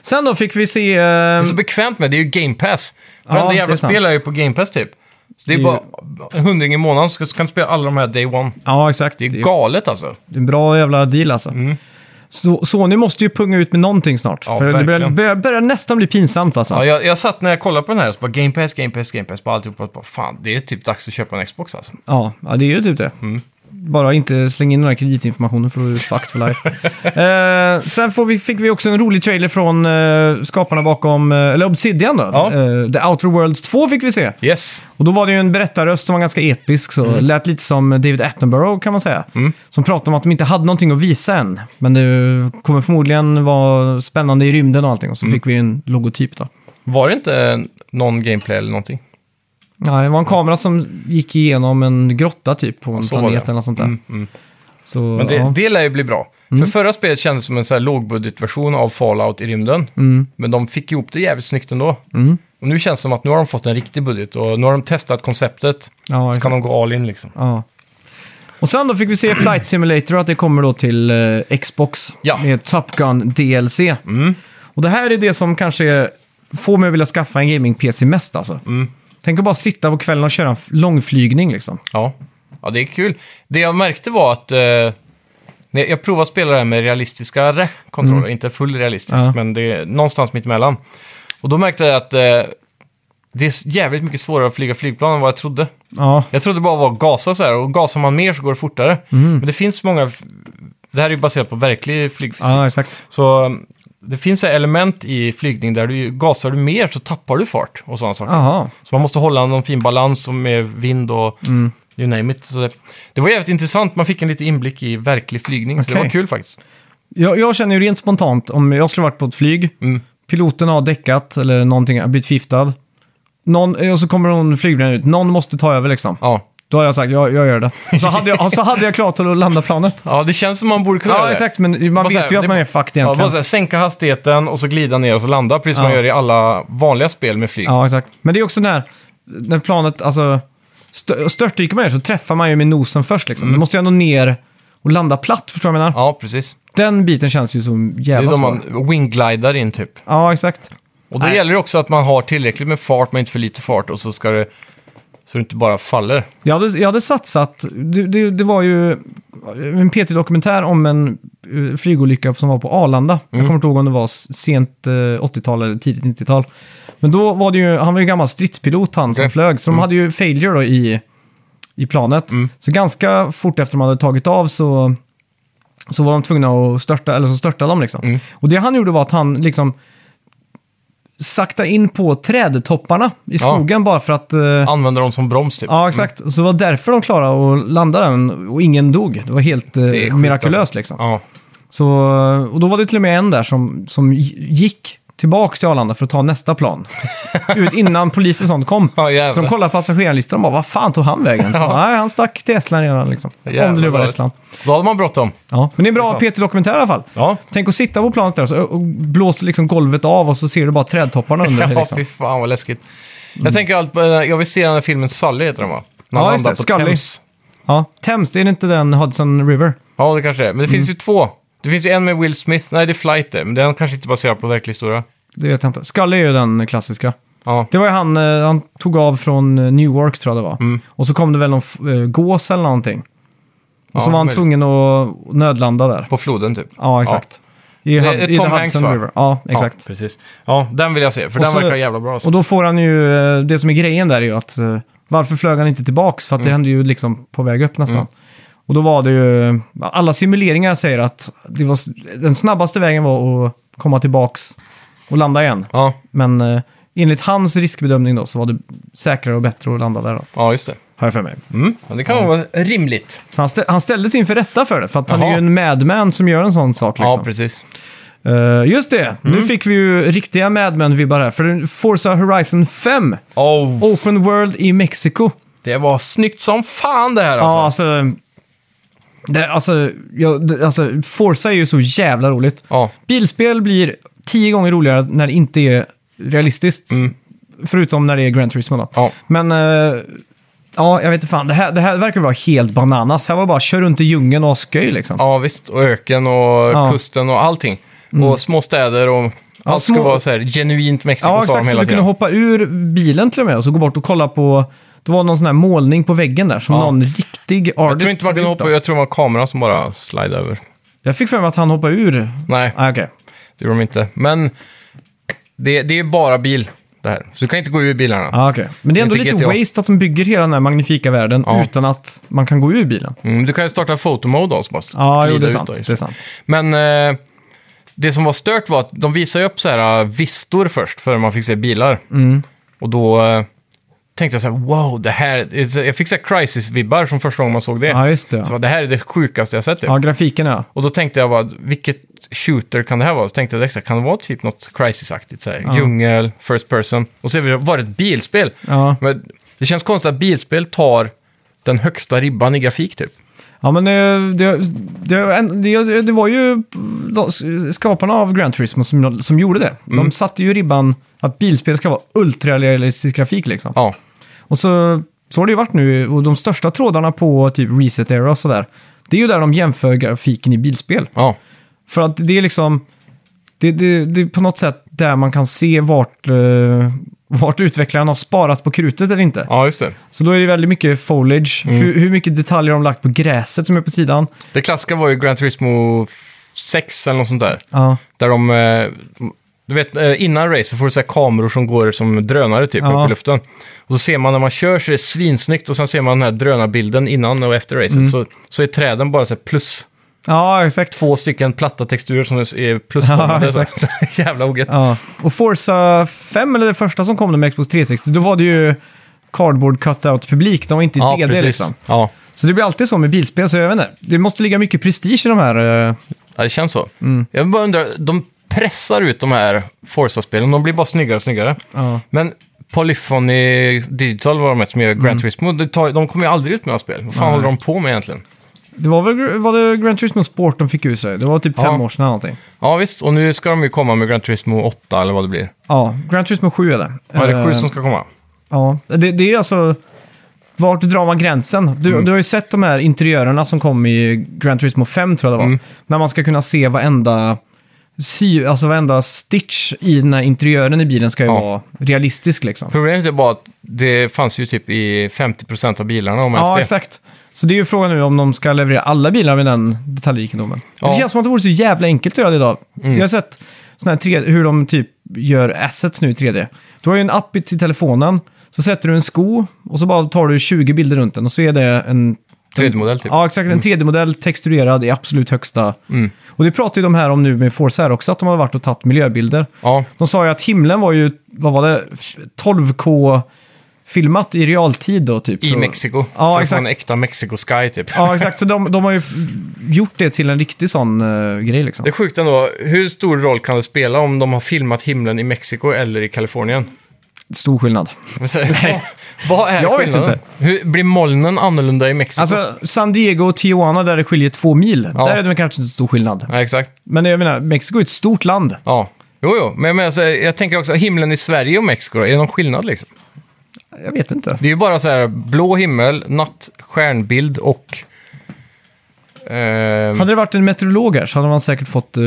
Speaker 1: Sen då fick vi se... eh,
Speaker 2: Det är så bekvämt med, det är ju Game Pass.
Speaker 1: Ja,
Speaker 2: Varenda
Speaker 1: det är
Speaker 2: jävla
Speaker 1: sant.
Speaker 2: spel är ju på Game Pass typ. Så det är
Speaker 1: Det är
Speaker 2: bara en hundring i månaden så kan du spela alla de här day one.
Speaker 1: Ja, exakt.
Speaker 2: Det är galet alltså.
Speaker 1: Det är en bra jävla deal alltså. Så, Sony måste ju punga ut med någonting snart.
Speaker 2: Ja,
Speaker 1: för det börjar,
Speaker 2: verkligen.
Speaker 1: börjar, börjar nästan bli pinsamt alltså.
Speaker 2: Ja, jag, jag satt när jag kollade på den här så bara Game Pass, Game Pass, Game Pass, bara alltihopa. och Bara, fan, det är typ dags att köpa en Xbox alltså.
Speaker 1: Ja, ja det är ju typ det. Bara inte slänga in den här kreditinformationen för då är du fucked for life. eh, sen får vi, fick vi också en rolig trailer från eh, skaparna bakom, eh, eller Obsidian då.
Speaker 2: Ja.
Speaker 1: Eh, The Outer Worlds 2 fick vi se.
Speaker 2: Yes.
Speaker 1: Och då var det ju en berättarröst som var ganska episk, så lät lite som David Attenborough kan man säga. Som pratade om att de inte hade någonting att visa än. Men det kommer förmodligen vara spännande i rymden och allting. Och så fick vi en logotyp då.
Speaker 2: Var det inte någon gameplay eller någonting?
Speaker 1: Ja, det var en kamera som gick igenom en grotta typ på en
Speaker 2: så var
Speaker 1: planet
Speaker 2: det.
Speaker 1: eller
Speaker 2: Mm,
Speaker 1: något sånt där. Så,
Speaker 2: Men det,
Speaker 1: ja. Mm.
Speaker 2: det lär ju bli bra. För förra spelet kändes som en så här lågbudgetversion av Fallout i rymden.
Speaker 1: Mm.
Speaker 2: Men de fick ihop det jävligt snyggt ändå. Och nu känns det som att nu har de fått en riktig budget och nu har de testat konceptet.
Speaker 1: Ja,
Speaker 2: så
Speaker 1: exakt.
Speaker 2: kan de gå all in liksom.
Speaker 1: ja. Och sen då fick vi se Flight Simulator att det kommer då till eh, Xbox
Speaker 2: Ja. Mm.
Speaker 1: med Top Gun DLC. Och det här är det som kanske är få mig att vilja skaffa en gaming-PC mest alltså.
Speaker 2: Mm.
Speaker 1: Tänk att bara sitta på kvällen och köra en f- långflygning liksom.
Speaker 2: Ja. ja, det är kul. Det jag märkte var att eh, när jag provade att spela det här med realistiska kontroller, inte full realistisk,
Speaker 1: Mm. Ja.
Speaker 2: men det är någonstans mitt emellan. Och då märkte jag att eh, det är s- jävligt mycket svårare att flyga flygplan än vad jag trodde.
Speaker 1: Ja,
Speaker 2: Jag trodde bara var gasa så här, och gasar man mer så går det fortare.
Speaker 1: Mm.
Speaker 2: Men det finns många, f- det här är ju baserat på verklig flygfysik.
Speaker 1: ja exakt.
Speaker 2: Så um, det finns så här element i flygning där du gasar du mer så tappar du fart och sådana saker.
Speaker 1: Jaha.
Speaker 2: Så man måste hålla någon fin balans och med vind och
Speaker 1: Mm.
Speaker 2: you name it. Så det, det var jävligt intressant, man fick en lite inblick i verklig flygning, så det
Speaker 1: Okej.
Speaker 2: var kul faktiskt.
Speaker 1: Jag, jag känner ju rent spontant, om jag skulle varit på ett flyg,
Speaker 2: Mm.
Speaker 1: piloten har däckat eller någonting, har blivit fiftad. Någon, och så kommer någon flygvärdinna ut, någon måste ta över liksom.
Speaker 2: Ja.
Speaker 1: Då har jag sagt, jag, jag gör det. Och så hade jag, så hade jag klart att landa planet.
Speaker 2: ja, det känns som man borde kunna göra
Speaker 1: Ja,
Speaker 2: det.
Speaker 1: exakt, men man
Speaker 2: Bara så här,
Speaker 1: vet ju att
Speaker 2: det-
Speaker 1: man är fucked
Speaker 2: Ja, bara
Speaker 1: egentligen.
Speaker 2: så här, typ. sänka hastigheten och så glida ner och så landa, precis som
Speaker 1: Ja.
Speaker 2: man gör i alla vanliga spel med flyg.
Speaker 1: Ja, exakt. Men det är också när, när planet, alltså, stö- störtdyker man ju så träffar man ju med nosen först
Speaker 2: Mm.
Speaker 1: liksom. Du måste ju ändå ner och landa platt, förstår du vad jag menar?
Speaker 2: Ja, precis.
Speaker 1: Den biten känns ju så
Speaker 2: Det är
Speaker 1: jävla
Speaker 2: då
Speaker 1: svår.
Speaker 2: man wingglidar in typ.
Speaker 1: Ja, exakt.
Speaker 2: Och då
Speaker 1: Nej.
Speaker 2: gäller det också att man har tillräckligt med fart, men inte för lite fart, och så ska det... Så du inte bara faller.
Speaker 1: Jag hade, jag hade satsat, det, det, det var ju en PT-dokumentär om en eh, flygolycka som var på Arlanda. Jag kommer inte ihåg om det var s- sent eh, 80-tal eller tidigt 90-tal. Men då var det ju, han var ju gammal stridspilot han som
Speaker 2: Okej.
Speaker 1: flög, så de hade ju failure då i, i planet. Så ganska fort efter de hade tagit av så, så var de tvungna att störta, eller så störtade de liksom. Och det han gjorde var att han liksom sakta in på trädtopparna i skogen bara för att... eh,
Speaker 2: Använder dem som broms typ.
Speaker 1: Ja, exakt. Så det var därför de klarade att landa den och ingen dog. Det var helt eh,
Speaker 2: är sjukt,
Speaker 1: mirakulöst
Speaker 2: alltså.
Speaker 1: liksom.
Speaker 2: Ja.
Speaker 1: Så, och då var det till och med en där som, som gi- gick tillbaka till Arlanda för att ta nästa plan. Ut innan polis och sånt kom.
Speaker 2: Ja, jävlar.
Speaker 1: så de kollade passagerarlistan och bara, vad fan tog han vägen? Så,
Speaker 2: Ja.
Speaker 1: Nej, han stack till Estland redan liksom. Om det nu
Speaker 2: Jävlar
Speaker 1: var
Speaker 2: vad-
Speaker 1: Estland.
Speaker 2: Då hade man bråttom.
Speaker 1: Ja. Men det är en bra PT-dokumentär i alla fall.
Speaker 2: Ja.
Speaker 1: Tänk att sitta på planet där och, så, och blåser liksom golvet av och så ser du bara trädtopparna under. dig,
Speaker 2: Ja,
Speaker 1: liksom.
Speaker 2: fy fan vad läskigt. Jag tänker allt på, eh, jag vill se den här filmen Sully heter den va? När
Speaker 1: Mm. Ja,
Speaker 2: han
Speaker 1: just
Speaker 2: landar
Speaker 1: det.
Speaker 2: på
Speaker 1: Scully.
Speaker 2: Thames.
Speaker 1: Ja. Thames, det är inte den Hudson River?
Speaker 2: Ja, det kanske det är. Men det
Speaker 1: Mm.
Speaker 2: finns ju två. Det finns ju en med Will Smith. Nej, det är Flight det. Men den kanske inte är baserad på verklig historia.
Speaker 1: Det vet jag inte. Scully är ju den klassiska.
Speaker 2: Ja.
Speaker 1: Det var ju han, eh, han tog av från eh, Newark tror jag det var.
Speaker 2: Mm.
Speaker 1: Och så kom det väl någon f- eh, gås eller någonting. Och
Speaker 2: Ja,
Speaker 1: så var han
Speaker 2: möjligt.
Speaker 1: tvungen att nödlanda där.
Speaker 2: På floden typ.
Speaker 1: Ja, exakt. I,
Speaker 2: Det
Speaker 1: Hud-
Speaker 2: är
Speaker 1: i
Speaker 2: Tom
Speaker 1: The
Speaker 2: Hanks,
Speaker 1: Hudson
Speaker 2: va?
Speaker 1: River. Ja,
Speaker 2: Ja,
Speaker 1: exakt.
Speaker 2: precis. Ja, den vill jag se. För
Speaker 1: Och
Speaker 2: den
Speaker 1: så-
Speaker 2: verkar jävla bra. Alltså.
Speaker 1: Och då får han ju, eh, det som är grejen där är ju att eh, varför flög han inte tillbaks?
Speaker 2: Mm.
Speaker 1: För att det hände ju liksom på väg upp nästan. Och då var det ju, alla simuleringar säger att det var, s- den snabbaste vägen var att komma tillbaks och landa igen.
Speaker 2: Ja,
Speaker 1: Men eh, enligt hans riskbedömning då så var det säkrare och bättre att landa där då.
Speaker 2: ja, just det.
Speaker 1: Har jag för mig.
Speaker 2: Mm. Ja, det kan vara rimligt.
Speaker 1: Så han, stä han ställdes inför rätta för det, för att han
Speaker 2: Jaha.
Speaker 1: är ju en madman som gör en sån sak.
Speaker 2: Ja,
Speaker 1: Liksom.
Speaker 2: precis. Mm.
Speaker 1: Eh, just det, nu fick vi ju riktiga madman-vibbar här. För Forza Horizon 5,
Speaker 2: Oh,
Speaker 1: Open World i Mexiko.
Speaker 2: Det var snyggt som fan det här
Speaker 1: Ja,
Speaker 2: alltså.
Speaker 1: alltså... Det, alltså, ja, det, alltså, Forza är ju så jävla roligt.
Speaker 2: Ja,
Speaker 1: Bilspel blir tio gånger roligare när det inte är realistiskt. Förutom när det är Grand Turismo då.
Speaker 2: Mm. Ja.
Speaker 1: Men, eh, ja, jag vet inte fan. Det här, det här verkar vara helt bananas. Här var det bara kör runt i djungeln och ha skoj liksom.
Speaker 2: ja visst. Och öken och
Speaker 1: Ja. Mm.
Speaker 2: kusten och allting. Och små städer och allt
Speaker 1: små-
Speaker 2: skulle vara så här genuint Mexiko
Speaker 1: Ja,
Speaker 2: sa de
Speaker 1: exakt. Så
Speaker 2: hela
Speaker 1: du kunde
Speaker 2: tiden.
Speaker 1: hoppa ur bilen till och med och så gå bort och kolla på... Det var någon sån här målning på väggen där som
Speaker 2: Ja.
Speaker 1: någon riktig artist
Speaker 2: Jag tror inte man
Speaker 1: hade
Speaker 2: kunde
Speaker 1: gjort
Speaker 2: hoppa,
Speaker 1: då.
Speaker 2: jag tror det var kameran som bara slide över.
Speaker 1: Jag fick för mig att han hoppade ur.
Speaker 2: Nej,
Speaker 1: Ah, okej.
Speaker 2: det gjorde de inte. Men det, det är bara bil det här. Så du kan inte gå ur bilarna.
Speaker 1: Ah, okej. Men det är ändå
Speaker 2: Inte
Speaker 1: lite
Speaker 2: GTA.
Speaker 1: waste att de bygger hela den här magnifika världen
Speaker 2: Ja.
Speaker 1: utan att man kan gå ur bilen.
Speaker 2: Mm, du kan ju starta fotomode då, så bara
Speaker 1: Ja, jo, det är
Speaker 2: glida ut
Speaker 1: sant.
Speaker 2: då, just
Speaker 1: Det är sant.
Speaker 2: Men eh, det som var stört var att de visade ju upp så här eh, vistor först, före man fick se bilar.
Speaker 1: Mm.
Speaker 2: Och då eh, tänkte jag så här, wow, det här... Jag fick så här crisis-vibbar från första gången man såg det.
Speaker 1: Ja, just det.
Speaker 2: Så det här är det sjukaste jag sett. Typ.
Speaker 1: Ja, grafiken ja.
Speaker 2: Och då tänkte jag bara, vilket shooter kan det här vara? Så tänkte jag direkt, så här, kan det vara typ något crisis-aktigt? Så här, Djungel, first person. Och så är det- var det ett bilspel.
Speaker 1: Ja.
Speaker 2: Men det känns konstigt att bilspel tar den högsta ribban i grafik typ.
Speaker 1: Ja, men det, det, det, det, det var ju de, skaparna av Grand Turismo som, som gjorde det. De satte ju ribban att bilspel ska vara ultrarealistisk grafik liksom.
Speaker 2: Ja,
Speaker 1: Och så, så har det ju varit nu, och de största trådarna på typ Reset Era och sådär, det är ju där de jämför grafiken i bilspel.
Speaker 2: ja.
Speaker 1: För att det är liksom, det, det, det är på något sätt där man kan se vart, eh, vart utvecklaren har sparat på krutet eller inte.
Speaker 2: Ja, just det.
Speaker 1: Så då är det väldigt mycket foliage. Hur, hur mycket detaljer har de lagt på gräset som är på sidan?
Speaker 2: Det klassiska var ju Gran Turismo 6 eller något sånt där.
Speaker 1: Ja,
Speaker 2: Där de... eh, Du vet, eh, innan racer får du så här kameror som går som drönare typ
Speaker 1: Ja.
Speaker 2: upp i luften. Och så ser man när man kör så är det svinsnyggt och sen ser man den här drönarbilden innan och efter racet.
Speaker 1: Mm.
Speaker 2: Så, så är träden bara så här plus
Speaker 1: ja exakt.
Speaker 2: två stycken platta texturer som är plusformade.
Speaker 1: Ja,
Speaker 2: Jävla ogett.
Speaker 1: Ja. Och Forza 5, eller det första som kom med Xbox 360, då var det ju cardboard cutout-publik. De var inte i 3D liksom.
Speaker 2: Ja.
Speaker 1: Så det blir alltid så med bilspel, så jag vet inte. Det måste ligga mycket prestige i de här... eh,
Speaker 2: Ja, det känns så.
Speaker 1: Mm.
Speaker 2: Jag bara undrar, de pressar ut de här Forza-spelen, de blir bara snyggare och snyggare.
Speaker 1: Ja.
Speaker 2: Men Polyphony Digital var de här som gör
Speaker 1: Mm.
Speaker 2: Gran Turismo, de, tar, de kommer ju aldrig ut med några spel. Vad fan håller de på med egentligen?
Speaker 1: Det var väl var det Gran Turismo Sport de fick ur sig? Det var typ fem
Speaker 2: Ja.
Speaker 1: år sedan eller någonting.
Speaker 2: Ja, visst. Och nu ska de ju komma med Gran Turismo 8 eller vad det blir.
Speaker 1: Ja, Gran Turismo 7 är det.
Speaker 2: Vad är det
Speaker 1: Eh,
Speaker 2: sju som ska komma?
Speaker 1: Ja, det, det är alltså... Vart drar man gränsen? Du, du har ju sett de här interiörerna som kom i Gran Turismo 5, tror jag det var. När man ska kunna se varenda, sy, alltså varenda stitch i den här interiören i bilen ska ju
Speaker 2: Ja.
Speaker 1: vara realistisk liksom.
Speaker 2: Problemet är bara att det fanns ju typ i 50% av bilarna om ens
Speaker 1: Ja,
Speaker 2: det.
Speaker 1: exakt. Så det är ju frågan nu om de ska leverera alla bilar med den detaljrikedomen.
Speaker 2: Ja. Mm.
Speaker 1: Det känns som att det vore så jävla enkelt att göra det idag. Jag har sett såna här 3D, hur de typ gör assets nu i 3D. Du har ju en app i till telefonen, så sätter du en sko och så bara tar du 20 bilder runt den och så är det en...
Speaker 2: 3D-modell typ. Mm.
Speaker 1: Ja, exakt. En 3D-modell texturerad i absolut högsta. Och det pratar ju de här om nu med Forza här också, att de har varit och tagit miljöbilder.
Speaker 2: Ja.
Speaker 1: De sa ju att himlen var ju, vad var det, 12K filmat i realtid då typ.
Speaker 2: I
Speaker 1: Så-
Speaker 2: Mexiko.
Speaker 1: Ja,
Speaker 2: För att
Speaker 1: exakt.
Speaker 2: få en äkta Mexico Sky typ.
Speaker 1: Ja, exakt. Så de, de har ju f- gjort det till en riktig sån eh, grej liksom.
Speaker 2: Det är sjukt ändå. Hur stor roll kan det spela om de har filmat himlen i Mexiko eller i Kalifornien?
Speaker 1: Stor skillnad.
Speaker 2: Men så- Vad är
Speaker 1: Jag vet
Speaker 2: skillnaden?
Speaker 1: inte.
Speaker 2: Hur, blir molnen annorlunda i Mexiko?
Speaker 1: Alltså, San Diego och Tijuana där det skiljer två mil,
Speaker 2: Ja.
Speaker 1: där är det väl kanske inte stor skillnad.
Speaker 2: Ja, exakt.
Speaker 1: Men jag menar, Mexiko är ett stort land.
Speaker 2: Ja. Jo, jo. Men jag, menar, så här, jag tänker också, himlen i Sverige och Mexiko, då, är det någon skillnad liksom?
Speaker 1: Jag vet inte.
Speaker 2: Det är ju bara så här blå himmel, natt, stjärnbild och... ehm,
Speaker 1: Hade det varit en meteorolog här så hade man säkert fått... eh,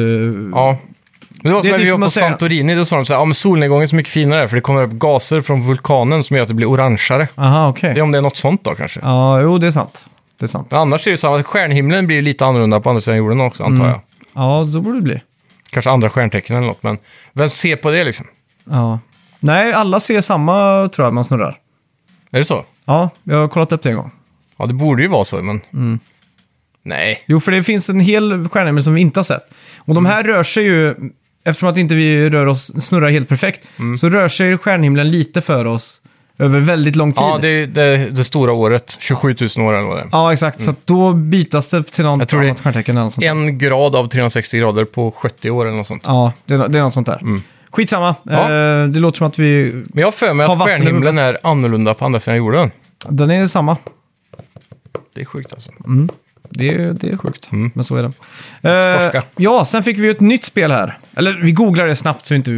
Speaker 2: ja. Men det var
Speaker 1: Det
Speaker 2: som
Speaker 1: är
Speaker 2: när
Speaker 1: typ
Speaker 2: vi var
Speaker 1: som
Speaker 2: på
Speaker 1: att säga-
Speaker 2: Santorini, då sa de så här, ja men solnedgången är så mycket finare för det kommer upp gaser från vulkanen som gör att det blir orangeare.
Speaker 1: Aha, okej.
Speaker 2: Det är om det är något sånt då kanske.
Speaker 1: Ja, jo, det är sant. Det är sant.
Speaker 2: Men annars är det samma, stjärnhimlen blir ju lite annorlunda på andra sidan jorden också antar
Speaker 1: Mm.
Speaker 2: jag.
Speaker 1: Ja, så borde det bli.
Speaker 2: Kanske andra stjärntecken eller något, men vem ser på det liksom?
Speaker 1: Ja. Nej, alla ser samma tror jag man snurrar.
Speaker 2: Är det så?
Speaker 1: Ja, jag har kollat upp det en gång.
Speaker 2: Ja, det borde ju vara så, men...
Speaker 1: Mm.
Speaker 2: Nej.
Speaker 1: Jo, för det finns en hel stjärnhimmel som vi inte har sett. Och de
Speaker 2: Mm.
Speaker 1: här rör sig ju, eftersom att inte vi rör oss, snurrar helt perfekt,
Speaker 2: Mm.
Speaker 1: så rör sig stjärnhimlen lite för oss över väldigt lång tid.
Speaker 2: Ja, det är det, det stora året. 27 000 år eller vad det är.
Speaker 1: Ja, exakt. Så att då bytas det till något
Speaker 2: Mm. Jag tror det-
Speaker 1: annat stjärntecken eller något sånt.
Speaker 2: En grad av 360 grader på 70 år eller något sånt.
Speaker 1: Ja, det är, det är något sånt där. Skitsamma.
Speaker 2: Mm. Ja.
Speaker 1: Eh, det låter som att vi...
Speaker 2: Men jag har för mig
Speaker 1: Ta
Speaker 2: att
Speaker 1: vatten
Speaker 2: stjärnhimlen är annorlunda på andra sidan jorden.
Speaker 1: Den är samma.
Speaker 2: Det är sjukt alltså.
Speaker 1: Det är, det är sjukt, men så är det.
Speaker 2: Mm. ska
Speaker 1: Eh,
Speaker 2: forska.
Speaker 1: ja, sen fick vi ju ett nytt spel här. Eller vi googlar det snabbt så inte...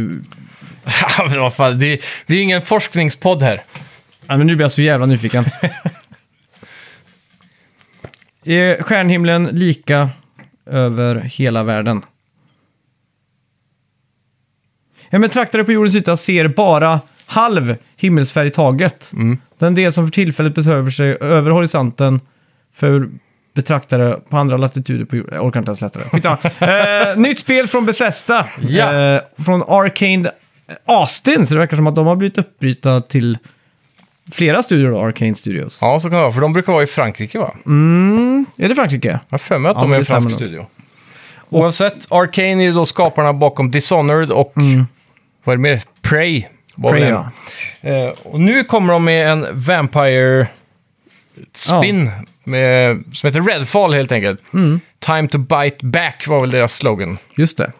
Speaker 2: Ja, men vad fan, det, det är ju ingen forskningspodd här.
Speaker 1: Ja, men nu blir jag så jävla nyfiken. är stjärnhimlen lika över hela världen? En betraktare på jordens yta ser bara halv himmelsfärg i taget. Den del som för tillfället behöver sig över horisonten för betraktare på andra latituder på jorden. Jag orkar inte ens läsa det. Skitsamma. eh, nytt spel från Bethesda.
Speaker 2: Ja.
Speaker 1: Eh, från Arcane Austin, så det verkar som att de har blivit uppbryta till flera studior då, Arcane Studios.
Speaker 2: Ja, så kan det vara. För de brukar vara i Frankrike, va?
Speaker 1: Är det Frankrike?
Speaker 2: Jag har för mig att
Speaker 1: Mm. Ja,
Speaker 2: de
Speaker 1: men
Speaker 2: är en
Speaker 1: det
Speaker 2: fransk
Speaker 1: stämmer
Speaker 2: studio. Oavsett, Arcane är ju då skaparna bakom Dishonored och... Vad är det mer? Prey. var
Speaker 1: Mm. Prey,
Speaker 2: väl en.
Speaker 1: ja.
Speaker 2: Eh, och nu kommer de med en Vampire Spin med, som heter Redfall helt enkelt. Time to bite back var väl deras slogan.
Speaker 1: Just det.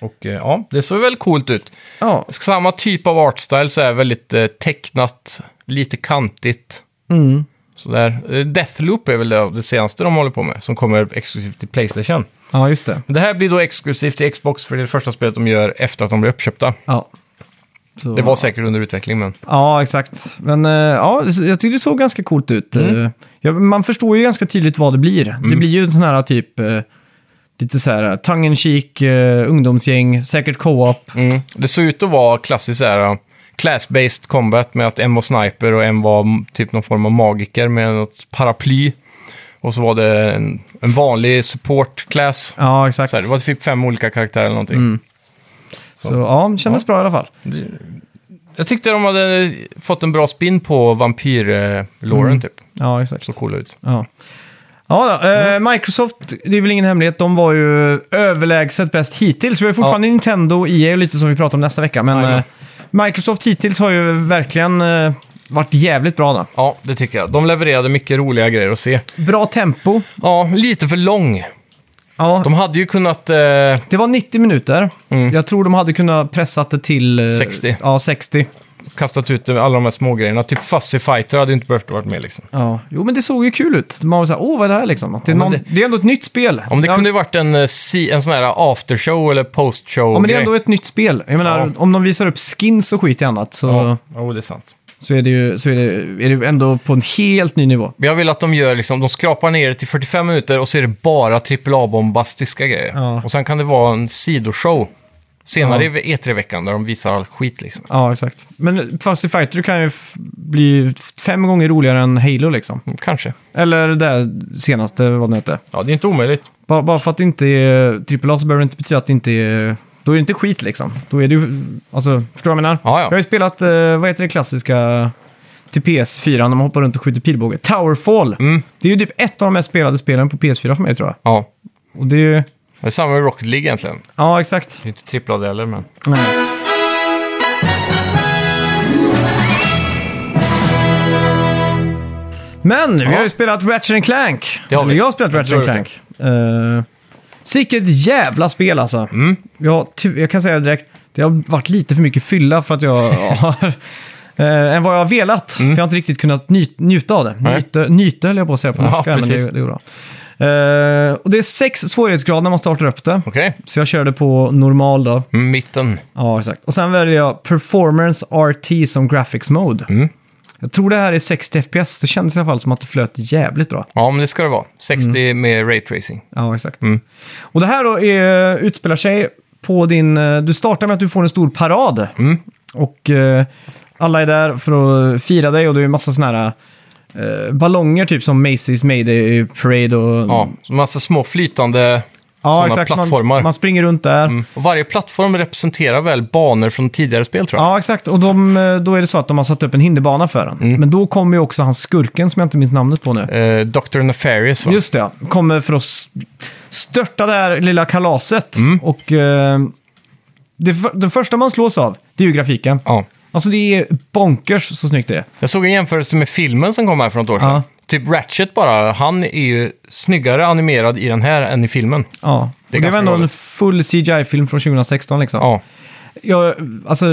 Speaker 2: Och eh, ja, det såg väl coolt ut.
Speaker 1: Ja,
Speaker 2: Samma typ av artstyle så är väldigt eh, tecknat, lite kantigt. Sådär. Eh, Deathloop är väl det, det senaste de håller på med, som kommer exklusivt till Playstation.
Speaker 1: ja just det.
Speaker 2: Men det här blir då exklusivt till Xbox, för det är det första spelet de gör efter att de blev uppköpta.
Speaker 1: Ja. Så-
Speaker 2: Det var säkert under utveckling, men...
Speaker 1: Ja, exakt. Men eh, ja, jag tyckte det såg ganska
Speaker 2: Mm.
Speaker 1: coolt ut. Eh, Ja, man förstår ju ganska tydligt vad det blir. Det blir ju en sån här typ eh, lite så här tongue in cheek, eh, ungdomsgäng, säkert co-op.
Speaker 2: Mm. Det såg ut att vara klassiskt så här, class-based combat med att en var sniper och en var m- typ någon form av magiker med något paraply. Och så var det en, en vanlig support-class.
Speaker 1: Ja, exakt.
Speaker 2: Så här, det var typ fem olika karaktärer eller någonting.
Speaker 1: Så ja, det kändes bra i alla fall.
Speaker 2: Jag tyckte de hade fått en bra spin på vampyr-loren typ.
Speaker 1: Ja, exakt.
Speaker 2: Så coola ut.
Speaker 1: Ja. Ja, då, eh,
Speaker 2: Mm.
Speaker 1: Microsoft, det är väl ingen hemlighet, de var ju överlägset bäst hittills. Vi har ju fortfarande Nintendo E och EA och lite som vi pratar om nästa vecka. Men
Speaker 2: Jajamän.
Speaker 1: eh, Microsoft hittills har ju verkligen eh, varit jävligt bra. Då.
Speaker 2: Ja, det tycker jag. De levererade mycket roliga grejer att se.
Speaker 1: Bra tempo.
Speaker 2: Ja, lite för lång.
Speaker 1: Ja,
Speaker 2: De hade ju kunnat... Eh,
Speaker 1: Det var 90 minuter.
Speaker 2: Mm.
Speaker 1: Jag tror de hade kunnat pressat det till... eh,
Speaker 2: 60.
Speaker 1: Ja, 60.
Speaker 2: kastat ut alla de här smågrejerna. Typ Fuzzy Fighter hade ju inte behövt varit med liksom.
Speaker 1: Ja. Jo, men det såg ju kul ut. Man var så här, åh, vad är det här liksom? Att det, är
Speaker 2: men
Speaker 1: någon, det...
Speaker 2: det-
Speaker 1: är ändå ett nytt spel.
Speaker 2: Om det
Speaker 1: ja,
Speaker 2: kunde ju varit en, eh, si- en sån här aftershow eller postshow
Speaker 1: ja, men det är ändå ett nytt spel. Jag menar,
Speaker 2: Ja.
Speaker 1: om de visar upp skins och skit i annat så...
Speaker 2: Ja, jo, det är sant.
Speaker 1: så är det ju så är det, är det ju ändå på en helt ny nivå.
Speaker 2: Men Jag vill att de gör liksom, de skrapar ner det till 45 minuter och så är det bara AAA-bombastiska grejer.
Speaker 1: Ja.
Speaker 2: Och sen kan det vara en sidoshow senare i E3-veckan där de visar all skit liksom.
Speaker 1: Ja, exakt. Men Fast i Fighter kan ju f- bli fem gånger roligare än Halo liksom.
Speaker 2: Mm, Kanske.
Speaker 1: Eller det där senaste, vad det hette.
Speaker 2: Ja, det är inte omöjligt.
Speaker 1: Bara, bara för att det inte är AAA så behöver det inte betyda att det inte är... Då är det inte skit liksom. Då är det ju... Alltså, förstår du vad jag menar?
Speaker 2: Ja,
Speaker 1: Jag har
Speaker 2: ja.
Speaker 1: ju spelat, eh, vad heter det klassiska till PS4 när man hoppar runt och skjuter pilbåge? Towerfall!
Speaker 2: Mm.
Speaker 1: Det är ju typ ett av de mest spelade spelen på PS4 för mig tror jag.
Speaker 2: ja.
Speaker 1: Och det är ju...
Speaker 2: Det är samma med Rocket League egentligen.
Speaker 1: Ja, exakt.
Speaker 2: Det är inte AAA det heller, men...
Speaker 1: Nej. Men vi har ju spelat Ratchet and Clank.
Speaker 2: Det har vi.
Speaker 1: Eller Jag har spelat Ratchet and
Speaker 2: Jag
Speaker 1: Clank. Uh, Sicket jävla spel alltså.
Speaker 2: Mm.
Speaker 1: Jag, har tu- jag kan säga direkt, det har varit lite för mycket fylla för att jag har... eh, än vad jag har velat. För jag har inte riktigt kunnat ny- njuta av det.
Speaker 2: Mm. Nej.
Speaker 1: Nyte, nyte höll jag på att säga på
Speaker 2: Ja,
Speaker 1: norska, men det,
Speaker 2: precis.
Speaker 1: det är bra. Eh, och det är sex svårighetsgrader när man startar upp det.
Speaker 2: Okej.
Speaker 1: Så jag körde på normal då.
Speaker 2: Mm, Mitten.
Speaker 1: Ja, exakt. Och sen väljer jag Performance RT som Graphics Mode.
Speaker 2: Mm.
Speaker 1: Jag tror det här är 60 FPS. Det kändes i alla fall som att det flöt jävligt bra.
Speaker 2: Ja, men det ska det vara. 60
Speaker 1: Mm.
Speaker 2: med Ray Tracing.
Speaker 1: Ja, exakt.
Speaker 2: Mm.
Speaker 1: Och det här då är, utspelar sig på din... eh, Du startar med att du får en stor parad.
Speaker 2: Mm.
Speaker 1: Och eh, alla är där för att fira dig och det är en massa sådana här eh, ballonger, typ som Macy's Mayday Parade och...
Speaker 2: Ja, så massa små flytande sådana plattformar.
Speaker 1: Man, man springer runt där.
Speaker 2: Mm. Och varje plattform representerar väl banor från tidigare spel, tror jag.
Speaker 1: Ja, exakt. Och de, eh, då är det så att de har satt upp en hinderbana för den. Men då kommer ju också han skurken som jag inte minns namnet på nu.
Speaker 2: Mm. Eh, Dr. Nefarious, va?
Speaker 1: Just det, ja. kommer för att s- störta det här lilla kalaset.
Speaker 2: Mm.
Speaker 1: Och eh, det, f- det första man slås av, det är ju grafiken.
Speaker 2: Ja.
Speaker 1: Alltså det är bonkers så snyggt det är.
Speaker 2: Jag såg en jämförelse med filmen som kom här för något år sedan.
Speaker 1: Ja.
Speaker 2: Typ Ratchet bara, han är ju snyggare animerad i den här än i filmen.
Speaker 1: Ja.
Speaker 2: Det är
Speaker 1: och det var
Speaker 2: ganska
Speaker 1: ändå en
Speaker 2: galet.
Speaker 1: full CGI-film från 2016 liksom.
Speaker 2: Ja,
Speaker 1: Jag, alltså,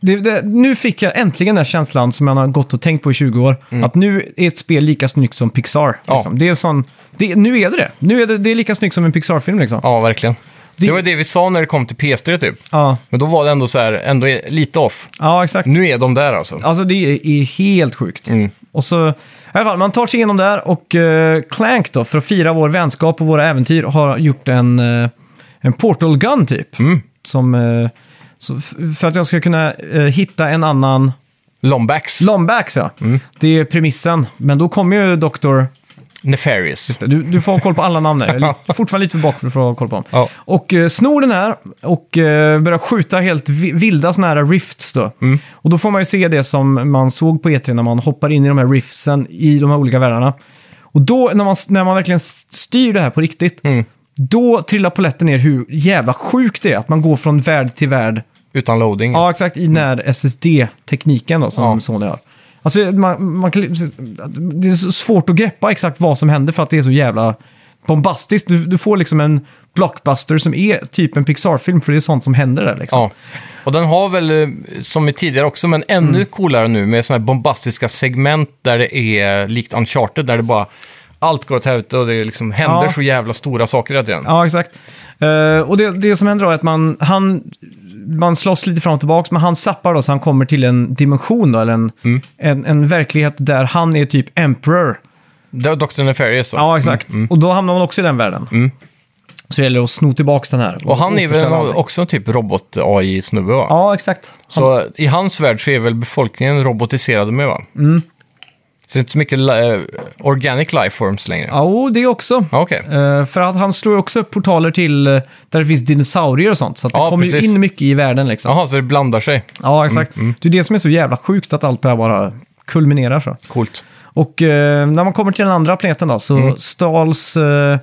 Speaker 1: det, det, nu fick jag äntligen den här känslan som jag har gått och tänkt på i 20 år. Att nu är ett spel lika snyggt som Pixar.
Speaker 2: Mm. Ja.
Speaker 1: Liksom. Det är sån, det, nu är det det. Nu är det, det är lika snyggt som en Pixar-film liksom.
Speaker 2: ja verkligen.
Speaker 1: Det-
Speaker 2: Det... var det vi sa när det kom till PS3 typ.
Speaker 1: Ja,
Speaker 2: Men då var det ändå så här, ändå lite off.
Speaker 1: ja exakt.
Speaker 2: Nu är de där alltså.
Speaker 1: Alltså det är, är helt sjukt.
Speaker 2: Mm.
Speaker 1: Och så, i alla fall, man tar sig igenom där och eh, Clank då, för att fira vår vänskap och våra äventyr, har gjort en, eh, en portal gun typ.
Speaker 2: Mm.
Speaker 1: Som, eh, så f- för att jag ska kunna eh, hitta en annan
Speaker 2: Lombax,
Speaker 1: Lombax ja. Det är premissen. Men då kommer ju Dr.
Speaker 2: Nefarious.
Speaker 1: Du, du får ha koll på alla namn här. Jag är fortfarande lite för bak för att få ha koll på dem.
Speaker 2: Ja.
Speaker 1: Och eh, snor den här och eh, börjar skjuta helt vi- vilda sådana här rifts då. Och då får man ju se det som man såg på E3 när man hoppar in i de här riftsen i de här olika världarna. Och då, när man, när man verkligen styr det här på riktigt, då trillar polletten ner hur jävla sjukt det är att man går från värld till värld
Speaker 2: Utan loading.
Speaker 1: Ja, exakt. I den här SSD-tekniken då, som
Speaker 2: Ja.
Speaker 1: Sony har. Alltså, man, man, kan- det är så svårt att greppa exakt vad som händer för att det är så jävla bombastiskt. Du, du får liksom en blockbuster som är typ en Pixar-film, för det är sånt som händer där. Liksom.
Speaker 2: Ja. Och den har väl, eh, som i tidigare också, men ännu
Speaker 1: Mm.
Speaker 2: coolare nu med sådana här bombastiska segment där det är likt Uncharted, där det bara allt går åt helvete och det liksom händer
Speaker 1: Ja.
Speaker 2: så jävla stora saker hela tiden.
Speaker 1: Ja, exakt. Eh, och det, det som händer då är att man, han, man slåss lite fram och tillbaka, men han zappar då så han kommer till en dimension då, eller en,
Speaker 2: Mm.
Speaker 1: en, en verklighet där han är typ emperor.
Speaker 2: Det var Dr. Nefarious då. mm.
Speaker 1: Ja, exakt. Och då hamnar man också i den världen. Så gäller det att sno tillbaka den här.
Speaker 2: Och han är väl
Speaker 1: återställa
Speaker 2: någon-
Speaker 1: allting.
Speaker 2: också en typ robot-AI-snubbe va?
Speaker 1: Ja, exakt.
Speaker 2: Så i hans värld så är väl befolkningen robotiserad med va?
Speaker 1: Mm.
Speaker 2: Så det är inte så mycket li- organic life forms längre?
Speaker 1: Ja, och det också.
Speaker 2: Ja, Okej.
Speaker 1: Eh, för att han slår ju också upp portaler till eh, där det finns dinosaurier och sånt. Så att det
Speaker 2: Ja,
Speaker 1: kommer ju
Speaker 2: precis. Mm,
Speaker 1: in mycket i världen liksom.
Speaker 2: Jaha, så det blandar sig.
Speaker 1: Ja, exakt. Det är det som är så jävla sjukt att allt det här bara kulminerar så.
Speaker 2: Coolt.
Speaker 1: Och eh, när man kommer till den andra planeten då så
Speaker 2: Mm.
Speaker 1: stals eh, eh,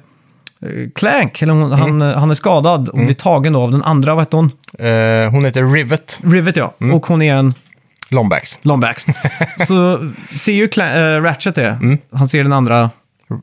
Speaker 1: Clank, eller
Speaker 2: Mm.
Speaker 1: hon, han, eh, han är skadad och blir tagen då av den andra, vad hette hon?
Speaker 2: Eh, hon heter Rivet
Speaker 1: Rivet ja,
Speaker 2: Mm.
Speaker 1: och hon är en
Speaker 2: Lombax.
Speaker 1: Lombax. så ser ju Cla- eh, Ratchet det, han ser den andra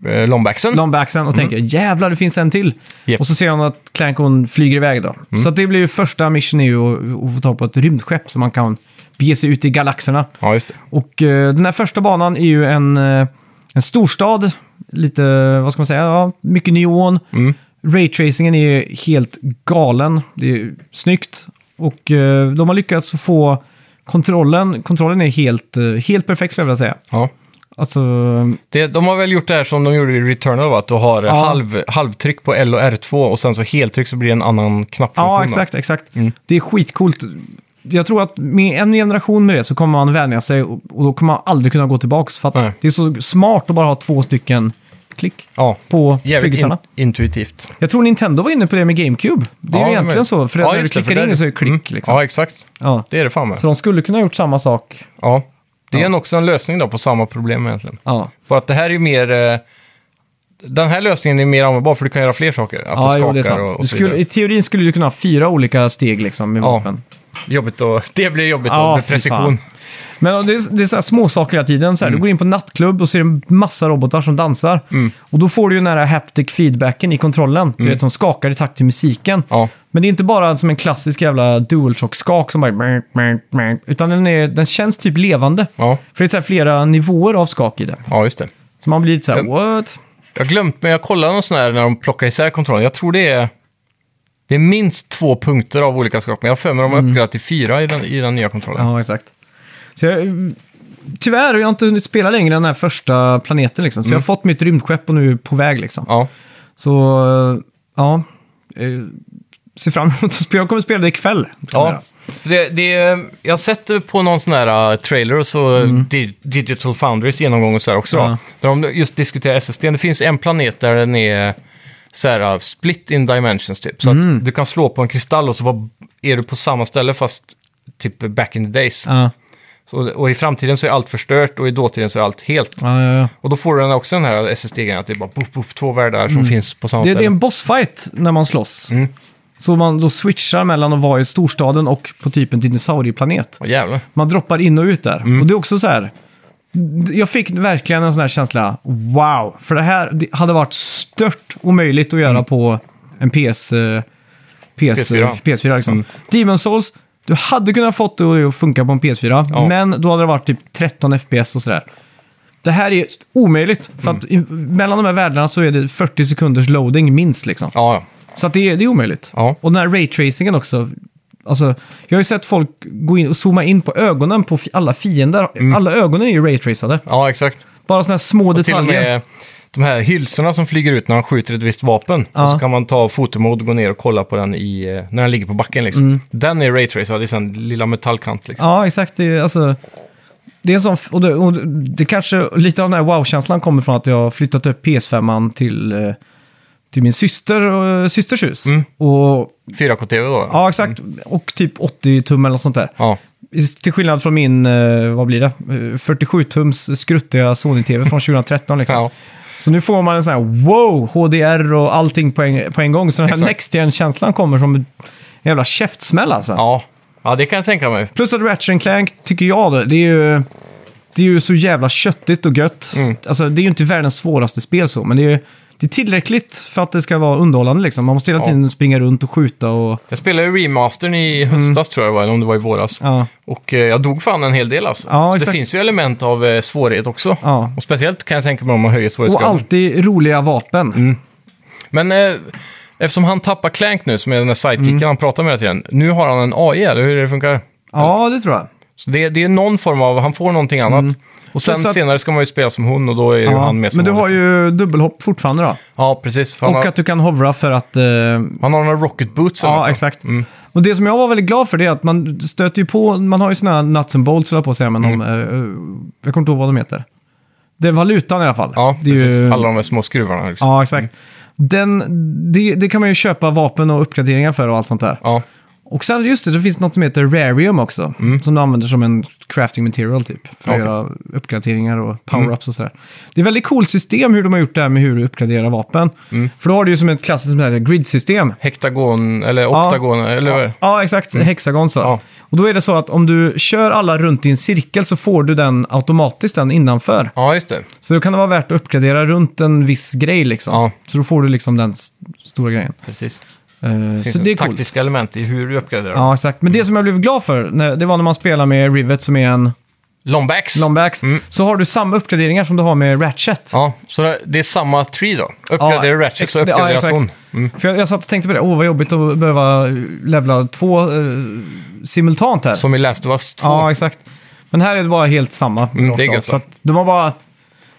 Speaker 2: Eh, Lombaxen?
Speaker 1: Lombaxen och tänker jävlar det finns en till.
Speaker 2: Japp.
Speaker 1: Och så ser han att Clank och hon flyger iväg då. Så att det blir ju första mission är ju att, att få tag på ett rymdskepp så man kan bege sig ut i galaxerna.
Speaker 2: ja, just det.
Speaker 1: Och eh, den här första banan är ju en, eh, en storstad. Lite, vad ska man säga, ja, mycket neon.
Speaker 2: Mm.
Speaker 1: Raytracingen är ju helt galen. Det är ju snyggt. Och eh, de har lyckats få kontrollen. Kontrollen är helt, eh, helt perfekt skulle jag vilja säga.
Speaker 2: Ja.
Speaker 1: Alltså,
Speaker 2: Det, de har väl gjort det här som de gjorde i Returnal, va? att du har
Speaker 1: Ja.
Speaker 2: halv, halvtryck på L och R2 och sen så heltryck så blir det en annan knappfunktion.
Speaker 1: ja,
Speaker 2: va?
Speaker 1: exakt, exakt.
Speaker 2: Mm.
Speaker 1: Det är skitcoolt. Jag tror att med en generation med det så kommer man vänja sig och, och då kommer man aldrig kunna gå tillbaka. För att
Speaker 2: Nej.
Speaker 1: det är så smart att bara ha två stycken klick
Speaker 2: Ja,
Speaker 1: på
Speaker 2: jävligt in,
Speaker 1: flyggisarna.
Speaker 2: intuitivt.
Speaker 1: Jag tror Nintendo var inne på det med GameCube. Det är
Speaker 2: Ja,
Speaker 1: ju egentligen
Speaker 2: men-
Speaker 1: så, för
Speaker 2: Ja,
Speaker 1: när du
Speaker 2: just det, för
Speaker 1: klickar
Speaker 2: där-
Speaker 1: in så är det klick.
Speaker 2: Mm.
Speaker 1: Liksom.
Speaker 2: Ja, exakt.
Speaker 1: Ja.
Speaker 2: Det är det fan med.
Speaker 1: Så de skulle kunna ha gjort samma sak.
Speaker 2: Ja. Det är en också en lösning då på samma problem egentligen.
Speaker 1: Ja,
Speaker 2: Bara att det här är ju mer... eh, Den här lösningen är mer användbar för du kan göra fler saker. Att
Speaker 1: ja
Speaker 2: det
Speaker 1: jo,
Speaker 2: skakar
Speaker 1: det är sant.
Speaker 2: och,
Speaker 1: du
Speaker 2: och så
Speaker 1: skulle,
Speaker 2: vidare.
Speaker 1: I teorin skulle du kunna ha fyra olika steg liksom, med
Speaker 2: Ja.
Speaker 1: vapen.
Speaker 2: Jobbigt och, det blir jobbigt
Speaker 1: Ja,
Speaker 2: då, med
Speaker 1: fy
Speaker 2: precision. Mm.
Speaker 1: Men det är, det är så här små saker hela tiden. Så här, Du går in på en nattklubb och ser en massa robotar som dansar. Och då får du ju den här haptic feedbacken i kontrollen. Du vet, som skakar i takt till musiken.
Speaker 2: Mm. Ja.
Speaker 1: Men det är inte bara som en klassisk jävla DualShock-skak som bara... Utan den, är, den känns typ levande.
Speaker 2: Ja.
Speaker 1: För det är så här flera nivåer av skak i det.
Speaker 2: ja, just det.
Speaker 1: Så man blir lite så här, what?
Speaker 2: Jag har glömt, men jag kollade någon sån här när de plockade isär kontrollen. Jag tror det är... Det är minst två punkter av olika skakningar. Jag har för mig att de har uppgraderat till fyra i den, i den nya kontrollen.
Speaker 1: Ja, exakt. Så jag, tyvärr har jag inte hunnit spela längre än den här första planeten liksom. Så jag har fått mitt rymdskepp och nu är på väg liksom.
Speaker 2: Mm. Ja.
Speaker 1: Så, eh, ja. eh, Ser fram emot att spela. Jag kommer spela det ikväll.
Speaker 2: ja. Det, det, jag har sett det på någon sån här eh, trailer och så eh, Di- Digital Foundries genomgång och så här också.
Speaker 1: Ja.
Speaker 2: Då, där de just diskuterar SSD. Det finns en planet där den är så här eh, split in dimensions typ. Så att du kan slå på en kristall och så var, är du på samma ställe fast typ back in the days.
Speaker 1: Ja,
Speaker 2: Så, och i framtiden så är allt förstört och i dåtiden så är allt helt.
Speaker 1: ja, ja, ja.
Speaker 2: Och då får du den också den här SSD-grejen, att det är bara poff, poff, två världar som finns på samma
Speaker 1: Mm. Det, det är
Speaker 2: ställe.
Speaker 1: en bossfight när man slåss.
Speaker 2: Mm.
Speaker 1: Så man då switchar mellan att vara i storstaden och på typ en dinosaurieplanet.
Speaker 2: Åh, jävlar.
Speaker 1: Man droppar in och ut där. Och det är också så här. Jag fick verkligen en sån här känsla, wow! För det här det hade varit stört omöjligt att göra på en PS, eh, PS,
Speaker 2: PS4.
Speaker 1: PS4. PS4 liksom. Demon Souls, du hade kunnat fått det att funka på en PS4,
Speaker 2: Ja.
Speaker 1: men då hade det varit typ 13 FPS och sådär. Det här är omöjligt, för att i, mellan de här världarna så är det 40 sekunders loading minst liksom.
Speaker 2: Ja, ja.
Speaker 1: Så att det, är, det är omöjligt.
Speaker 2: Ja.
Speaker 1: Och den här raytracingen också. Alltså, jag har ju sett folk gå in och zooma in på ögonen på fi- alla fiender. Alla ögonen är ju raytracade.
Speaker 2: ja, exakt.
Speaker 1: Bara sådana här små
Speaker 2: Till Mm. och
Speaker 1: detaljer.
Speaker 2: med de här hylsorna som flyger ut när han skjuter ett visst vapen.
Speaker 1: Ja.
Speaker 2: Och så kan man ta fotomod och gå ner och kolla på den i, eh, när den ligger på backen. Liksom.
Speaker 1: Mm.
Speaker 2: Den är raytracad i sin lilla metallkant. Liksom.
Speaker 1: Ja, exakt. Det är, alltså, det är en sån... Och det, och det kanske... Lite av den här wow-känslan kommer från att jag har flyttat upp PS5 till, eh, till min syster och systers hus.
Speaker 2: Mm.
Speaker 1: Och,
Speaker 2: 4K-TV då?
Speaker 1: ja, exakt. Och typ 80 tum eller något sånt där.
Speaker 2: ja.
Speaker 1: Till skillnad från min, eh, vad blir det, 47-tums skruttiga Sony-TV från 2013 liksom.
Speaker 2: Ja.
Speaker 1: Så nu får man en sån här wow, HDR och allting på en, på en gång. Så den här
Speaker 2: Exakt.
Speaker 1: Next Gen-känslan kommer som en jävla käftsmäll alltså.
Speaker 2: Ja. ja, det kan jag tänka mig.
Speaker 1: Plus att Ratchet Clank, tycker jag, då, det är ju... Det är ju så jävla köttigt och gött.
Speaker 2: Mm.
Speaker 1: Alltså, det är ju inte världens svåraste spel så, men det är, ju- det är tillräckligt för att det ska vara underhållande liksom. Man måste hela
Speaker 2: Ja.
Speaker 1: tiden springa runt och skjuta och...
Speaker 2: Jag spelade ju remastern i höstas tror jag det var, eller om det var i våras.
Speaker 1: Mm. Ja.
Speaker 2: Och eh, jag dog fan en hel del alltså.
Speaker 1: Ja,
Speaker 2: Så det
Speaker 1: exakt.
Speaker 2: finns ju element av eh, svårighet också.
Speaker 1: Ja.
Speaker 2: Och speciellt kan jag tänka mig om man Mm. höjer
Speaker 1: Och
Speaker 2: svårighetsgraden.
Speaker 1: alltid roliga vapen.
Speaker 2: Men eh, eftersom han tappar
Speaker 1: Mm.
Speaker 2: Clank nu, som är den där sidekicken han pratar med hela tiden. Nu har han en AI, eller hur är det det funkar?
Speaker 1: Ja, det tror jag.
Speaker 2: Så det, det är någon form av, han får någonting
Speaker 1: Mm.
Speaker 2: annat. Och sen
Speaker 1: Plus att-
Speaker 2: senare ska man ju spela som hon och då är ju
Speaker 1: Ja,
Speaker 2: han med som
Speaker 1: men du har
Speaker 2: vanligt.
Speaker 1: ju dubbelhopp fortfarande då.
Speaker 2: Ja, precis. För Han,
Speaker 1: Och
Speaker 2: har,
Speaker 1: att du kan hovra för att... eh,
Speaker 2: han har några rocket boots eller något,
Speaker 1: ja,
Speaker 2: va?
Speaker 1: exakt.
Speaker 2: Mm.
Speaker 1: Och det som jag var väldigt glad för det är att man stöter ju på... Man har ju sådana här nuts and bolts, höll jag på att säga, men
Speaker 2: Mm.
Speaker 1: de, eh, jag kommer inte ihåg vad de heter. Det är valutan i alla fall.
Speaker 2: Ja,
Speaker 1: det är
Speaker 2: precis.
Speaker 1: ju-
Speaker 2: Alla de här små skruvarna. Liksom.
Speaker 1: Ja, exakt. Den, det, det kan man ju köpa vapen och uppgraderingar för och allt sånt där.
Speaker 2: Ja.
Speaker 1: Och sen, just det, det finns något som heter rarium också. Som du använder som en crafting material typ. För att
Speaker 2: Mm. Okej. Mm.
Speaker 1: göra uppgraderingar och power-ups och sådär. Det är ett väldigt coolt system hur de har gjort det här med hur du uppgraderar vapen.
Speaker 2: Mm.
Speaker 1: För då har du ju som ett klassiskt sånt här grid-system.
Speaker 2: Hektagon, eller oktagon, eller vad är det? Mm.
Speaker 1: Ja, exakt. Hexagon så.
Speaker 2: Ja.
Speaker 1: Och då är det så att om du kör alla runt i en cirkel så får du den automatiskt, den innanför.
Speaker 2: Ja, just det.
Speaker 1: Så då kan det vara värt att uppgradera runt en viss grej liksom.
Speaker 2: Ja.
Speaker 1: Så då får du liksom den s- stora grejen.
Speaker 2: Precis.
Speaker 1: Eh,
Speaker 2: Det finns
Speaker 1: så det är coolt.
Speaker 2: taktiska element i hur du uppgraderar.
Speaker 1: Ja, exakt.
Speaker 2: Mm.
Speaker 1: Men det som jag blev glad för, när- det var när man spelar med Rivet som är en
Speaker 2: Lombax.
Speaker 1: Lombax. Så har du samma uppgraderingar som du har med Ratchet.
Speaker 2: Mm. Ja, så det- det är samma tree då? Uppgraderar Mm. du Ratchet
Speaker 1: ex-
Speaker 2: så
Speaker 1: det- ja,
Speaker 2: uppgraderas
Speaker 1: exakt.
Speaker 2: hon.
Speaker 1: För jag, jag satt och tänkte på det, åh vad jobbigt att behöva levla två eh, simultant här.
Speaker 2: Som i Last of Us 2.
Speaker 1: Ja, exakt. Men här är det bara helt samma.
Speaker 2: Mm, det är gött,
Speaker 1: så att de har bara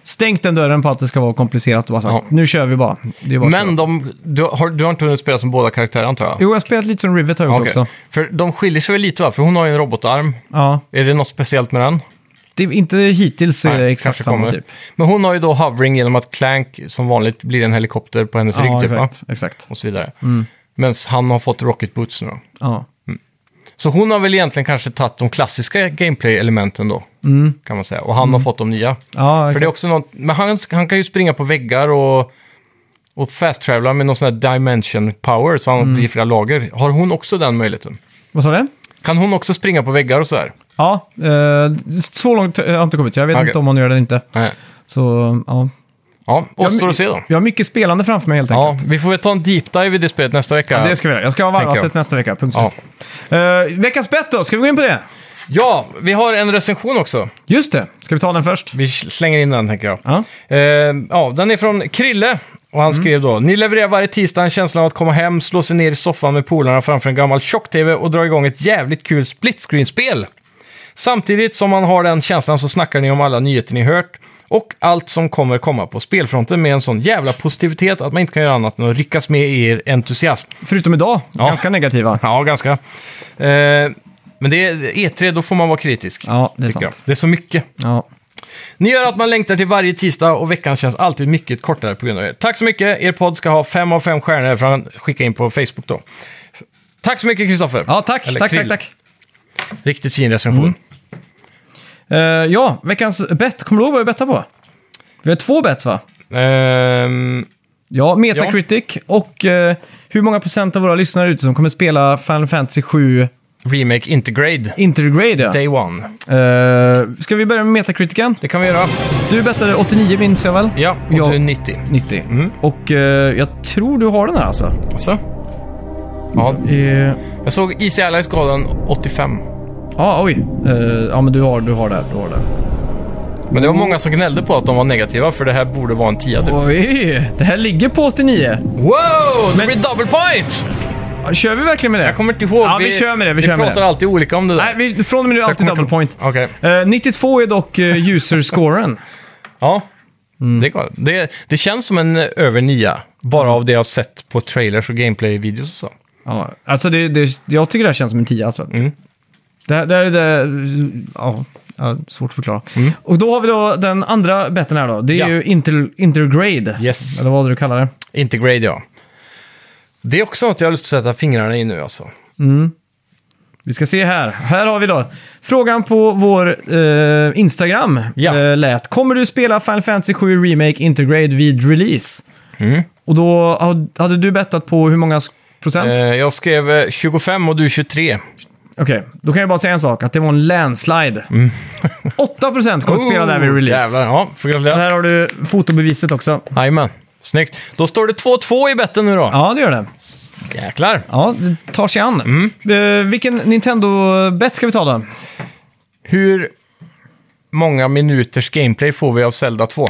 Speaker 1: stängt den dörren på att det ska vara komplicerat och bara sagt,
Speaker 2: Ja.
Speaker 1: nu kör vi bara. Det är bara att köra.
Speaker 2: Men de, du, har, du har inte hunnit spela som båda karaktärer antar jag?
Speaker 1: Jo, jag har spelat lite som Rivet har gjort
Speaker 2: Okej.
Speaker 1: också.
Speaker 2: För de skiljer sig väl lite va? För hon har ju en robotarm.
Speaker 1: Ja,
Speaker 2: Är det något speciellt med den?
Speaker 1: det är inte hittills är det
Speaker 2: Nej,
Speaker 1: exakt
Speaker 2: kanske
Speaker 1: samma
Speaker 2: kommer.
Speaker 1: typ.
Speaker 2: Men hon har ju då hovering genom att Clank som vanligt blir en helikopter på hennes rygg
Speaker 1: Ja,
Speaker 2: typ, va?
Speaker 1: exakt. exakt.
Speaker 2: Och så vidare. Mm. Medan han har fått rocket boots nu då.
Speaker 1: Ja.
Speaker 2: Så hon har väl egentligen kanske tagit de klassiska gameplay-elementen då,
Speaker 1: Mm.
Speaker 2: kan man säga. Och han har fått de nya.
Speaker 1: Ja,
Speaker 2: För det
Speaker 1: exakt.
Speaker 2: är också något, men han, han kan ju springa på väggar och, och fast-travela med någon sån här dimension power, så han
Speaker 1: Mm.
Speaker 2: blir flera lager. Har hon också den möjligheten?
Speaker 1: Vad sa du?
Speaker 2: Kan hon också springa på väggar och sådär?
Speaker 1: Ja, eh, så långt har jag inte kommit. Jag vet
Speaker 2: Okej.
Speaker 1: inte om hon gör det eller inte.
Speaker 2: Nej.
Speaker 1: Så, ja.
Speaker 2: Ja, återstår
Speaker 1: men-
Speaker 2: att se då.
Speaker 1: Jag har mycket spelande framför mig helt enkelt.
Speaker 2: Ja, vi får väl ta en deep dive i det spelet nästa vecka.
Speaker 1: Det ska vi göra. Jag ska ha varvat
Speaker 2: Tänker jag.
Speaker 1: det nästa vecka. Punkt.
Speaker 2: Ja.
Speaker 1: Eh, veckans bett då, ska vi gå in på det?
Speaker 2: ja, vi har en recension också.
Speaker 1: Just det, ska vi ta den först?
Speaker 2: Vi slänger in den, tänker jag.
Speaker 1: Ja. Mm.
Speaker 2: Eh, ja, den är från Krille. Och han skrev då, ni levererar varje tisdag en känsla av att komma hem, slå sig ner i soffan med polarna framför en gammal tjock-tv och dra igång ett jävligt kul split screen-spel. Samtidigt som man har den känslan så snackar ni om alla nyheter ni hört och allt som kommer komma på spelfronten med en sån jävla positivitet att man inte kan göra annat än att ryckas med i er entusiasm.
Speaker 1: Förutom idag,
Speaker 2: Ja.
Speaker 1: ganska negativa.
Speaker 2: Ja, ganska. Eh, men det är E3, då får man vara kritisk.
Speaker 1: Ja, det är
Speaker 2: tycker jag.
Speaker 1: sant.
Speaker 2: Det är så mycket.
Speaker 1: Ja.
Speaker 2: Ni gör att man längtar till varje tisdag och veckan känns alltid mycket kortare på grund av er. Tack så mycket. Er podd ska ha fem av fem stjärnor för han skicka in på Facebook då. Tack så mycket Kristoffer.
Speaker 1: Ja, tack,
Speaker 2: Eller
Speaker 1: tack, tack,
Speaker 2: Krill.
Speaker 1: tack.
Speaker 2: Riktigt fin recension.
Speaker 1: Eh, ja, veckans bett. Kommer du ihåg vad vi bettade på? Vi har två bett va?
Speaker 2: Ehm,
Speaker 1: Ja, Metacritic och eh, hur många procent av våra lyssnare ute som kommer spela Final Fantasy 7
Speaker 2: remake Intergrade.
Speaker 1: Intergrade. Ja.
Speaker 2: Day One.
Speaker 1: Uh, ska vi börja med Metacriticen?
Speaker 2: Det kan vi göra.
Speaker 1: Du bettade 89 minns jag väl?
Speaker 2: Ja, Mm. och
Speaker 1: Ja.
Speaker 2: du är 90.
Speaker 1: 90. Och eh, jag tror du har den här alltså.
Speaker 2: Alltså? Ja,
Speaker 1: Eh,
Speaker 2: jag såg Easy Allies gav den 85.
Speaker 1: Ja, oj. Eh, ja, men du har, du har det. Du har det.
Speaker 2: Men det var många som gnällde på att de var negativa för det här borde vara en 10 typ.
Speaker 1: Oj, det här ligger på 89.
Speaker 2: Wow! Det blir double point!
Speaker 1: Kör vi verkligen med det?
Speaker 2: Jag kommer inte ihåg.
Speaker 1: Ja, vi kör med det, vi kör med
Speaker 2: pratar
Speaker 1: det.
Speaker 2: alltid olika om det där.
Speaker 1: Nej, vi, från och med nu är det alltid
Speaker 2: kommer
Speaker 1: double point.
Speaker 2: Okej.
Speaker 1: Eh, 92 är dock uh, user-scoren.
Speaker 2: Ja,
Speaker 1: Mm.
Speaker 2: det är galet. Det, det känns som en eh, över nia, bara av det jag har sett på trailers och gameplay-videos och så.
Speaker 1: ja, alltså det, det, jag tycker det här känns som en 10 alltså.
Speaker 2: Mm.
Speaker 1: Det, här- det här är det... Ja, ja, svårt att förklara. Och då har vi då den andra betten här då. Det är
Speaker 2: Mm. Ja.
Speaker 1: ju inter, intergrade.
Speaker 2: Yes.
Speaker 1: Eller vad du kallar det.
Speaker 2: Integrade, ja. Det är också något jag har lust att sätta fingrarna i nu alltså.
Speaker 1: Vi ska se här. Här har vi då. Frågan på vår eh, Instagram
Speaker 2: Ja.
Speaker 1: eh, lät. Kommer du spela Final Fantasy 7 Remake Intergrade vid release?
Speaker 2: Mm.
Speaker 1: Och då had- hade du bettat på hur många s- procent?
Speaker 2: Eh, jag skrev eh, 25 och du 23.
Speaker 1: Okej, då kan jag bara säga en sak. Att det var en landslide. 8 procent kommer spela där vid release.
Speaker 2: Mm. Oh, Jävlar, ja. Får
Speaker 1: Och
Speaker 2: gratulera.
Speaker 1: Här har du fotobeviset också.
Speaker 2: Jajamän. Snyggt. Då står det 2-2 i betten nu då.
Speaker 1: Ja, det gör det.
Speaker 2: Jäklar.
Speaker 1: Ja, det tar sig an.
Speaker 2: Mm.
Speaker 1: Eh, vilken Nintendo-bet ska vi ta då?
Speaker 2: Hur många minuters gameplay får vi av Zelda 2?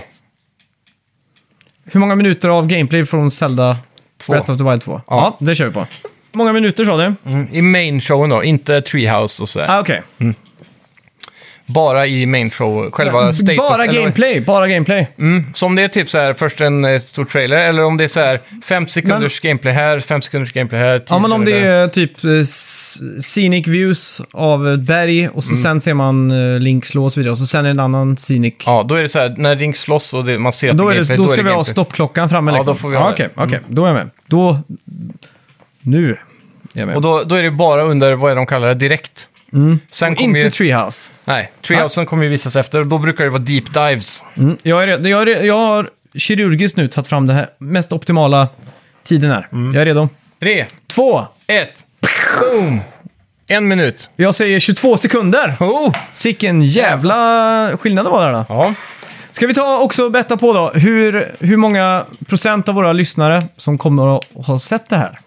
Speaker 1: Hur många minuter av gameplay från Zelda
Speaker 2: Två.
Speaker 1: Breath of the Wild 2? Ja.
Speaker 2: Ja.
Speaker 1: det kör vi på. Många minuter sa du?
Speaker 2: Mm. I main showen då, inte Treehouse och sådär.
Speaker 1: Ah, Okej.
Speaker 2: Bara i main show, själva state of-
Speaker 1: bara
Speaker 2: eller-
Speaker 1: gameplay, bara gameplay.
Speaker 2: Mm, så om det är typ så här först en eh, stor trailer eller om det är så här 5 sekunders gameplay här, 5 sekunders gameplay här, 10
Speaker 1: Ja, men om det
Speaker 2: sekunder där.
Speaker 1: är typ eh, s- scenic views av ett berg och så
Speaker 2: Mm.
Speaker 1: sen ser man eh, Link slå och så vidare och så sen är det en annan scenic.
Speaker 2: Ja, då är det så här när Link slåss och det, man ser att
Speaker 1: då, är det,
Speaker 2: gameplay,
Speaker 1: då ska vi ha
Speaker 2: gameplay.
Speaker 1: stoppklockan framme
Speaker 2: Ja,
Speaker 1: liksom.
Speaker 2: då får vi ha det. Mm.
Speaker 1: Okej, okej, då är jag med. Då... Nu är jag med.
Speaker 2: Och då, då är det bara under, vad är de kallar det, direkt. Sen kommer
Speaker 1: Mm. Inte
Speaker 2: ju,
Speaker 1: Treehouse.
Speaker 2: nej, Treehousen kommer ju visas efter och då brukar det vara deep dives.
Speaker 1: Mm, jag, är, redo- jag, är, redo- jag har kirurgiskt nu tagit fram den här mest optimala tiden här. Jag är redo.
Speaker 2: Tre,
Speaker 1: Två!
Speaker 2: ett, boom! En minut.
Speaker 1: Jag säger 22 sekunder!
Speaker 2: Oh!
Speaker 1: Sicken jävla skillnad det var där då.
Speaker 2: Ja.
Speaker 1: Ska vi ta också betta på då, hur, hur många procent av våra lyssnare som kommer att ha sett det här?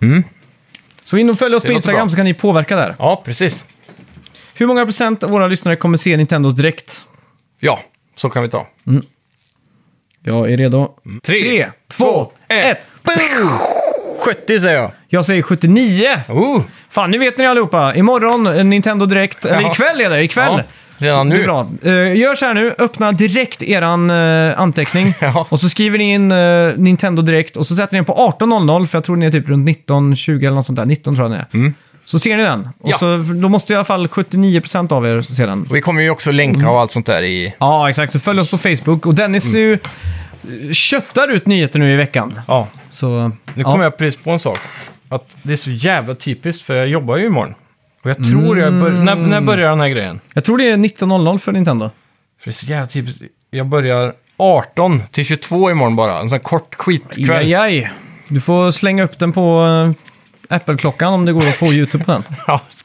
Speaker 1: Så in och följ oss på
Speaker 2: låter
Speaker 1: Instagram
Speaker 2: bra.
Speaker 1: så kan ni påverka där.
Speaker 2: ja, precis.
Speaker 1: Hur många procent av våra lyssnare kommer se Nintendos direkt?
Speaker 2: Ja, så kan vi ta.
Speaker 1: Jag är redo.
Speaker 2: Mm. Tre,
Speaker 1: Tre, två, ett.
Speaker 2: boom! 70 säger jag.
Speaker 1: Jag säger 79!
Speaker 2: Oh!
Speaker 1: Fan, nu vet ni allihopa. Imorgon, eh, Nintendo Direkt. Eller
Speaker 2: Ja.
Speaker 1: ikväll är det, ikväll.
Speaker 2: Ja, redan
Speaker 1: Det är
Speaker 2: nu.
Speaker 1: bra. Eh, gör så här nu, öppna direkt eran eh, anteckning.
Speaker 2: Ja.
Speaker 1: Och så skriver ni in eh, Nintendo Direkt och så sätter ni den på 18.00 för jag tror ni är typ runt 19.20 eller något sånt där. 19 tror jag ni är. Så ser ni den. Och
Speaker 2: Mm. Ja.
Speaker 1: så, då måste i alla fall 79% av er se den.
Speaker 2: Vi kommer ju också länka och allt sånt där i...
Speaker 1: Ja, exakt. Så följ oss på Facebook. Och Dennis
Speaker 2: Mm.
Speaker 1: är ju eh, köttar ut nyheter nu i veckan.
Speaker 2: Ja,
Speaker 1: Så,
Speaker 2: nu
Speaker 1: ja.
Speaker 2: kommer jag precis på en sak. Att det är så jävla typiskt, för jag jobbar ju imorgon. Och jag tror jag bör...
Speaker 1: Mm.
Speaker 2: när, när börjar den här grejen?
Speaker 1: jag tror det är 19.00 för Nintendo.
Speaker 2: För det är så jävla typiskt. Jag börjar 18 till 22 imorgon bara. En sån här kort skitkväll.
Speaker 1: Aj,
Speaker 2: Ja,
Speaker 1: aj. Du får slänga upp den på eh, Apple-klockan om det går att få YouTube på den.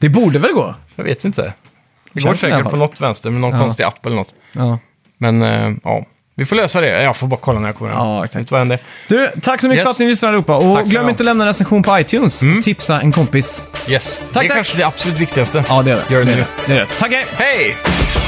Speaker 1: Det borde väl gå?
Speaker 2: jag vet inte. Det
Speaker 1: Känns
Speaker 2: går
Speaker 1: i alla
Speaker 2: säkert
Speaker 1: fall.
Speaker 2: på något vänster med någon konstig app eller något.
Speaker 1: Ja.
Speaker 2: Men eh, ja, vi får lösa det. Jag får bara kolla när jag kommer hem.
Speaker 1: Ja, exakt.
Speaker 2: Vet vad händer?
Speaker 1: Du, tack så mycket
Speaker 2: Yes.
Speaker 1: för att ni lyssnade allihopa. Och
Speaker 2: Tack ska ni
Speaker 1: glöm
Speaker 2: ha. Mm.
Speaker 1: inte att lämna en recension på iTunes. Tipsa en kompis.
Speaker 2: Yes. det är
Speaker 1: tack.
Speaker 2: kanske det absolut viktigaste.
Speaker 1: Ja, det är det.
Speaker 2: Gör det
Speaker 1: är
Speaker 2: nu.
Speaker 1: det är det. Tack, hej!
Speaker 2: Hej!